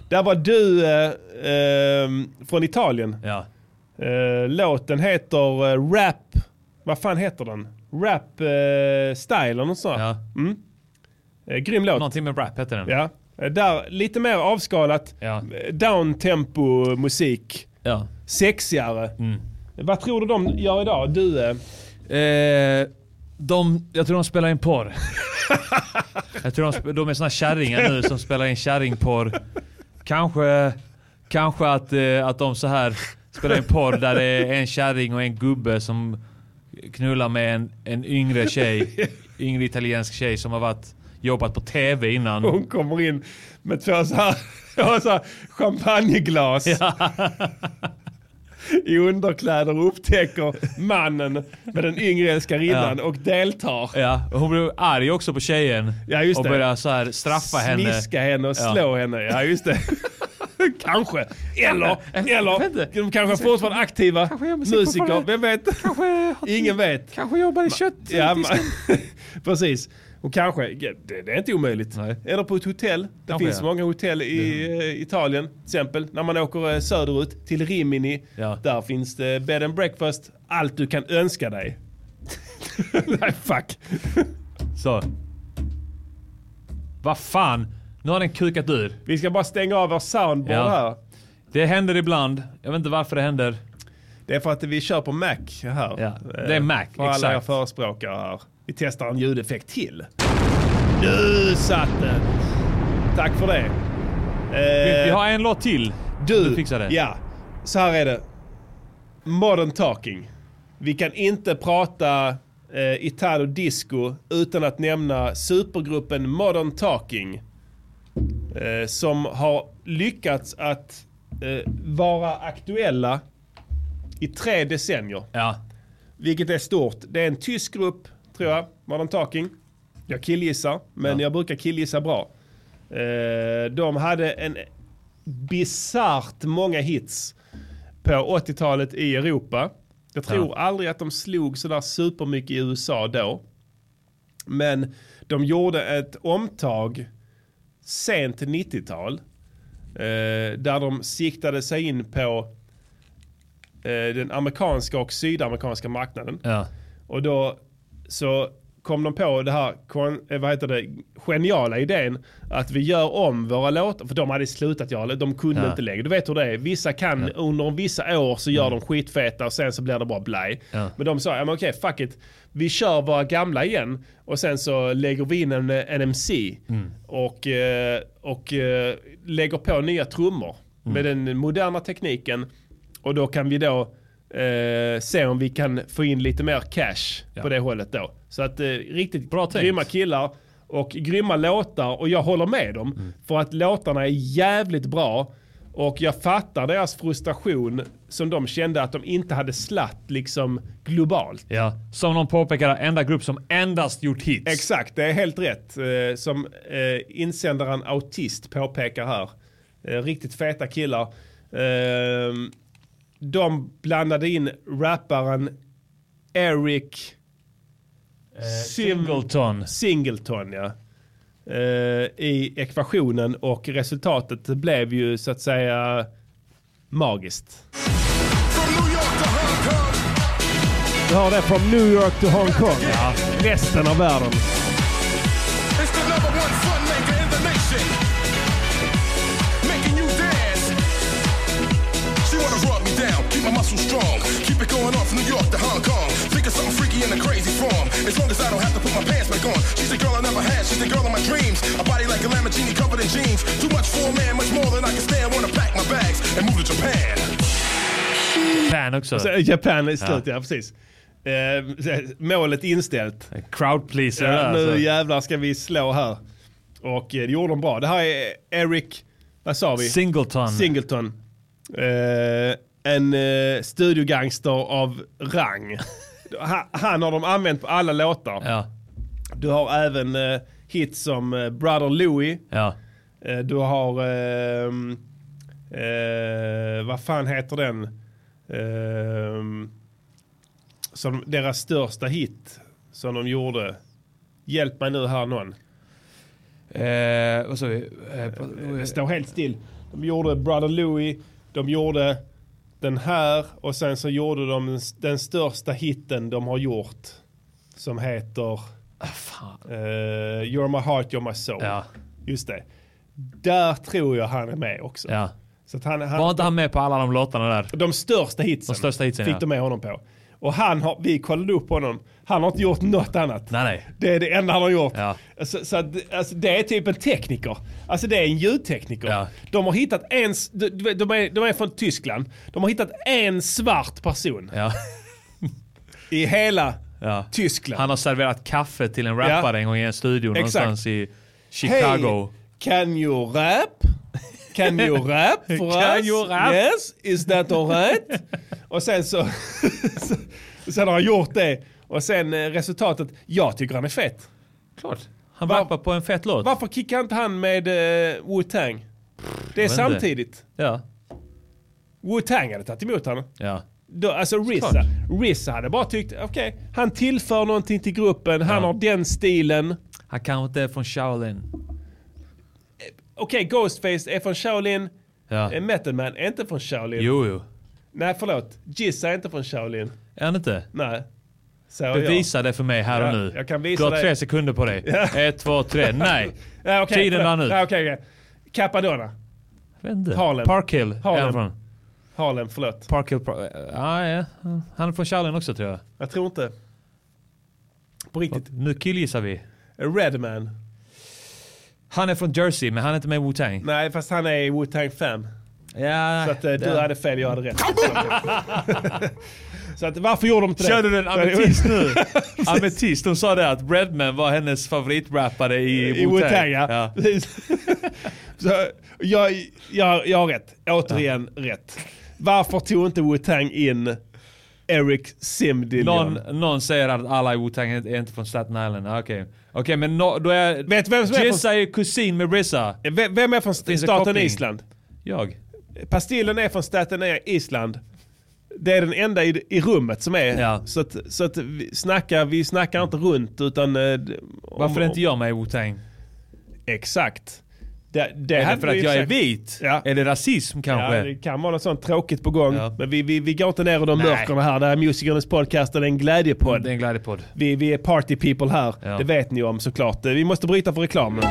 Speaker 2: Där var du eh, ehm, från Italien.
Speaker 1: Ja.
Speaker 2: Eh, låten heter eh, Rap... Vad fan heter den? Rap eh, Style eller något sånt. Ja. Mm. Eh, grym låt.
Speaker 1: Någonting med rap heter den.
Speaker 2: Ja. Eh, Där, lite mer avskalat.
Speaker 1: Ja.
Speaker 2: Eh, Downtempo musik.
Speaker 1: Ja.
Speaker 2: Sexigare.
Speaker 1: Mm.
Speaker 2: Vad tror du de gör idag? Du... Eh,
Speaker 1: Eh, de, jag tror de spelar
Speaker 2: [LAUGHS]
Speaker 1: in porr. jag tror de, sp- de är såna kärringar nu som spelar in kärringporr. Kanske, kanske att, eh, att de så här spelar in porr där det är en kärring och en gubbe som knullar med en, en yngre tjej. Yngre italiensk tjej som har varit, jobbat på TV innan.
Speaker 2: Hon kommer in med två så här, [LAUGHS] ja, så här champagneglas. [LAUGHS] I underkläder och upptäcker mannen med den yngre älskarinnan
Speaker 1: Ja.
Speaker 2: och deltar.
Speaker 1: Ja, och hon blev arg också på tjejen.
Speaker 2: Ja, just
Speaker 1: och
Speaker 2: det.
Speaker 1: började så här straffa henne.
Speaker 2: Smiska henne och
Speaker 1: Ja.
Speaker 2: slå henne. Ja, just
Speaker 1: [LAUGHS]
Speaker 2: det. kanske. Eller,
Speaker 1: Jag vet
Speaker 2: eller.
Speaker 1: inte.
Speaker 2: De kanske är fortfarande aktiva
Speaker 1: gör musik
Speaker 2: musiker.
Speaker 1: fortfarande.
Speaker 2: Vem vet?
Speaker 1: Kanske,
Speaker 2: [LAUGHS] Ingen vet.
Speaker 1: kanske jobbar i kött.
Speaker 2: Ja, man, [LAUGHS] precis. Och kanske, ja, det, det är inte omöjligt. Eller på ett hotell. Det
Speaker 1: Kanske,
Speaker 2: finns
Speaker 1: ja.
Speaker 2: många hotell i eh, Italien till exempel. När man åker eh, söderut till Rimini.
Speaker 1: Ja.
Speaker 2: Där finns det bed and breakfast. Allt du kan önska dig. [LAUGHS] Nej fuck.
Speaker 1: Så. Vad fan. Nu har den kukat ur.
Speaker 2: Vi ska bara stänga av vår soundboard
Speaker 1: Ja.
Speaker 2: här.
Speaker 1: Det händer ibland. Jag vet inte varför det händer.
Speaker 2: Det är för att vi kör på Mac här.
Speaker 1: Ja, det är
Speaker 2: Eh,
Speaker 1: Mac,
Speaker 2: För alla er
Speaker 1: exakt.
Speaker 2: förespråkare här. Vi testar en ljudeffekt till. Du satte! Tack för det.
Speaker 1: Vi,
Speaker 2: Eh,
Speaker 1: vi har en låt till.
Speaker 2: Du,
Speaker 1: fixar det.
Speaker 2: Ja, så här är det. Modern talking. Vi kan inte prata eh, Italo disco utan att nämna supergruppen Modern talking. Eh, som har lyckats att eh, vara aktuella i tre decennier.
Speaker 1: Ja.
Speaker 2: Vilket är stort. Det är en tysk grupp, tror jag, Modern Talking. Jag killgissar, men jag brukar killgissa bra. Eh, de hade en bisarrt många hits på 80-talet i Europa. Jag tror aldrig att de slog sådär supermycket i USA då. Men de gjorde ett omtag sent 90-tal. Eh, där de siktade sig in på eh, den amerikanska och sydamerikanska marknaden.
Speaker 1: Ja.
Speaker 2: Och då så kom de på det här kon- eh, vad heter det, geniala idén att vi gör om våra låtar. För de hade slutat göra det. De kunde
Speaker 1: Ja.
Speaker 2: inte längre. Du vet hur det är. Vissa kan under vissa år så gör de skitfeta och sen så blir det bara blaj.
Speaker 1: Ja.
Speaker 2: Men de sa, ja men okej fuck it. Vi kör våra gamla igen och sen så lägger vi in en, en MC. Och, eh, och eh, lägger på nya trummor med den moderna tekniken. Och då kan vi då eh, se om vi kan få in lite mer cash på det hållet då. Så att eh, riktigt bra grymma killar och grymma låtar och jag håller med dem. För att låtarna är jävligt bra. Och jag fattar deras frustration som de kände att de inte hade slatt liksom globalt.
Speaker 1: ja. Som någon påpekar, enda grupp som endast gjort hits.
Speaker 2: Exakt, det är helt rätt. Eh, Som eh, insändaren Autist påpekar här. Eh, Riktigt feta killar. Eh, De blandade in rapparen Eric Singleton.
Speaker 1: Singleton.
Speaker 2: Singleton ja. Eh, I ekvationen och resultatet blev ju så att säga magiskt. Du har det från New York till Hong Kong. Ja. Resten av världen.
Speaker 8: It's the number one fun maker in the nation. Making you dance. She wanna rub me down, keep my muscles strong. Keep it going on from New York to Hong Kong. Think of something freaky in a crazy form. As long as I don't have to put my pants back on. She's the girl I never had, she's the girl of my dreams. A body like a Lamborghini covered in jeans. Too much for a man, much more than I can stand. Wanna pack my bags and move to Japan.
Speaker 1: Fan också.
Speaker 2: Så eh, Japan är slut, ja, precis. Eh, målet inställt.
Speaker 1: Crowd pleaser
Speaker 2: Ja,
Speaker 1: där,
Speaker 2: nu
Speaker 1: alltså.
Speaker 2: jävlar ska vi slå här. Och eh, det gjorde de bra. Det här är Eric, vad sa vi?
Speaker 1: Singleton.
Speaker 2: Singleton. Eh, en eh, studiogangster av rang. [LAUGHS] han, han har de använt på alla låtar.
Speaker 1: ja.
Speaker 2: Du har även eh, hits som eh, Brother Louie.
Speaker 1: Ja.
Speaker 2: Eh, Du har ehm, eh, vad fan heter den? Eh, som deras största hit som de gjorde. Hjälp mig nu här någon.
Speaker 1: Eh, vad sa vi? Eh, på-
Speaker 2: Det står helt still. De gjorde Brother Louie, de gjorde den här och sen så gjorde de den, den största hitten de har gjort. Som heter eh, You're My Heart, You're My Soul.
Speaker 1: Ja.
Speaker 2: Just det. Där tror jag han är med också.
Speaker 1: Ja.
Speaker 2: Så att han, han,
Speaker 1: Var inte han med på alla de låtarna där?
Speaker 2: de största hitsen,
Speaker 1: De största hitsen,
Speaker 2: fick
Speaker 1: ja.
Speaker 2: de med honom på. Och han har, vi kollade upp honom, han har inte gjort något annat.
Speaker 1: Nej, nej.
Speaker 2: Det är det enda han har gjort.
Speaker 1: Ja.
Speaker 2: Så, så att, alltså, det är typ en tekniker. Alltså det är en ljudtekniker.
Speaker 1: Ja.
Speaker 2: De har hittat en, s- de, de, de, är, de är från Tyskland. De har hittat en svart person
Speaker 1: Ja.
Speaker 2: i hela
Speaker 1: Ja.
Speaker 2: Tyskland.
Speaker 1: Han har serverat kaffe till en rappare
Speaker 2: Ja.
Speaker 1: en gång i en studio
Speaker 2: Exakt.
Speaker 1: någonstans i Chicago.
Speaker 2: Hey, can you rap? Can
Speaker 1: [LAUGHS]
Speaker 2: you rap for
Speaker 1: Can
Speaker 2: us?
Speaker 1: you rap?
Speaker 2: Yes, is that alright? och sen så, [LAUGHS] sen har han gjort det. Och sen eh, resultatet, jag tycker han är fet.
Speaker 1: Klart. Han
Speaker 2: Var-
Speaker 1: rappar på en fet låt.
Speaker 2: Varför kickar inte han med eh, Wu-Tang? Det är
Speaker 1: jag vet inte.
Speaker 2: samtidigt.
Speaker 1: Ja.
Speaker 2: Wu-Tang hade tagit emot honom.
Speaker 1: Ja.
Speaker 2: Då, alltså Rissa,
Speaker 1: Såklart.
Speaker 2: Rissa hade bara tyckt, okej, han tillför någonting till gruppen, han
Speaker 1: Ja.
Speaker 2: har den stilen.
Speaker 1: Han kanske inte är från Shaolin.
Speaker 2: Okej, Ghostface är från Shaolin,
Speaker 1: Ja.
Speaker 2: eh, Method Man är inte från Shaolin.
Speaker 1: Jo, jo.
Speaker 2: Nej, förlåt, Jizz är inte från Shaolin.
Speaker 1: Är han inte?
Speaker 2: Nej. Så
Speaker 1: Bevisa det för mig här
Speaker 2: Ja,
Speaker 1: och nu.
Speaker 2: jag kan visa
Speaker 1: du har
Speaker 2: dig.
Speaker 1: tre sekunder på dig. Ett, två,
Speaker 2: [LAUGHS]
Speaker 1: tre. Nej.
Speaker 2: Nej, okej,
Speaker 1: Tiden
Speaker 2: förlåt.
Speaker 1: rann ut.
Speaker 2: Nej, okej, okej. Capadonna,
Speaker 1: Jag vet inte.
Speaker 2: Harlem.
Speaker 1: Park Hill är
Speaker 2: Harlem.
Speaker 1: han från.
Speaker 2: Harlem, förlåt.
Speaker 1: Park Hill. Pro- eh, ah, ja. Han är från Shaolin också tror jag.
Speaker 2: Jag tror inte. På riktigt.
Speaker 1: Nu killgissar vi.
Speaker 2: Redman.
Speaker 1: Han är från Jersey, men han är inte med i Wu-Tang.
Speaker 2: Nej, fast han är i Wu-Tang 5.
Speaker 1: Ja,
Speaker 2: Så att eh, du
Speaker 1: där.
Speaker 2: hade fel, jag hade rätt. så att varför gjorde de inte det?
Speaker 1: Kör du
Speaker 2: [LAUGHS]
Speaker 1: den ametist nu? ametist, de sa det att Redman var hennes favoritrappare i,
Speaker 2: I Wu-Tang, ja. Precis. [LAUGHS] så, jag, jag, jag har rätt. Återigen rätt. Varför tog inte Wu-Tang in Eric Simdillion?
Speaker 1: Någon, någon säger att alla i Wu-Tang är är inte från Staten Island. Ah, Okej, Okej, men no, då är...
Speaker 2: Vet du vem som är från-
Speaker 1: Jessa är kusin med Rissa.
Speaker 2: Vem vem är från
Speaker 1: Finns det
Speaker 2: staten
Speaker 1: koppling?
Speaker 2: Island?
Speaker 1: Jag.
Speaker 2: Pastillen är från staten Island. Det är den enda i, i rummet som är.
Speaker 1: Ja.
Speaker 2: Så, att, så att vi, snackar, vi snackar inte runt utan... eh, d- om-
Speaker 1: Varför är inte
Speaker 2: om-
Speaker 1: jag med i Wu-Tang?
Speaker 2: Exakt. Det, det
Speaker 1: Är
Speaker 2: hade
Speaker 1: det för
Speaker 2: vi
Speaker 1: att jag är
Speaker 2: försökt-
Speaker 1: vit?
Speaker 2: Ja.
Speaker 1: Är det rasism kanske?
Speaker 2: Ja, det kan vara något sånt tråkigt på gång.
Speaker 1: Ja.
Speaker 2: Men vi, vi, vi går inte ner i de mörkerna här. Det här är musikernas podcast och det är en glädjepodd.
Speaker 1: Det är en glädjepodd.
Speaker 2: Vi, vi är party people här.
Speaker 1: Ja.
Speaker 2: Det vet ni om såklart. Vi måste bryta för reklamen.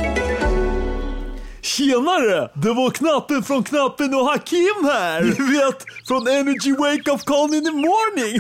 Speaker 7: Tjenare! Det var Knappen från Knappen och Hakim här! [LAUGHS] Ni vet, från Energy Wake Up Call in the Morning!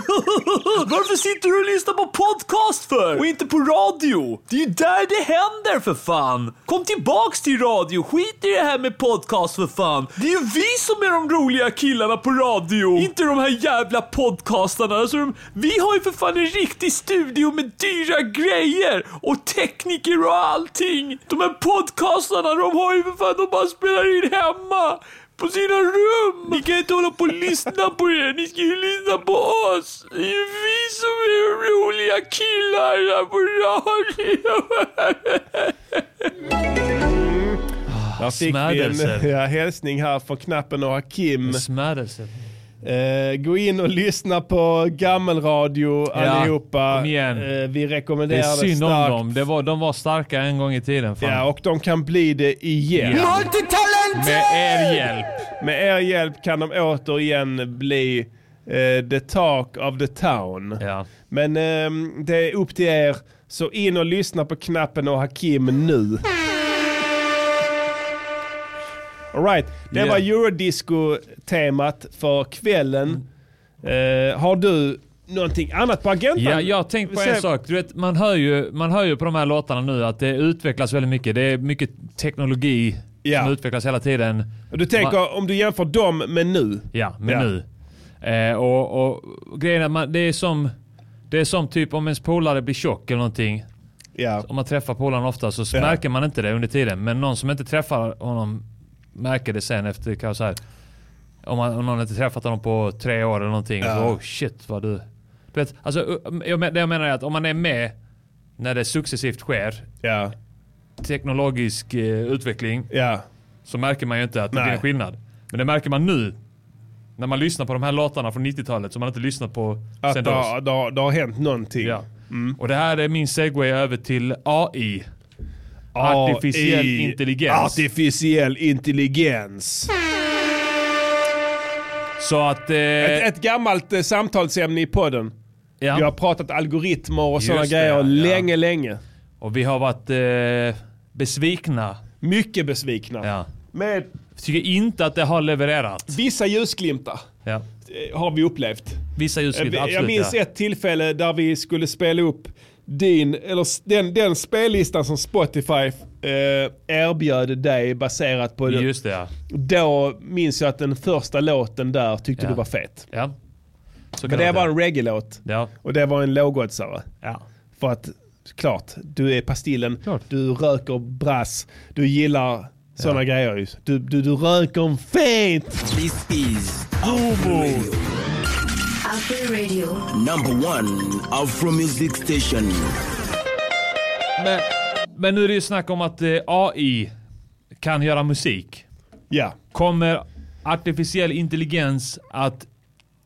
Speaker 7: Varför sitter du och lyssnar på podcast för? Och inte på radio? Det är ju där det händer för fan! Kom tillbaks till radio, skit i det här med podcast för fan! Det är ju vi som är de roliga killarna på radio! Inte de här jävla podcastarna! Alltså de, vi har ju för fan en riktig studio med dyra grejer! Och tekniker och allting! De här podcastarna, de har ju för fan, de bara spelar in hemma! På sina rum! Ni kan inte hålla på och lyssna på er, ni ska ju lyssna på oss! Det är ju vi som är de roliga killarna på radio!
Speaker 2: Där fick vi
Speaker 1: Smädelser.
Speaker 2: en [LAUGHS] ja, hälsning här från Knappen och Hakim.
Speaker 1: Smädelse.
Speaker 2: Eh, gå in och lyssna på gammelradio allihopa.
Speaker 1: kom igen.
Speaker 2: Eh, vi rekommenderar
Speaker 1: Det
Speaker 2: det,
Speaker 1: är synd om
Speaker 2: starkt.
Speaker 1: dem. Det var, de var starka en gång i tiden. Fan.
Speaker 2: Ja, och de kan bli det igen.
Speaker 1: Ja.
Speaker 4: Multitalent!
Speaker 1: Med er hjälp.
Speaker 2: Med er hjälp kan de återigen bli eh, the talk of the town.
Speaker 1: Ja.
Speaker 2: Men ehm, det är upp till er. Så in och lyssna på knappen och Hakim nu. Alright, det
Speaker 1: Ja.
Speaker 2: var Eurodisco-temat för kvällen. Eh, har du någonting annat på agendan?
Speaker 1: Ja, jag har tänkt på
Speaker 2: Vi
Speaker 1: en
Speaker 2: ser-
Speaker 1: sak. Du vet, man, hör ju, man hör ju på de här låtarna nu att det utvecklas väldigt mycket. Det är mycket teknologi
Speaker 2: Ja.
Speaker 1: som utvecklas hela tiden.
Speaker 2: Och Du tänker
Speaker 1: Man-
Speaker 2: om du jämför dem med nu?
Speaker 1: Ja, men
Speaker 2: Ja.
Speaker 1: nu. Eh, och, och grejen är att man, det är som... Det är som typ om ens polare blir tjock eller någonting.
Speaker 2: Ja.
Speaker 1: Om man träffar polaren ofta så
Speaker 2: Ja.
Speaker 1: märker man inte det under tiden. Men någon som inte träffar honom märker det sen efter kanske så här. Om, man, om någon inte träffat honom på tre år eller någonting. Så, oh shit vad du... du vet, alltså, u- jag, men- det jag menar är att om man är med när det successivt sker
Speaker 2: Ja.
Speaker 1: teknologisk eh, utveckling
Speaker 2: Ja.
Speaker 1: så märker man ju inte att det
Speaker 2: Nej.
Speaker 1: blir en skillnad. Men det märker man nu. När man lyssnar på de här låtarna från 90-talet som man inte lyssnat på
Speaker 2: Att
Speaker 1: sen
Speaker 2: det,
Speaker 1: dess.
Speaker 2: har- det, har- det har hänt någonting.
Speaker 1: Ja.
Speaker 2: Mm.
Speaker 1: Och det här är min segway över till AI. Artificiell
Speaker 2: AI.
Speaker 1: intelligens. Eh.
Speaker 2: Artificiell intelligens.
Speaker 1: Så att... Eh,
Speaker 2: Ett, ett gammalt eh, samtalsämne i podden.
Speaker 1: ja.
Speaker 2: Vi har pratat algoritmer och
Speaker 1: Just
Speaker 2: sådana
Speaker 1: det,
Speaker 2: grejer
Speaker 1: ja.
Speaker 2: länge, länge.
Speaker 1: Och vi har varit eh, besvikna.
Speaker 2: Mycket besvikna.
Speaker 1: Ja.
Speaker 2: Med
Speaker 1: Tycker inte att det har levererat.
Speaker 2: vissa ljusglimtar
Speaker 1: Ja.
Speaker 2: eh, har vi upplevt.
Speaker 1: Vissa ljusglimt,
Speaker 2: Eh, Jag-
Speaker 1: absolut.
Speaker 2: Jag minns
Speaker 1: ja.
Speaker 2: ett tillfälle där vi skulle spela upp din, eller s- den, den spellistan som Spotify eh, erbjöd dig baserat på det.
Speaker 1: Just det ja.
Speaker 2: Då minns jag att den första låten där tyckte
Speaker 1: Ja.
Speaker 2: du var fet.
Speaker 1: ja. Så kan
Speaker 2: Men det
Speaker 1: vara
Speaker 2: var en reggae-låt
Speaker 1: Ja.
Speaker 2: och det var en lågoddsare.
Speaker 1: ja.
Speaker 2: För att, klart, du är Pastillen,
Speaker 1: Klart.
Speaker 2: du röker brass, du gillar sådana grejer ju. Du, du, du röker fint!
Speaker 4: This is Afro Radio.
Speaker 5: Afro Radio.
Speaker 4: Number one Afro Music Station.
Speaker 1: Men, men nu är det ju snack om att eh, AI kan göra musik.
Speaker 2: Ja.
Speaker 1: Kommer artificiell intelligens att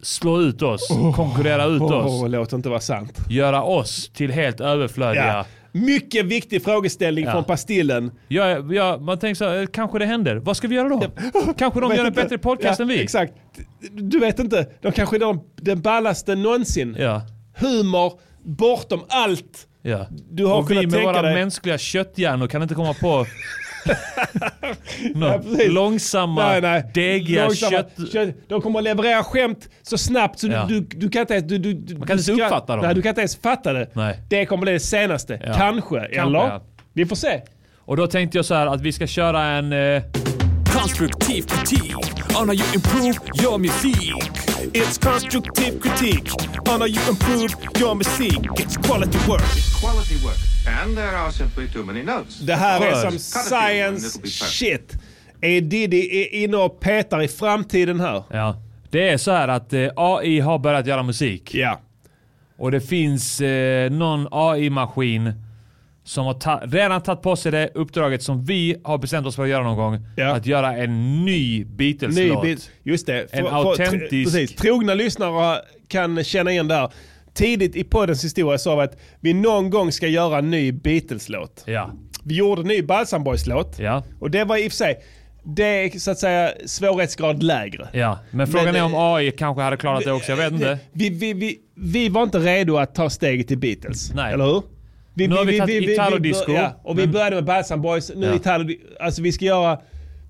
Speaker 1: slå ut oss,
Speaker 2: Oh.
Speaker 1: konkurrera ut
Speaker 2: Åh,
Speaker 1: oss,
Speaker 2: låt det inte vara sant.
Speaker 1: göra oss till helt överflödiga?
Speaker 2: Ja. Mycket viktig frågeställning
Speaker 1: Ja.
Speaker 2: från Pastillen.
Speaker 1: Jag, jag, man tänker så här, eh, kanske det händer. Vad ska vi göra då?
Speaker 2: [LAUGHS]
Speaker 1: Kanske de
Speaker 2: Vet
Speaker 1: gör en
Speaker 2: inte.
Speaker 1: bättre podcast
Speaker 2: ja,
Speaker 1: än vi?
Speaker 2: Exakt. Du vet inte, de kanske är de, den ballaste någonsin.
Speaker 1: Ja.
Speaker 2: Humor, bortom allt.
Speaker 1: ja.
Speaker 2: Du har
Speaker 1: och vi
Speaker 2: kunnat
Speaker 1: med
Speaker 2: tänka
Speaker 1: våra
Speaker 2: dig-
Speaker 1: mänskliga kötthjärnor kan inte komma
Speaker 2: [LAUGHS]
Speaker 1: på några
Speaker 2: precis.
Speaker 1: långsamma,
Speaker 2: Nej, nej.
Speaker 1: degiga
Speaker 2: Långsamma.
Speaker 1: kött...
Speaker 2: Kött- De kommer att leverera skämt så snabbt så
Speaker 1: Ja.
Speaker 2: du, du, du kan inte ens... Du, du, du,
Speaker 1: Man kan
Speaker 2: du
Speaker 1: inte
Speaker 2: ska-
Speaker 1: uppfatta dem.
Speaker 2: Nej, du kan inte ens fatta det.
Speaker 1: Nej.
Speaker 2: Det kommer bli det senaste.
Speaker 1: Ja.
Speaker 2: Kanske. Eller?
Speaker 1: ja.
Speaker 2: Vi får se.
Speaker 1: Och då tänkte jag så här att vi ska köra en... Eh,
Speaker 9: Konstruktiv kritik on how you improve your music.
Speaker 6: It's constructive critique on how you improve your music. It's quality work.
Speaker 11: quality work. And there are simply too many notes.
Speaker 2: Det här
Speaker 1: Skön.
Speaker 2: är som science shit. Är Diddy är inne och petar i framtiden här?
Speaker 1: ja. Det är så här att eh, AI har börjat göra musik.
Speaker 2: Ja.
Speaker 1: Och det finns eh, någon AI-maskin som har ta- redan tagit på sig det uppdraget som vi har bestämt oss för att göra någon gång.
Speaker 2: Ja.
Speaker 1: Att göra en ny Beatles-låt.
Speaker 2: Ny bit. Just det.
Speaker 1: En autentisk-
Speaker 2: tr- Precis. Trogna lyssnare kan känna igen där. Tidigt i poddens historia sa vi att vi någon gång ska göra en ny Beatles-låt.
Speaker 1: Ja.
Speaker 2: Vi gjorde en ny Balsam Boys-låt.
Speaker 1: Ja.
Speaker 2: Och det var i och för sig, det är så att säga svårighetsgrad lägre.
Speaker 1: ja. Men frågan
Speaker 2: Men,
Speaker 1: är om
Speaker 2: eh,
Speaker 1: AI kanske hade klarat det också. Jag vet inte.
Speaker 2: Vi, vi, vi, vi var inte redo att ta steget till Beatles.
Speaker 1: Nej.
Speaker 2: Eller hur? Vi,
Speaker 1: Nu har vi tagit gitarr och
Speaker 2: vi-
Speaker 1: disco,
Speaker 2: Ja, och vi
Speaker 1: men-
Speaker 2: började med Balsam Boys. Nu
Speaker 1: Ja.
Speaker 2: gitarr och di- Alltså vi ska göra...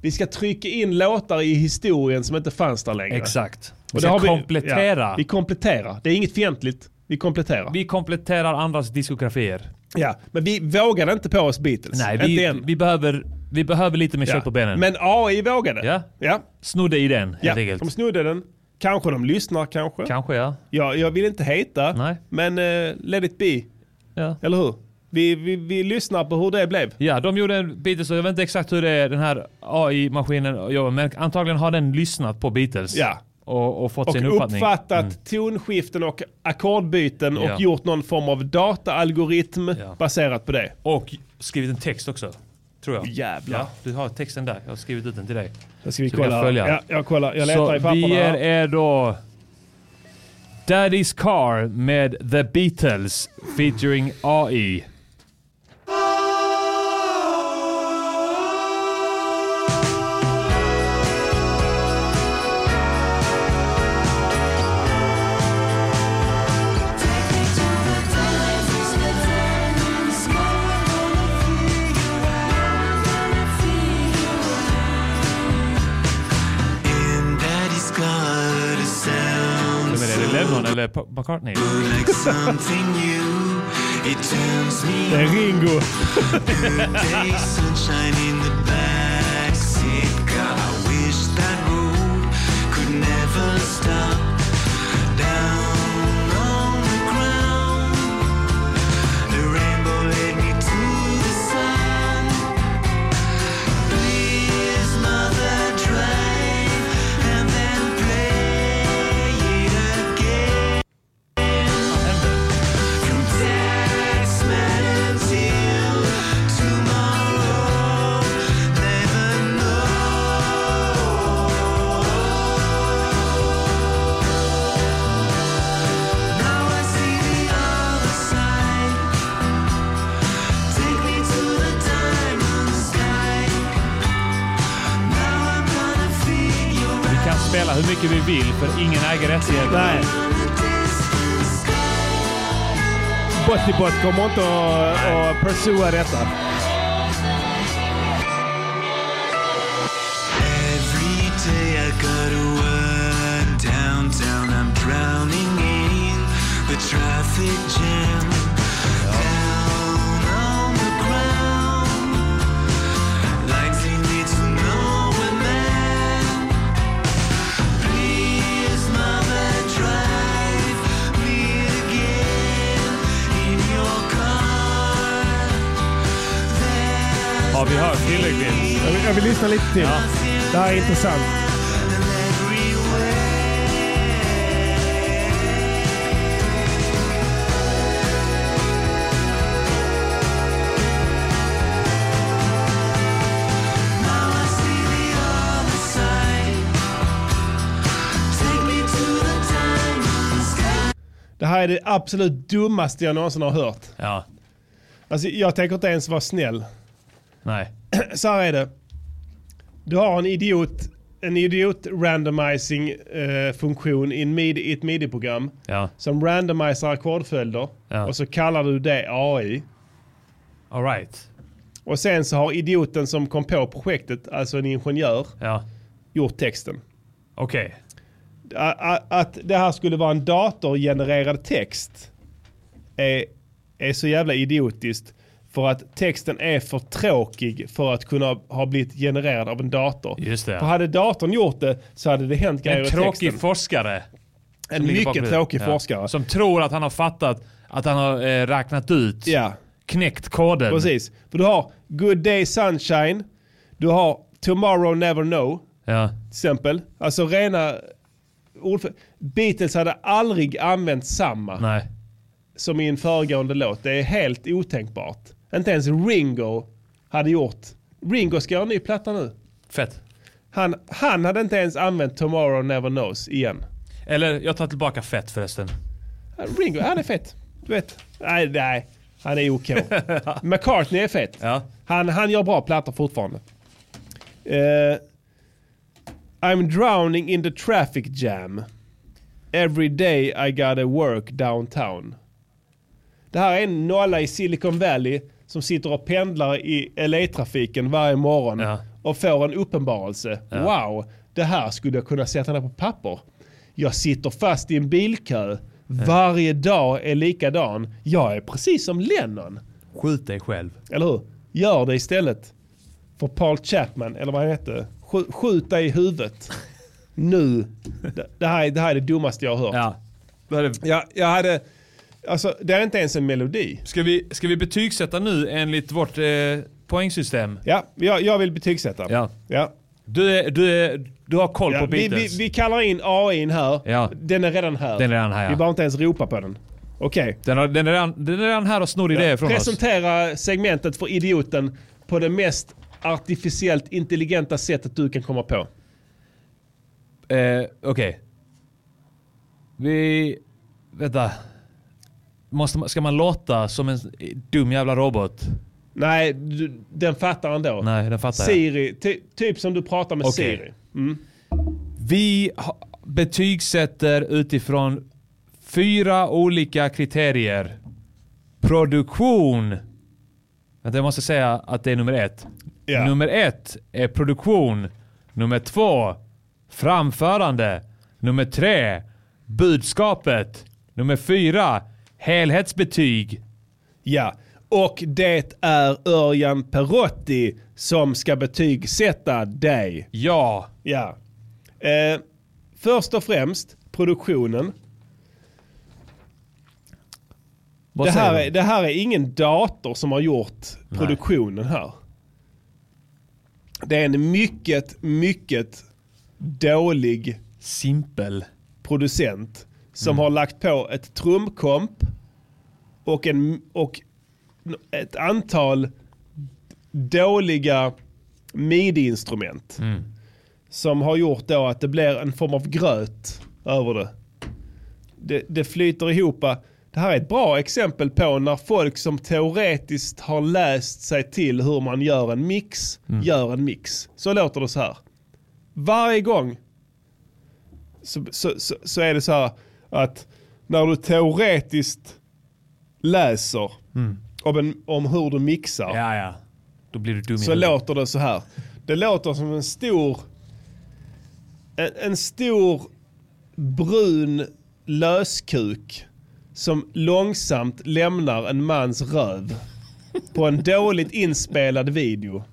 Speaker 2: Vi ska trycka in låtar i historien som inte fanns där längre.
Speaker 1: Exakt. Vi
Speaker 2: Och det
Speaker 1: ska
Speaker 2: har vi-
Speaker 1: komplettera.
Speaker 2: ja, vi
Speaker 1: vi,
Speaker 2: kompletterar. Det är inget fientligt. Vi kompletterar.
Speaker 1: kompletterar andras diskografier.
Speaker 2: ja, men vi vågade inte på oss Beatles.
Speaker 1: Nej,
Speaker 2: inte
Speaker 1: vi,
Speaker 2: än.
Speaker 1: vi, behöver, vi behöver lite mer
Speaker 2: Ja.
Speaker 1: kött på benen.
Speaker 2: Men AI vågade.
Speaker 1: Ja.
Speaker 2: Ja.
Speaker 1: Snodde i den helt
Speaker 2: ja.
Speaker 1: enkelt.
Speaker 2: De snodde den. Kanske de lyssnar kanske.
Speaker 1: Kanske ja.
Speaker 2: Ja, jag vill inte hejta.
Speaker 1: Nej.
Speaker 2: Men eh, let it be.
Speaker 1: ja.
Speaker 2: Eller hur? Vi, vi, vi lyssnar på hur det blev.
Speaker 1: Ja, de gjorde en Beatles och jag vet inte exakt hur det är den här AI-maskinen jobbar men antagligen har den lyssnat på Beatles.
Speaker 2: Ja.
Speaker 1: Och, och fått sin
Speaker 2: Och
Speaker 1: uppfattning. Mm.
Speaker 2: uppfattat tonskiften och ackordbyten och
Speaker 1: Ja.
Speaker 2: gjort någon form av dataalgoritm
Speaker 1: Ja.
Speaker 2: baserat på det.
Speaker 1: Och skrivit en text också. Tror jag.
Speaker 2: Jävlar.
Speaker 1: Ja, du har texten där. Jag har skrivit ut den till dig.
Speaker 2: Då ska vi
Speaker 1: Så vi kan
Speaker 2: kolla.
Speaker 1: följa.
Speaker 2: Ja, jag kollar. Jag letar i
Speaker 1: Så
Speaker 2: papperna.
Speaker 1: vi ger
Speaker 2: här.
Speaker 1: er då Daddy's Car med The Beatles featuring AI.
Speaker 11: And daddy's got a sound.
Speaker 1: Vem är det? Är det Lennon eller Pa- McCartney?
Speaker 11: like something new. It turns me
Speaker 2: Det är Ringo.
Speaker 11: day, sunshine in the backseat car. I wish that road could never stop. Down on the ground, the rainbow led me to the sun. Please, mother, drive and then play it again. From Tasman until tomorrow.
Speaker 1: spela hur mycket vi vill för ingen äger rättigheterna.
Speaker 2: Nej. Bottibot kommer inte att, att pursua detta.
Speaker 11: Every day I go to work downtown. I'm drowning in the traffic jam. Down on the ground, likely needs nowhere man. Please, mother, drive me again in your car.
Speaker 1: Har vi hört tillräckligt?
Speaker 2: Jag vill, jag vill lyssna lite till. Det här är intressant.
Speaker 11: Now I see the other side. Take me to the diamond sky.
Speaker 2: Det här är det absolut dummaste jag någonsin har hört.
Speaker 1: Ja.
Speaker 2: Alltså, jag tänker inte ens vara snäll.
Speaker 1: Nej.
Speaker 2: Så här är det. Du har en idiot, en idiot randomizing eh, funktion i, en midi, i ett midi-program.
Speaker 1: Ja.
Speaker 2: Som randomiserar ackordföljder.
Speaker 1: Ja.
Speaker 2: Och så kallar du det AI.
Speaker 1: All right.
Speaker 2: Och sen så har idioten som kom på projektet, alltså en ingenjör,
Speaker 1: Ja.
Speaker 2: gjort texten.
Speaker 1: Okej.
Speaker 2: A- a- Att det här skulle vara en datorgenererad text är, är så jävla idiotiskt. För att texten är för tråkig för att kunna ha blivit genererad av en dator.
Speaker 1: Just det.
Speaker 2: För hade datorn gjort det så hade det hänt grejer
Speaker 1: En
Speaker 2: i
Speaker 1: tråkig
Speaker 2: texten.
Speaker 1: forskare.
Speaker 2: En
Speaker 1: Som ligger
Speaker 2: mycket
Speaker 1: bakom det.
Speaker 2: tråkig forskare.
Speaker 1: Som tror att han har fattat att han har eh, räknat ut,
Speaker 2: Ja,
Speaker 1: knäckt koden.
Speaker 2: precis. För du har Good Day Sunshine, du har Tomorrow Never Know.
Speaker 1: Ja.
Speaker 2: till exempel. Alltså rena ordför- Beatles hade aldrig använt samma
Speaker 1: Nej.
Speaker 2: som i en föregående låt. Det är helt otänkbart. Inte ens Ringo hade gjort. Ringo ska göra en ny platta nu.
Speaker 1: Fett.
Speaker 2: Han, han hade inte ens använt Tomorrow Never Knows igen.
Speaker 1: Eller jag tar tillbaka fett förresten.
Speaker 2: Ringo, han är fett. Du vet. Nej, nej. Han är OK.
Speaker 1: [LAUGHS]
Speaker 2: McCartney är fett.
Speaker 1: Ja.
Speaker 2: Han, han gör bra plattor fortfarande. Eh, I'm drowning in the traffic jam. Every day I gotta work downtown. Det här är en nolla i Silicon Valley som sitter och pendlar i LA-trafiken varje morgon
Speaker 1: Ja.
Speaker 2: och får en uppenbarelse. Wow, det här skulle jag kunna sätta ner på papper. Jag sitter fast i en bilkö. Varje dag är likadan. Jag är precis som Lennon.
Speaker 1: Skjut dig själv.
Speaker 2: Eller hur? Gör det istället. För Paul Chapman, eller vad han hette. Skj- Skjut dig i
Speaker 1: [LAUGHS]
Speaker 2: huvudet. Nu. Det- Det här, är- det här är det dummaste jag har hört.
Speaker 1: Ja.
Speaker 2: Jag, jag hade... Alltså, det är inte ens en melodi.
Speaker 1: Ska, vi, ska vi betygsätta nu enligt vårt eh, poängsystem?
Speaker 2: Ja, jag, jag vill betygsätta.
Speaker 1: Ja.
Speaker 2: Ja.
Speaker 1: Du, är, du, är, du har koll
Speaker 2: Ja,
Speaker 1: på
Speaker 2: vi,
Speaker 1: Beatles.
Speaker 2: vi, vi kallar in AIn här.
Speaker 1: Ja.
Speaker 2: Den är redan här.
Speaker 1: Den är redan här, ja.
Speaker 2: Vi behöver inte ens ropa på den. Okej.
Speaker 1: Den, har, den, är redan, den är redan här och snor idéer från oss.
Speaker 2: Presentera segmentet för idioten på det mest artificiellt intelligenta sättet du kan komma på.
Speaker 1: Eh, Okej. Vi... Vänta. Måste, man- ska man låta som en dum jävla robot?
Speaker 2: Nej, du, den fattar ändå.
Speaker 1: Nej, den fattar jag.
Speaker 2: Siri, ty, typ som du pratar med
Speaker 1: Okej.
Speaker 2: Siri. Mm.
Speaker 1: Vi ha- betygsätter utifrån fyra olika kriterier. Produktion. Vänta, jag måste säga att det är nummer ett.
Speaker 2: Ja.
Speaker 1: Nummer ett är produktion. Nummer två, framförande. Nummer tre, budskapet. Nummer fyra, helhetsbetyg.
Speaker 2: Ja, och det är Örjan Perotti som ska betygsätta dig.
Speaker 1: Ja.
Speaker 2: Ja. Eh, först och främst produktionen.
Speaker 1: Vad
Speaker 2: Det
Speaker 1: säger
Speaker 2: här,
Speaker 1: du?
Speaker 2: är, det här är ingen dator som har gjort produktionen här. Det är en mycket, mycket dålig
Speaker 1: Simpel.
Speaker 2: producent som
Speaker 1: Mm.
Speaker 2: har lagt på ett trumkomp och, en, och n- ett antal dåliga midi-instrument.
Speaker 1: Mm.
Speaker 2: Som har gjort då att det blir en form av gröt över det. Det, det flyter ihop. Det här är ett bra exempel på när folk som teoretiskt har läst sig till hur man gör
Speaker 1: Mm.
Speaker 2: en mix, gör en mix. Så låter det så här. Varje gång så, så, så, så är det så här att när du teoretiskt läser
Speaker 1: Mm.
Speaker 2: om, en, om hur du mixar
Speaker 1: Ja, ja. Då blir du dum i
Speaker 2: så
Speaker 1: huvudet.
Speaker 2: låter det så här. Det låter som en stor, en, en stor brun löskuk som långsamt lämnar en mans röv på en dåligt inspelad video.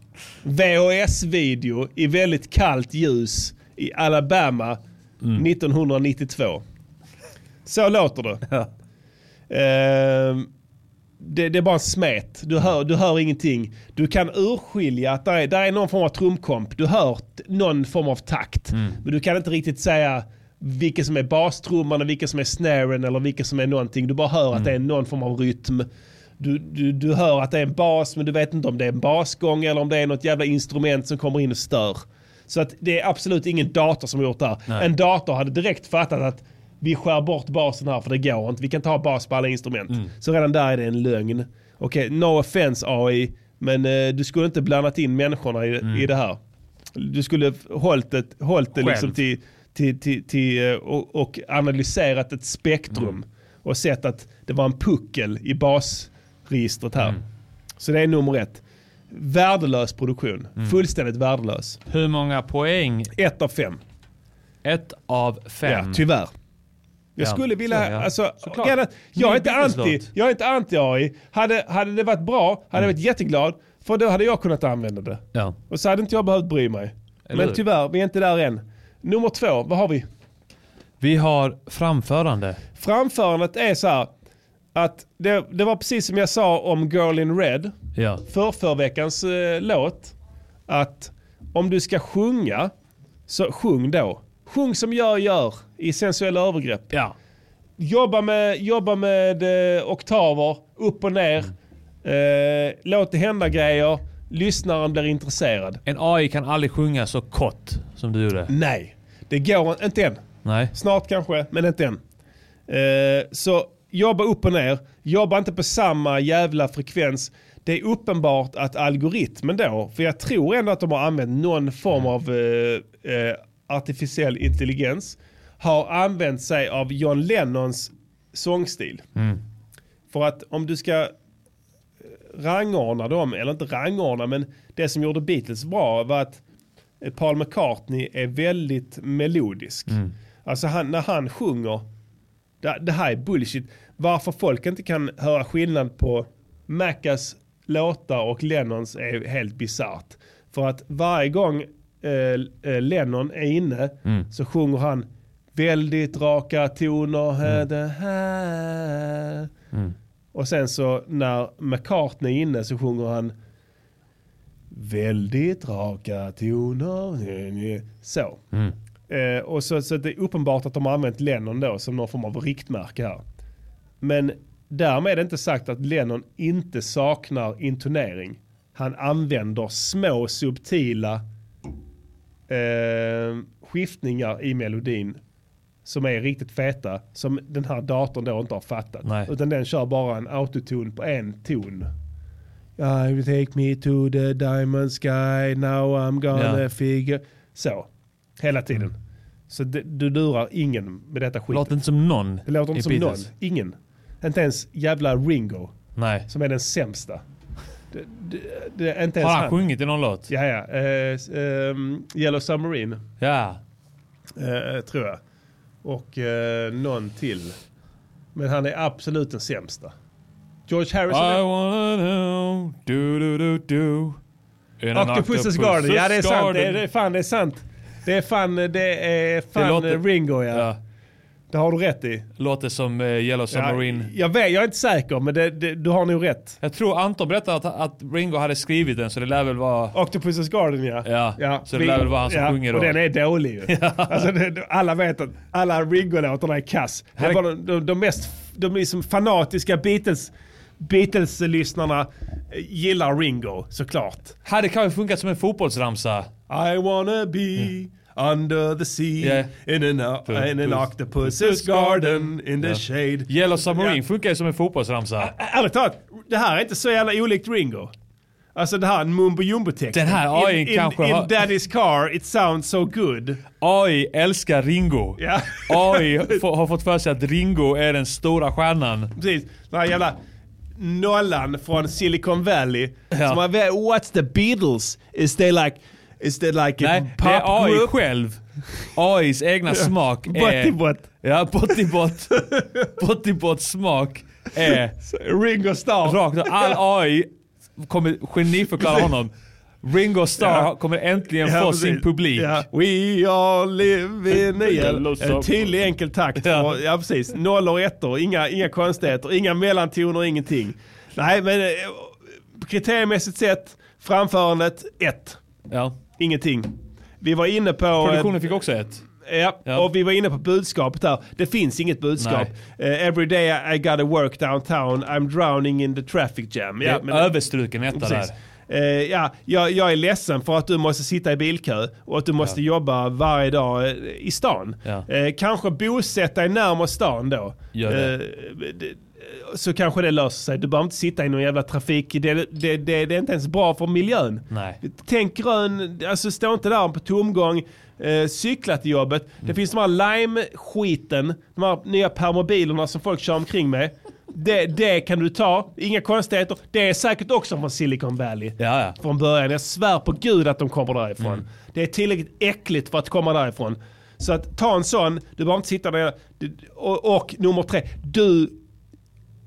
Speaker 2: VHS-video i väldigt kallt ljus i Alabama 1992. Så låter det. Ehm, det, det är bara en smet. Du hör, du hör ingenting. Du kan urskilja att där är, där är någon form av trumkomp. Du hör t- någon form av takt. Men du kan inte riktigt säga vilken som är bastrumman och vilken som är snaren eller vilken som är någonting. Du bara hör att det är någon form av rytm. Du, du, du hör att det är en bas men du vet inte om det är en basgång eller om det är något jävla instrument som kommer in och stör. Så att det är absolut ingen dator som har gjort det här.
Speaker 1: Nej.
Speaker 2: En dator hade direkt fattat att vi skär bort basen här för det går inte. Vi kan ta bas på alla instrument. Så redan där är det en lögn. Okej, no offense AI, men eh, du skulle inte blandat in människorna i, i det här. Du skulle hållit det, hållit det liksom
Speaker 1: Själv.
Speaker 2: till, till, till, till, eh, och, och analyserat ett spektrum och sett att det var en puckel i basregistret här. Så det är nummer ett. Värdelös produktion. Fullständigt värdelös.
Speaker 1: Hur många poäng?
Speaker 2: Ett av fem.
Speaker 1: Ett av fem.
Speaker 2: Ja, tyvärr. Jag
Speaker 1: Mm. Ja,
Speaker 2: skulle vilja,
Speaker 1: så, ja.
Speaker 2: alltså,
Speaker 1: Såklart.
Speaker 2: grejen är att jag, är
Speaker 1: Ny
Speaker 2: inte anti,
Speaker 1: Beatles-låt.
Speaker 2: jag är inte anti-AI. Hade, hade det varit bra, hade jag varit jätteglad, för då hade jag kunnat använda det.
Speaker 1: Mm. Ja.
Speaker 2: Och så hade inte jag behövt bry mig.
Speaker 1: Eller
Speaker 2: Men
Speaker 1: hur?
Speaker 2: tyvärr, vi är inte där än. Nummer två, vad har vi?
Speaker 1: Vi har framförande.
Speaker 2: Framförandet är så här, att det, det var precis som jag sa om Girl in Red,
Speaker 1: Ja.
Speaker 2: för förra veckans eh, låt, att om du ska sjunga, så sjung då. Sjung som jag gör i sensuella övergrepp.
Speaker 1: Ja.
Speaker 2: Jobba med, jobba med eh, oktaver, upp och ner. Eh, låt det hända grejer. Lyssnaren blir intresserad.
Speaker 1: En AI kan aldrig sjunga så kort som du gjorde.
Speaker 2: Nej, det går inte än.
Speaker 1: Nej.
Speaker 2: Snart kanske, men inte än. Eh, så jobba upp och ner. Jobba inte på samma jävla frekvens. Det är uppenbart att algoritmen då, för jag tror ändå att de har använt någon form av eh, eh, artificiell intelligens, har använt sig av John Lennons sångstil. För att om du ska eh, rangordna dem, eller inte rangordna, men det som gjorde Beatles bra var att eh, Paul McCartney är väldigt melodisk. Alltså han, när han sjunger, det, det här är bullshit. Varför folk inte kan höra skillnad på Maccas låtar och Lennons är helt bisarrt. För att varje gång eh, eh, Lennon är inne så sjunger han väldigt raka toner. eh, Det här. Och sen så när McCartney är inne så sjunger han väldigt raka toner. eh, eh, Så. Eh, och så, så det är uppenbart att de har använt Lennon då som någon form av riktmärke här. Men därmed är det inte sagt att Lennon inte saknar intonering. Han använder små subtila eh, skiftningar i melodin som är riktigt feta som den här datorn då inte har fattat.
Speaker 1: Nej.
Speaker 2: Utan den kör bara en autotune på en ton. I will Uh, take me to the diamond sky, now I'm gonna
Speaker 1: Ja.
Speaker 2: figure... Så, hela tiden. Så det, du lurar ingen med detta skit.
Speaker 1: Låter inte som någon
Speaker 2: det låter inte
Speaker 1: i
Speaker 2: som
Speaker 1: Beatles.
Speaker 2: någon. Ingen. Inte ens jävla Ringo,
Speaker 1: Nej.
Speaker 2: som är den sämsta. Det, det, det, är inte ens
Speaker 1: Har han sjungit i någon låt?
Speaker 2: Ja, ja. Eh, s- ehm, Yellow Submarine,
Speaker 1: Ja.
Speaker 2: eh, tror jag. Och eh, någon till. Men han är absolut den sämsta. George Harrison är-
Speaker 1: I wanna know, do do do do. In an
Speaker 2: Octopus's Garden, ja det är sant. Det är,
Speaker 1: garden.
Speaker 2: det är fan, det är sant. Det är fan, det är fan
Speaker 1: låter-
Speaker 2: eh, Ringo ja.
Speaker 1: Ja.
Speaker 2: Det har du rätt i.
Speaker 1: Låter som eh, Yellow Submarine.
Speaker 2: Ja, jag vet, jag är inte säker men det, det, du har nog rätt.
Speaker 1: Jag tror Anton berättade att, att Ringo hade skrivit den så det lär väl vara...
Speaker 2: Octopus's Garden ja.
Speaker 1: Ja, så det lär väl vara han som sjunger då.
Speaker 2: Och den är dålig
Speaker 1: [LAUGHS]
Speaker 2: ju. alltså, det, alla vet att alla Ringo-låtarna är kass. Det
Speaker 1: Här-
Speaker 2: var de, de, de mest de liksom fanatiska Beatles, Beatles-lyssnarna eh, gillar Ringo såklart.
Speaker 1: Hade kanske funkat som en fotbollsramsa.
Speaker 2: I wanna be under the sea
Speaker 1: Yeah.
Speaker 2: in, an, in an octopus's garden in the shade.
Speaker 1: Yellow Submarine funkar ju som en fotbollsramsa.
Speaker 2: Ä- Ärligt talat, det här är inte så jävla olikt Ringo. Alltså det här mumbo jumbo-texten.
Speaker 1: Den här AI
Speaker 2: in, in,
Speaker 1: kanske
Speaker 2: In
Speaker 1: har-
Speaker 2: daddy's car, it sounds so good.
Speaker 1: AI älskar Ringo.
Speaker 2: Ja.
Speaker 1: AI f- har fått för sig att Ringo är den stora stjärnan.
Speaker 2: Precis. Den här jävla nollan från Silicon Valley. Som har, what's the Beatles? Is they like, is they like a
Speaker 1: Nej,
Speaker 2: pop
Speaker 1: det är AI
Speaker 2: group?
Speaker 1: själv. AIs
Speaker 2: [LAUGHS]
Speaker 1: egna smak är...
Speaker 2: Bottibot.
Speaker 1: Ja, Bottibot. Bottibots smak är...
Speaker 2: Ringo Starr.
Speaker 1: Rakt av. All AI kommer geniförklara honom. Ringo Starr
Speaker 2: Ja.
Speaker 1: kommer äntligen
Speaker 2: Ja,
Speaker 1: få
Speaker 2: precis.
Speaker 1: sin publik.
Speaker 2: Ja. We all live in a
Speaker 1: Yellow
Speaker 2: yellow- en tydlig Eh, enkel takt. Ja. ja precis, nollor och ettor, inga, inga konstigheter, inga mellantoner, ingenting. Nej men eh, kriteriemässigt sett, framförandet ett.
Speaker 1: Ja.
Speaker 2: Ingenting. Vi var inne på... eh,
Speaker 1: Produktionen fick också ett.
Speaker 2: Ja, och vi var inne på budskapet där. Det finns inget budskap. Eh, every day I gotta work downtown, I'm drowning in the traffic jam.
Speaker 1: Det är överstruken etta
Speaker 2: Precis.
Speaker 1: där.
Speaker 2: Eh, ja, jag, jag är ledsen för att du måste sitta i bilkö och att du måste jobba varje dag eh, i stan.
Speaker 1: Ja.
Speaker 2: Eh, kanske bosätta dig närmare stan då.
Speaker 1: Gör det.
Speaker 2: Eh, det- så kanske det löser sig. Du behöver inte sitta i någon jävla trafik. Det, det, det, det är inte ens bra för miljön.
Speaker 1: Nej.
Speaker 2: Tänk grön, alltså stå inte där på tomgång. Eh, cykla till jobbet.
Speaker 1: Mm.
Speaker 2: Det finns de här lime-skiten, de här nya permobilerna som folk kör omkring med. Det, det kan du ta, inga konstigheter. Det är säkert också från Silicon Valley.
Speaker 1: Ja, Mm. ja.
Speaker 2: Från början, jag svär på gud att de kommer därifrån. Det är tillräckligt äckligt för att komma därifrån. Så att ta en sån, du behöver inte sitta där. Du- Och, och nummer tre, du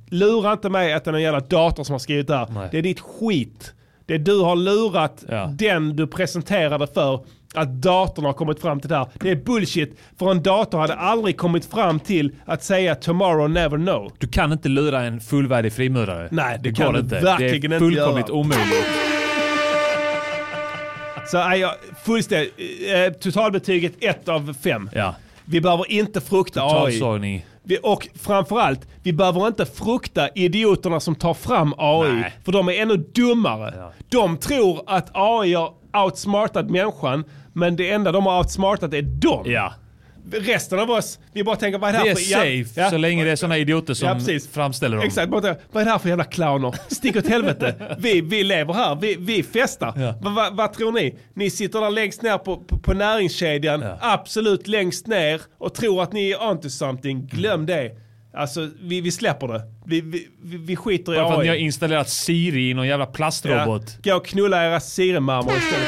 Speaker 2: Lura inte mig att det är någon jävla dator som har skrivit det här. Det är ditt skit. Det du har lurat den du presenterade för att datorn har kommit fram till det här. Det är bullshit. För en dator hade aldrig kommit fram till att säga tomorrow never know.
Speaker 1: Du kan inte lura en fullvärdig frimurare.
Speaker 2: Nej, det kan du verkligen
Speaker 1: Det är
Speaker 2: inte göra.
Speaker 1: fullkomligt omöjligt.
Speaker 2: Så nej, jag, fullständigt, eh, totalbetyget 1 av 5.
Speaker 1: Ja.
Speaker 2: Vi behöver inte frukta AI.
Speaker 1: Totalsågning.
Speaker 2: Vi, och framförallt, vi behöver inte frukta idioterna som tar fram AI.
Speaker 1: Nej.
Speaker 2: För de är ännu dummare. De tror att AI har outsmartat människan, men det enda de har outsmartat är dem.
Speaker 1: Ja.
Speaker 2: Resten av oss, vi bara tänker vad är det här
Speaker 1: Det är
Speaker 2: för... ja,
Speaker 1: safe
Speaker 2: ja.
Speaker 1: så länge det är sådana idioter som
Speaker 2: Ja, precis.
Speaker 1: framställer dem.
Speaker 2: Exakt, bara, tänker, vad är det här för jävla clowner? Stick åt
Speaker 1: [LAUGHS]
Speaker 2: helvete. Vi, vi lever här, vi, vi festar.
Speaker 1: Ja.
Speaker 2: Va, va, vad tror ni? Ni sitter där längst ner på, på, på näringskedjan, absolut längst ner och tror att ni är onto something. Glöm det. Alltså, vi, vi släpper det. Vi, vi, vi, vi skiter i
Speaker 1: Bara för att ni har
Speaker 2: AI.
Speaker 1: installerat Siri i någon jävla plastrobot.
Speaker 2: Gå och knulla era siremammor
Speaker 1: [LAUGHS]
Speaker 2: istället.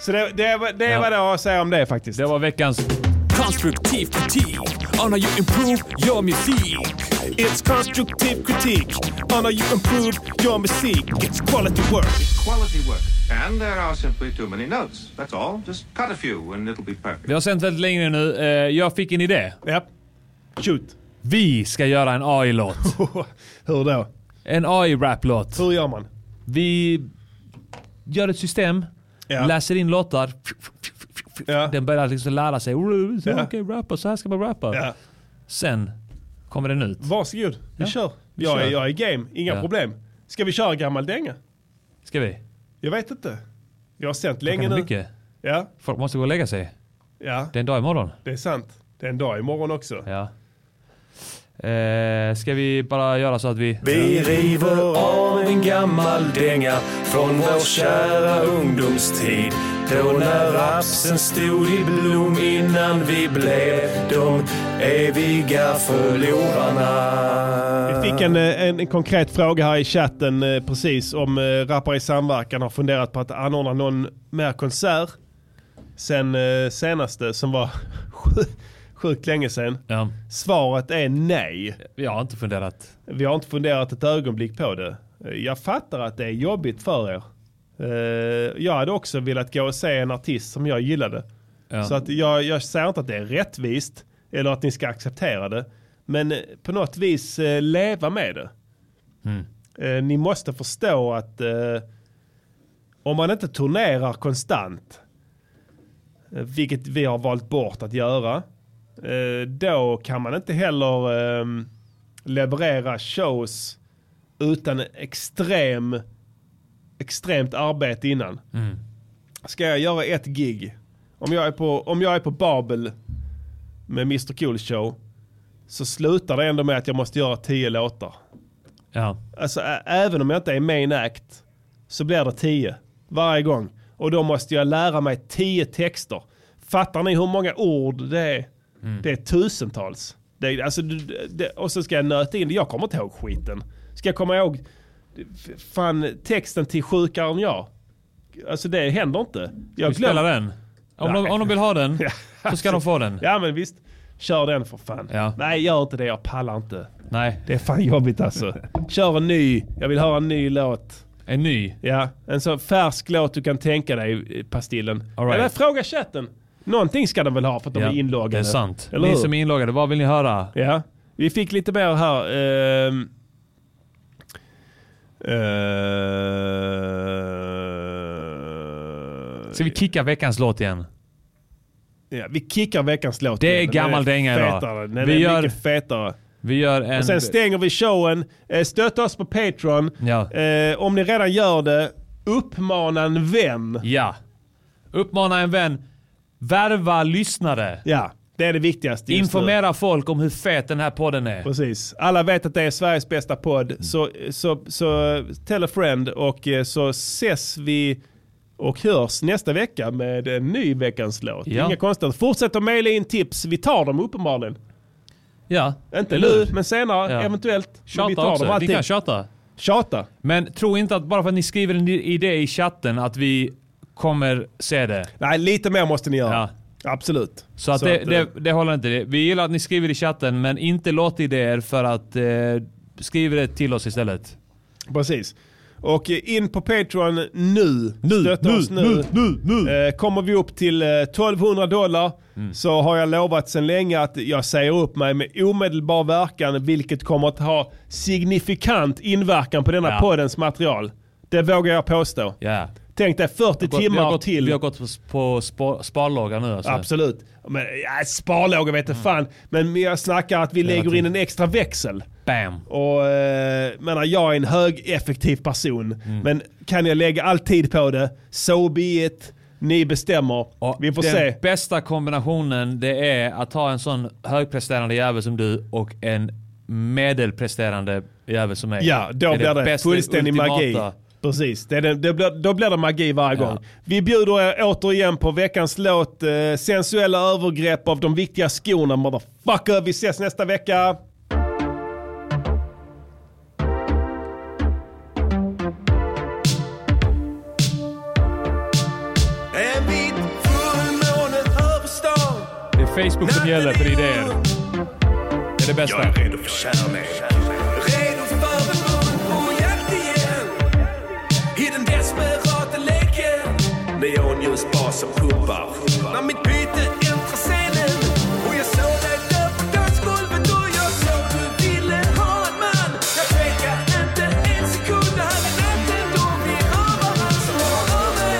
Speaker 2: Så det, det, var- det var det jag har att säga om det faktiskt.
Speaker 1: Det var veckans...
Speaker 9: Constructive critique on how you improve your music.
Speaker 6: It's constructive critique on how you improve your music. It's quality work.
Speaker 12: Quality work. And there are simply too many notes. That's all. Just cut a few and it'll be perfect.
Speaker 1: Vi har sänt väldigt länge nu. Eh, Jag fick en idé.
Speaker 2: Ja. Shoot.
Speaker 1: Vi ska göra en AI-låt.
Speaker 2: [LAUGHS] Hur då?
Speaker 1: En AI-rap-låt.
Speaker 2: Hur gör man?
Speaker 1: Vi gör ett system,
Speaker 2: Ja.
Speaker 1: läser in låtar. Den börjar liksom lära sig. "Oh, Så,
Speaker 2: Ja.
Speaker 1: Okej, rappa, så här ska man rappa.
Speaker 2: Ja.
Speaker 1: Sen kommer den ut.
Speaker 2: Varsågod, vi
Speaker 1: Ja,
Speaker 2: kör.
Speaker 1: vi
Speaker 2: jag,
Speaker 1: kör.
Speaker 2: Är, jag är game, inga
Speaker 1: Ja.
Speaker 2: problem. Ska vi köra gammal dänga?
Speaker 1: Ska vi?
Speaker 2: Jag vet inte. Vi har sänt
Speaker 1: Klockan
Speaker 2: länge
Speaker 1: är
Speaker 2: nu.
Speaker 1: mycket.
Speaker 2: Ja,
Speaker 1: Folk måste gå och lägga sig.
Speaker 2: ja,
Speaker 1: Det är en dag imorgon.
Speaker 2: det är sant. Det är en dag imorgon också.
Speaker 1: Ja. Eh, ska vi bara göra så att vi...
Speaker 6: Vi river av en gammal dänga från vår kära ungdomstid. Då när rapsen stod i blom innan vi blev de eviga förlorarna.
Speaker 2: Vi fick en, eh, en, en konkret fråga här i chatten eh, precis om eh, Rappare i samverkan har funderat på att anordna någon mer konsert sen eh, senaste som var [LAUGHS] sj- sjukt länge sedan.
Speaker 1: Ja.
Speaker 2: Svaret är nej.
Speaker 1: Jag har inte funderat.
Speaker 2: Vi har inte funderat ett ögonblick på det. Jag fattar att det är jobbigt för er. Eh, Jag hade också velat gå och se en artist som jag gillade.
Speaker 1: Ja.
Speaker 2: Så att jag, jag säger inte att det är rättvist eller att ni ska acceptera det. Men eh, på något vis eh, leva med det. Eh, Ni måste förstå att eh, om man inte turnerar konstant, eh, vilket vi har valt bort att göra, eh, då kan man inte heller ehm, leverera shows utan extrem, extremt arbete innan.
Speaker 1: Mm.
Speaker 2: Ska jag göra ett gig, om jag är på, om jag är på Babel med Mr Cool Show, så slutar det ändå med att jag måste göra tio låtar.
Speaker 1: Ja.
Speaker 2: Alltså ä- även om jag inte är main act så blir det 10 varje gång. Och då måste jag lära mig 10 texter. Fattar ni hur många ord det är?
Speaker 13: Mm.
Speaker 2: Det är tusentals. Det, är- alltså, du- det, och så ska jag nöta in det. Jag kommer inte ihåg skiten. Ska jag komma ihåg f- fan, texten till Sjukare än jag? Alltså det händer inte.
Speaker 1: vi spelar den? Om de,
Speaker 2: Nej.
Speaker 1: om de vill
Speaker 2: [LAUGHS]
Speaker 1: ha den så ska de få den.
Speaker 2: Ja men visst. Kör den för fan. Nej gör inte det, jag pallar inte.
Speaker 1: Nej.
Speaker 2: Det är fan jobbigt alltså. Kör en ny, jag vill höra en ny låt.
Speaker 1: En ny?
Speaker 2: Ja, en så färsk låt du kan tänka dig, eh, Pastillen.
Speaker 1: All right.
Speaker 2: Eller fråga chatten. Någonting ska de väl ha för att de
Speaker 1: Ja,
Speaker 2: är inloggade.
Speaker 1: Det är sant.
Speaker 2: Eller
Speaker 1: ni
Speaker 2: hur?
Speaker 1: som är inloggade, vad vill ni höra?
Speaker 2: Ja, vi fick lite mer här. ehm. Eh,
Speaker 1: Ska vi kicka veckans låt igen?
Speaker 2: ja, vi kickar veckans låt.
Speaker 1: Det är
Speaker 2: igen.
Speaker 1: gammal
Speaker 2: Den
Speaker 1: dänga idag.
Speaker 2: fetare. Den
Speaker 1: Vi
Speaker 2: är
Speaker 1: gör-
Speaker 2: mycket fetare.
Speaker 1: Vi gör en...
Speaker 2: Och sen stänger vi showen. Eh, Stötta oss på Patreon.
Speaker 1: Ja.
Speaker 2: Eh, om ni redan gör det, uppmana en vän.
Speaker 1: Ja. Uppmana en vän. Värva lyssnare.
Speaker 2: Ja, det är det viktigaste just nu.
Speaker 1: Informera folk om hur fet den här podden är.
Speaker 2: Precis. Alla vet att det är Sveriges bästa podd.
Speaker 1: Mm.
Speaker 2: Så, så, så eh, tell a friend och eh, så ses vi och hörs nästa vecka med en ny Veckans låt.
Speaker 1: Ja.
Speaker 2: Inga konstigheter. Fortsätt att mejla in tips. Vi tar dem uppenbarligen.
Speaker 1: Ja.
Speaker 2: Inte
Speaker 1: Eller
Speaker 2: nu,
Speaker 1: hur?
Speaker 2: men senare
Speaker 1: Ja.
Speaker 2: eventuellt. Men
Speaker 1: Tjata
Speaker 2: vi tar
Speaker 1: också.
Speaker 2: dem
Speaker 1: Ni
Speaker 2: alltid.
Speaker 1: kan tjata.
Speaker 2: Tjata.
Speaker 1: Men tro inte att bara för att ni skriver en idé i chatten att vi kommer se det.
Speaker 2: Nej, lite mer måste ni göra. Absolut.
Speaker 1: Så, att
Speaker 2: Så
Speaker 1: det,
Speaker 2: att, eh,
Speaker 1: det, det håller inte. Det- Vi gillar att ni skriver i chatten, men inte låtidéer för att eh, skriv det till oss istället.
Speaker 2: Precis. Och eh, in på Patreon nu.
Speaker 1: Nu,
Speaker 2: Stötta
Speaker 1: nu,
Speaker 2: oss nu.
Speaker 1: nu, Mm.
Speaker 2: Eh, kommer vi upp till eh, 1200 dollar så har jag lovat sedan länge att jag säger upp mig med omedelbar verkan vilket kommer att ha signifikant inverkan på denna
Speaker 1: Ja.
Speaker 2: poddens material. Det vågar jag påstå.
Speaker 1: Ja.
Speaker 2: Tänk dig 40
Speaker 1: Vi har gått-
Speaker 2: timmar
Speaker 1: vi har gått,
Speaker 2: till.
Speaker 1: Vi har gått på, sp- på spa- sparlåga nu alltså.
Speaker 2: Absolut. Men, ja, sparlåga vet
Speaker 1: Mm.
Speaker 2: inte fan. Men jag snackar att vi lägger in en extra växel.
Speaker 1: Bam.
Speaker 2: Och, eh, menar, jag är en högeffektiv person.
Speaker 1: Mm.
Speaker 2: Men kan jag lägga all tid på det, so be it. Ni bestämmer. vi får
Speaker 1: Den
Speaker 2: se.
Speaker 1: bästa kombinationen det är att ha en sån högpresterande jävel som du och en medelpresterande jävel som mig.
Speaker 2: Ja, då
Speaker 1: är
Speaker 2: blir det,
Speaker 1: bästa,
Speaker 2: fullständig
Speaker 1: ultimata.
Speaker 2: magi. Precis, det är den, det blir, då blir det magi varje gång. Vi bjuder er återigen på veckans låt eh, Sensuella övergrepp av de viktiga skorna motherfucker. Vi ses nästa vecka.
Speaker 8: En vit fullmåne över stan.
Speaker 1: Det är Facebook som gäller för idéer. Det är det bästa. Jag är redo för
Speaker 8: kärlek. Redo för en mun på jakt igen. I den desperata leken. Neonljusbar som pumpar. När mitt byte äntrar scenen. Och jag såg dig där på dansgolvet och jag såg du ville ha en man. Jag tvekar inte en sekund. Det här är natten då vi har varandra. Så rör mig.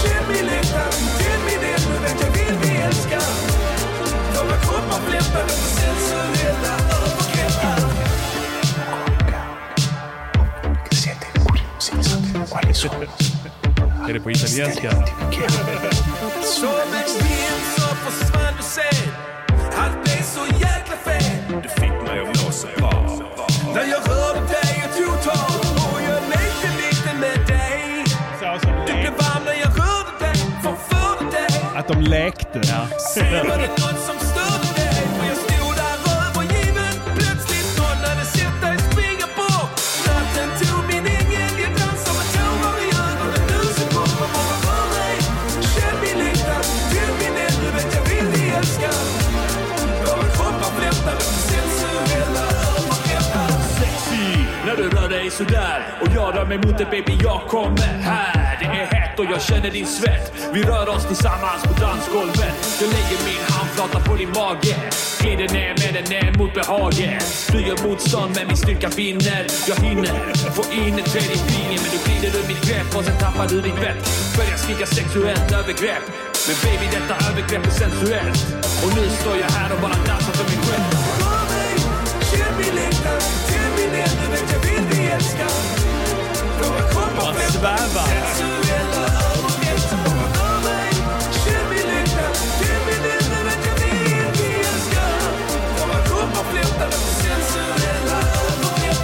Speaker 8: Känn min längtan. Tänd min eld. Du vet jag vill bli älskad. Våra kroppar flämpar efter sensuella övergrepp.
Speaker 1: Är det på italienska?
Speaker 8: Som en vind så försvann du sen Allt blev så jäkla fel Du fick mig att må så bra När jag rörde dig och tog tag Och jag lekte lite med dig Du blev varm när jag rörde dig Förförde dig
Speaker 2: Att de lekte.
Speaker 8: Sen var det något som störde dig För jag stod där övergiven Plötsligt någon hade sett dig springa bort Natten tog min ängel Jag dansade med tårar i ögonen Nu så kommer bara rör mig Känn min längtan, tänd min eld Du vet jag vill bli älskad Våra kroppar flämtar efter sensuella övergrepp
Speaker 9: Sexy när du rör dig sådär och jag rör mig mot dig baby, jag kommer här. Det är hett och jag känner din svett. Vi rör oss tillsammans på dansgolvet. Jag lägger min handflata på din mage. Glider ner med den ner mot behaget. Du gör motstånd men min styrka vinner. Jag hinner få in ett tredje finger men du glider ur mitt grepp och sen tappar du ditt vett. Börjar skrika sexuellt övergrepp. Men baby detta övergrepp är sensuellt. Och nu står jag här och bara dansar för mig själv.
Speaker 8: Känn min längtan, tänd min eld Du vet jag vill bli älskad Våra kroppar flämtar efter sensuella övergrepp Så bara rör mig Känn min längtan, tänd min eld Du vet jag vill bli älskad Våra kroppar flämtar efter sensuella övergrepp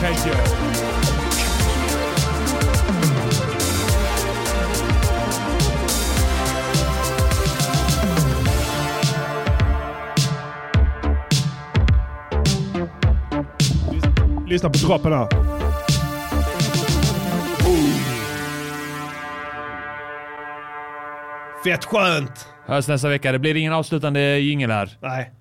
Speaker 1: Arpeggio.
Speaker 2: Lyssna på droppen här. Fett skönt!
Speaker 1: Hörs nästa vecka. Det blir ingen avslutande jingel här.
Speaker 2: Nej.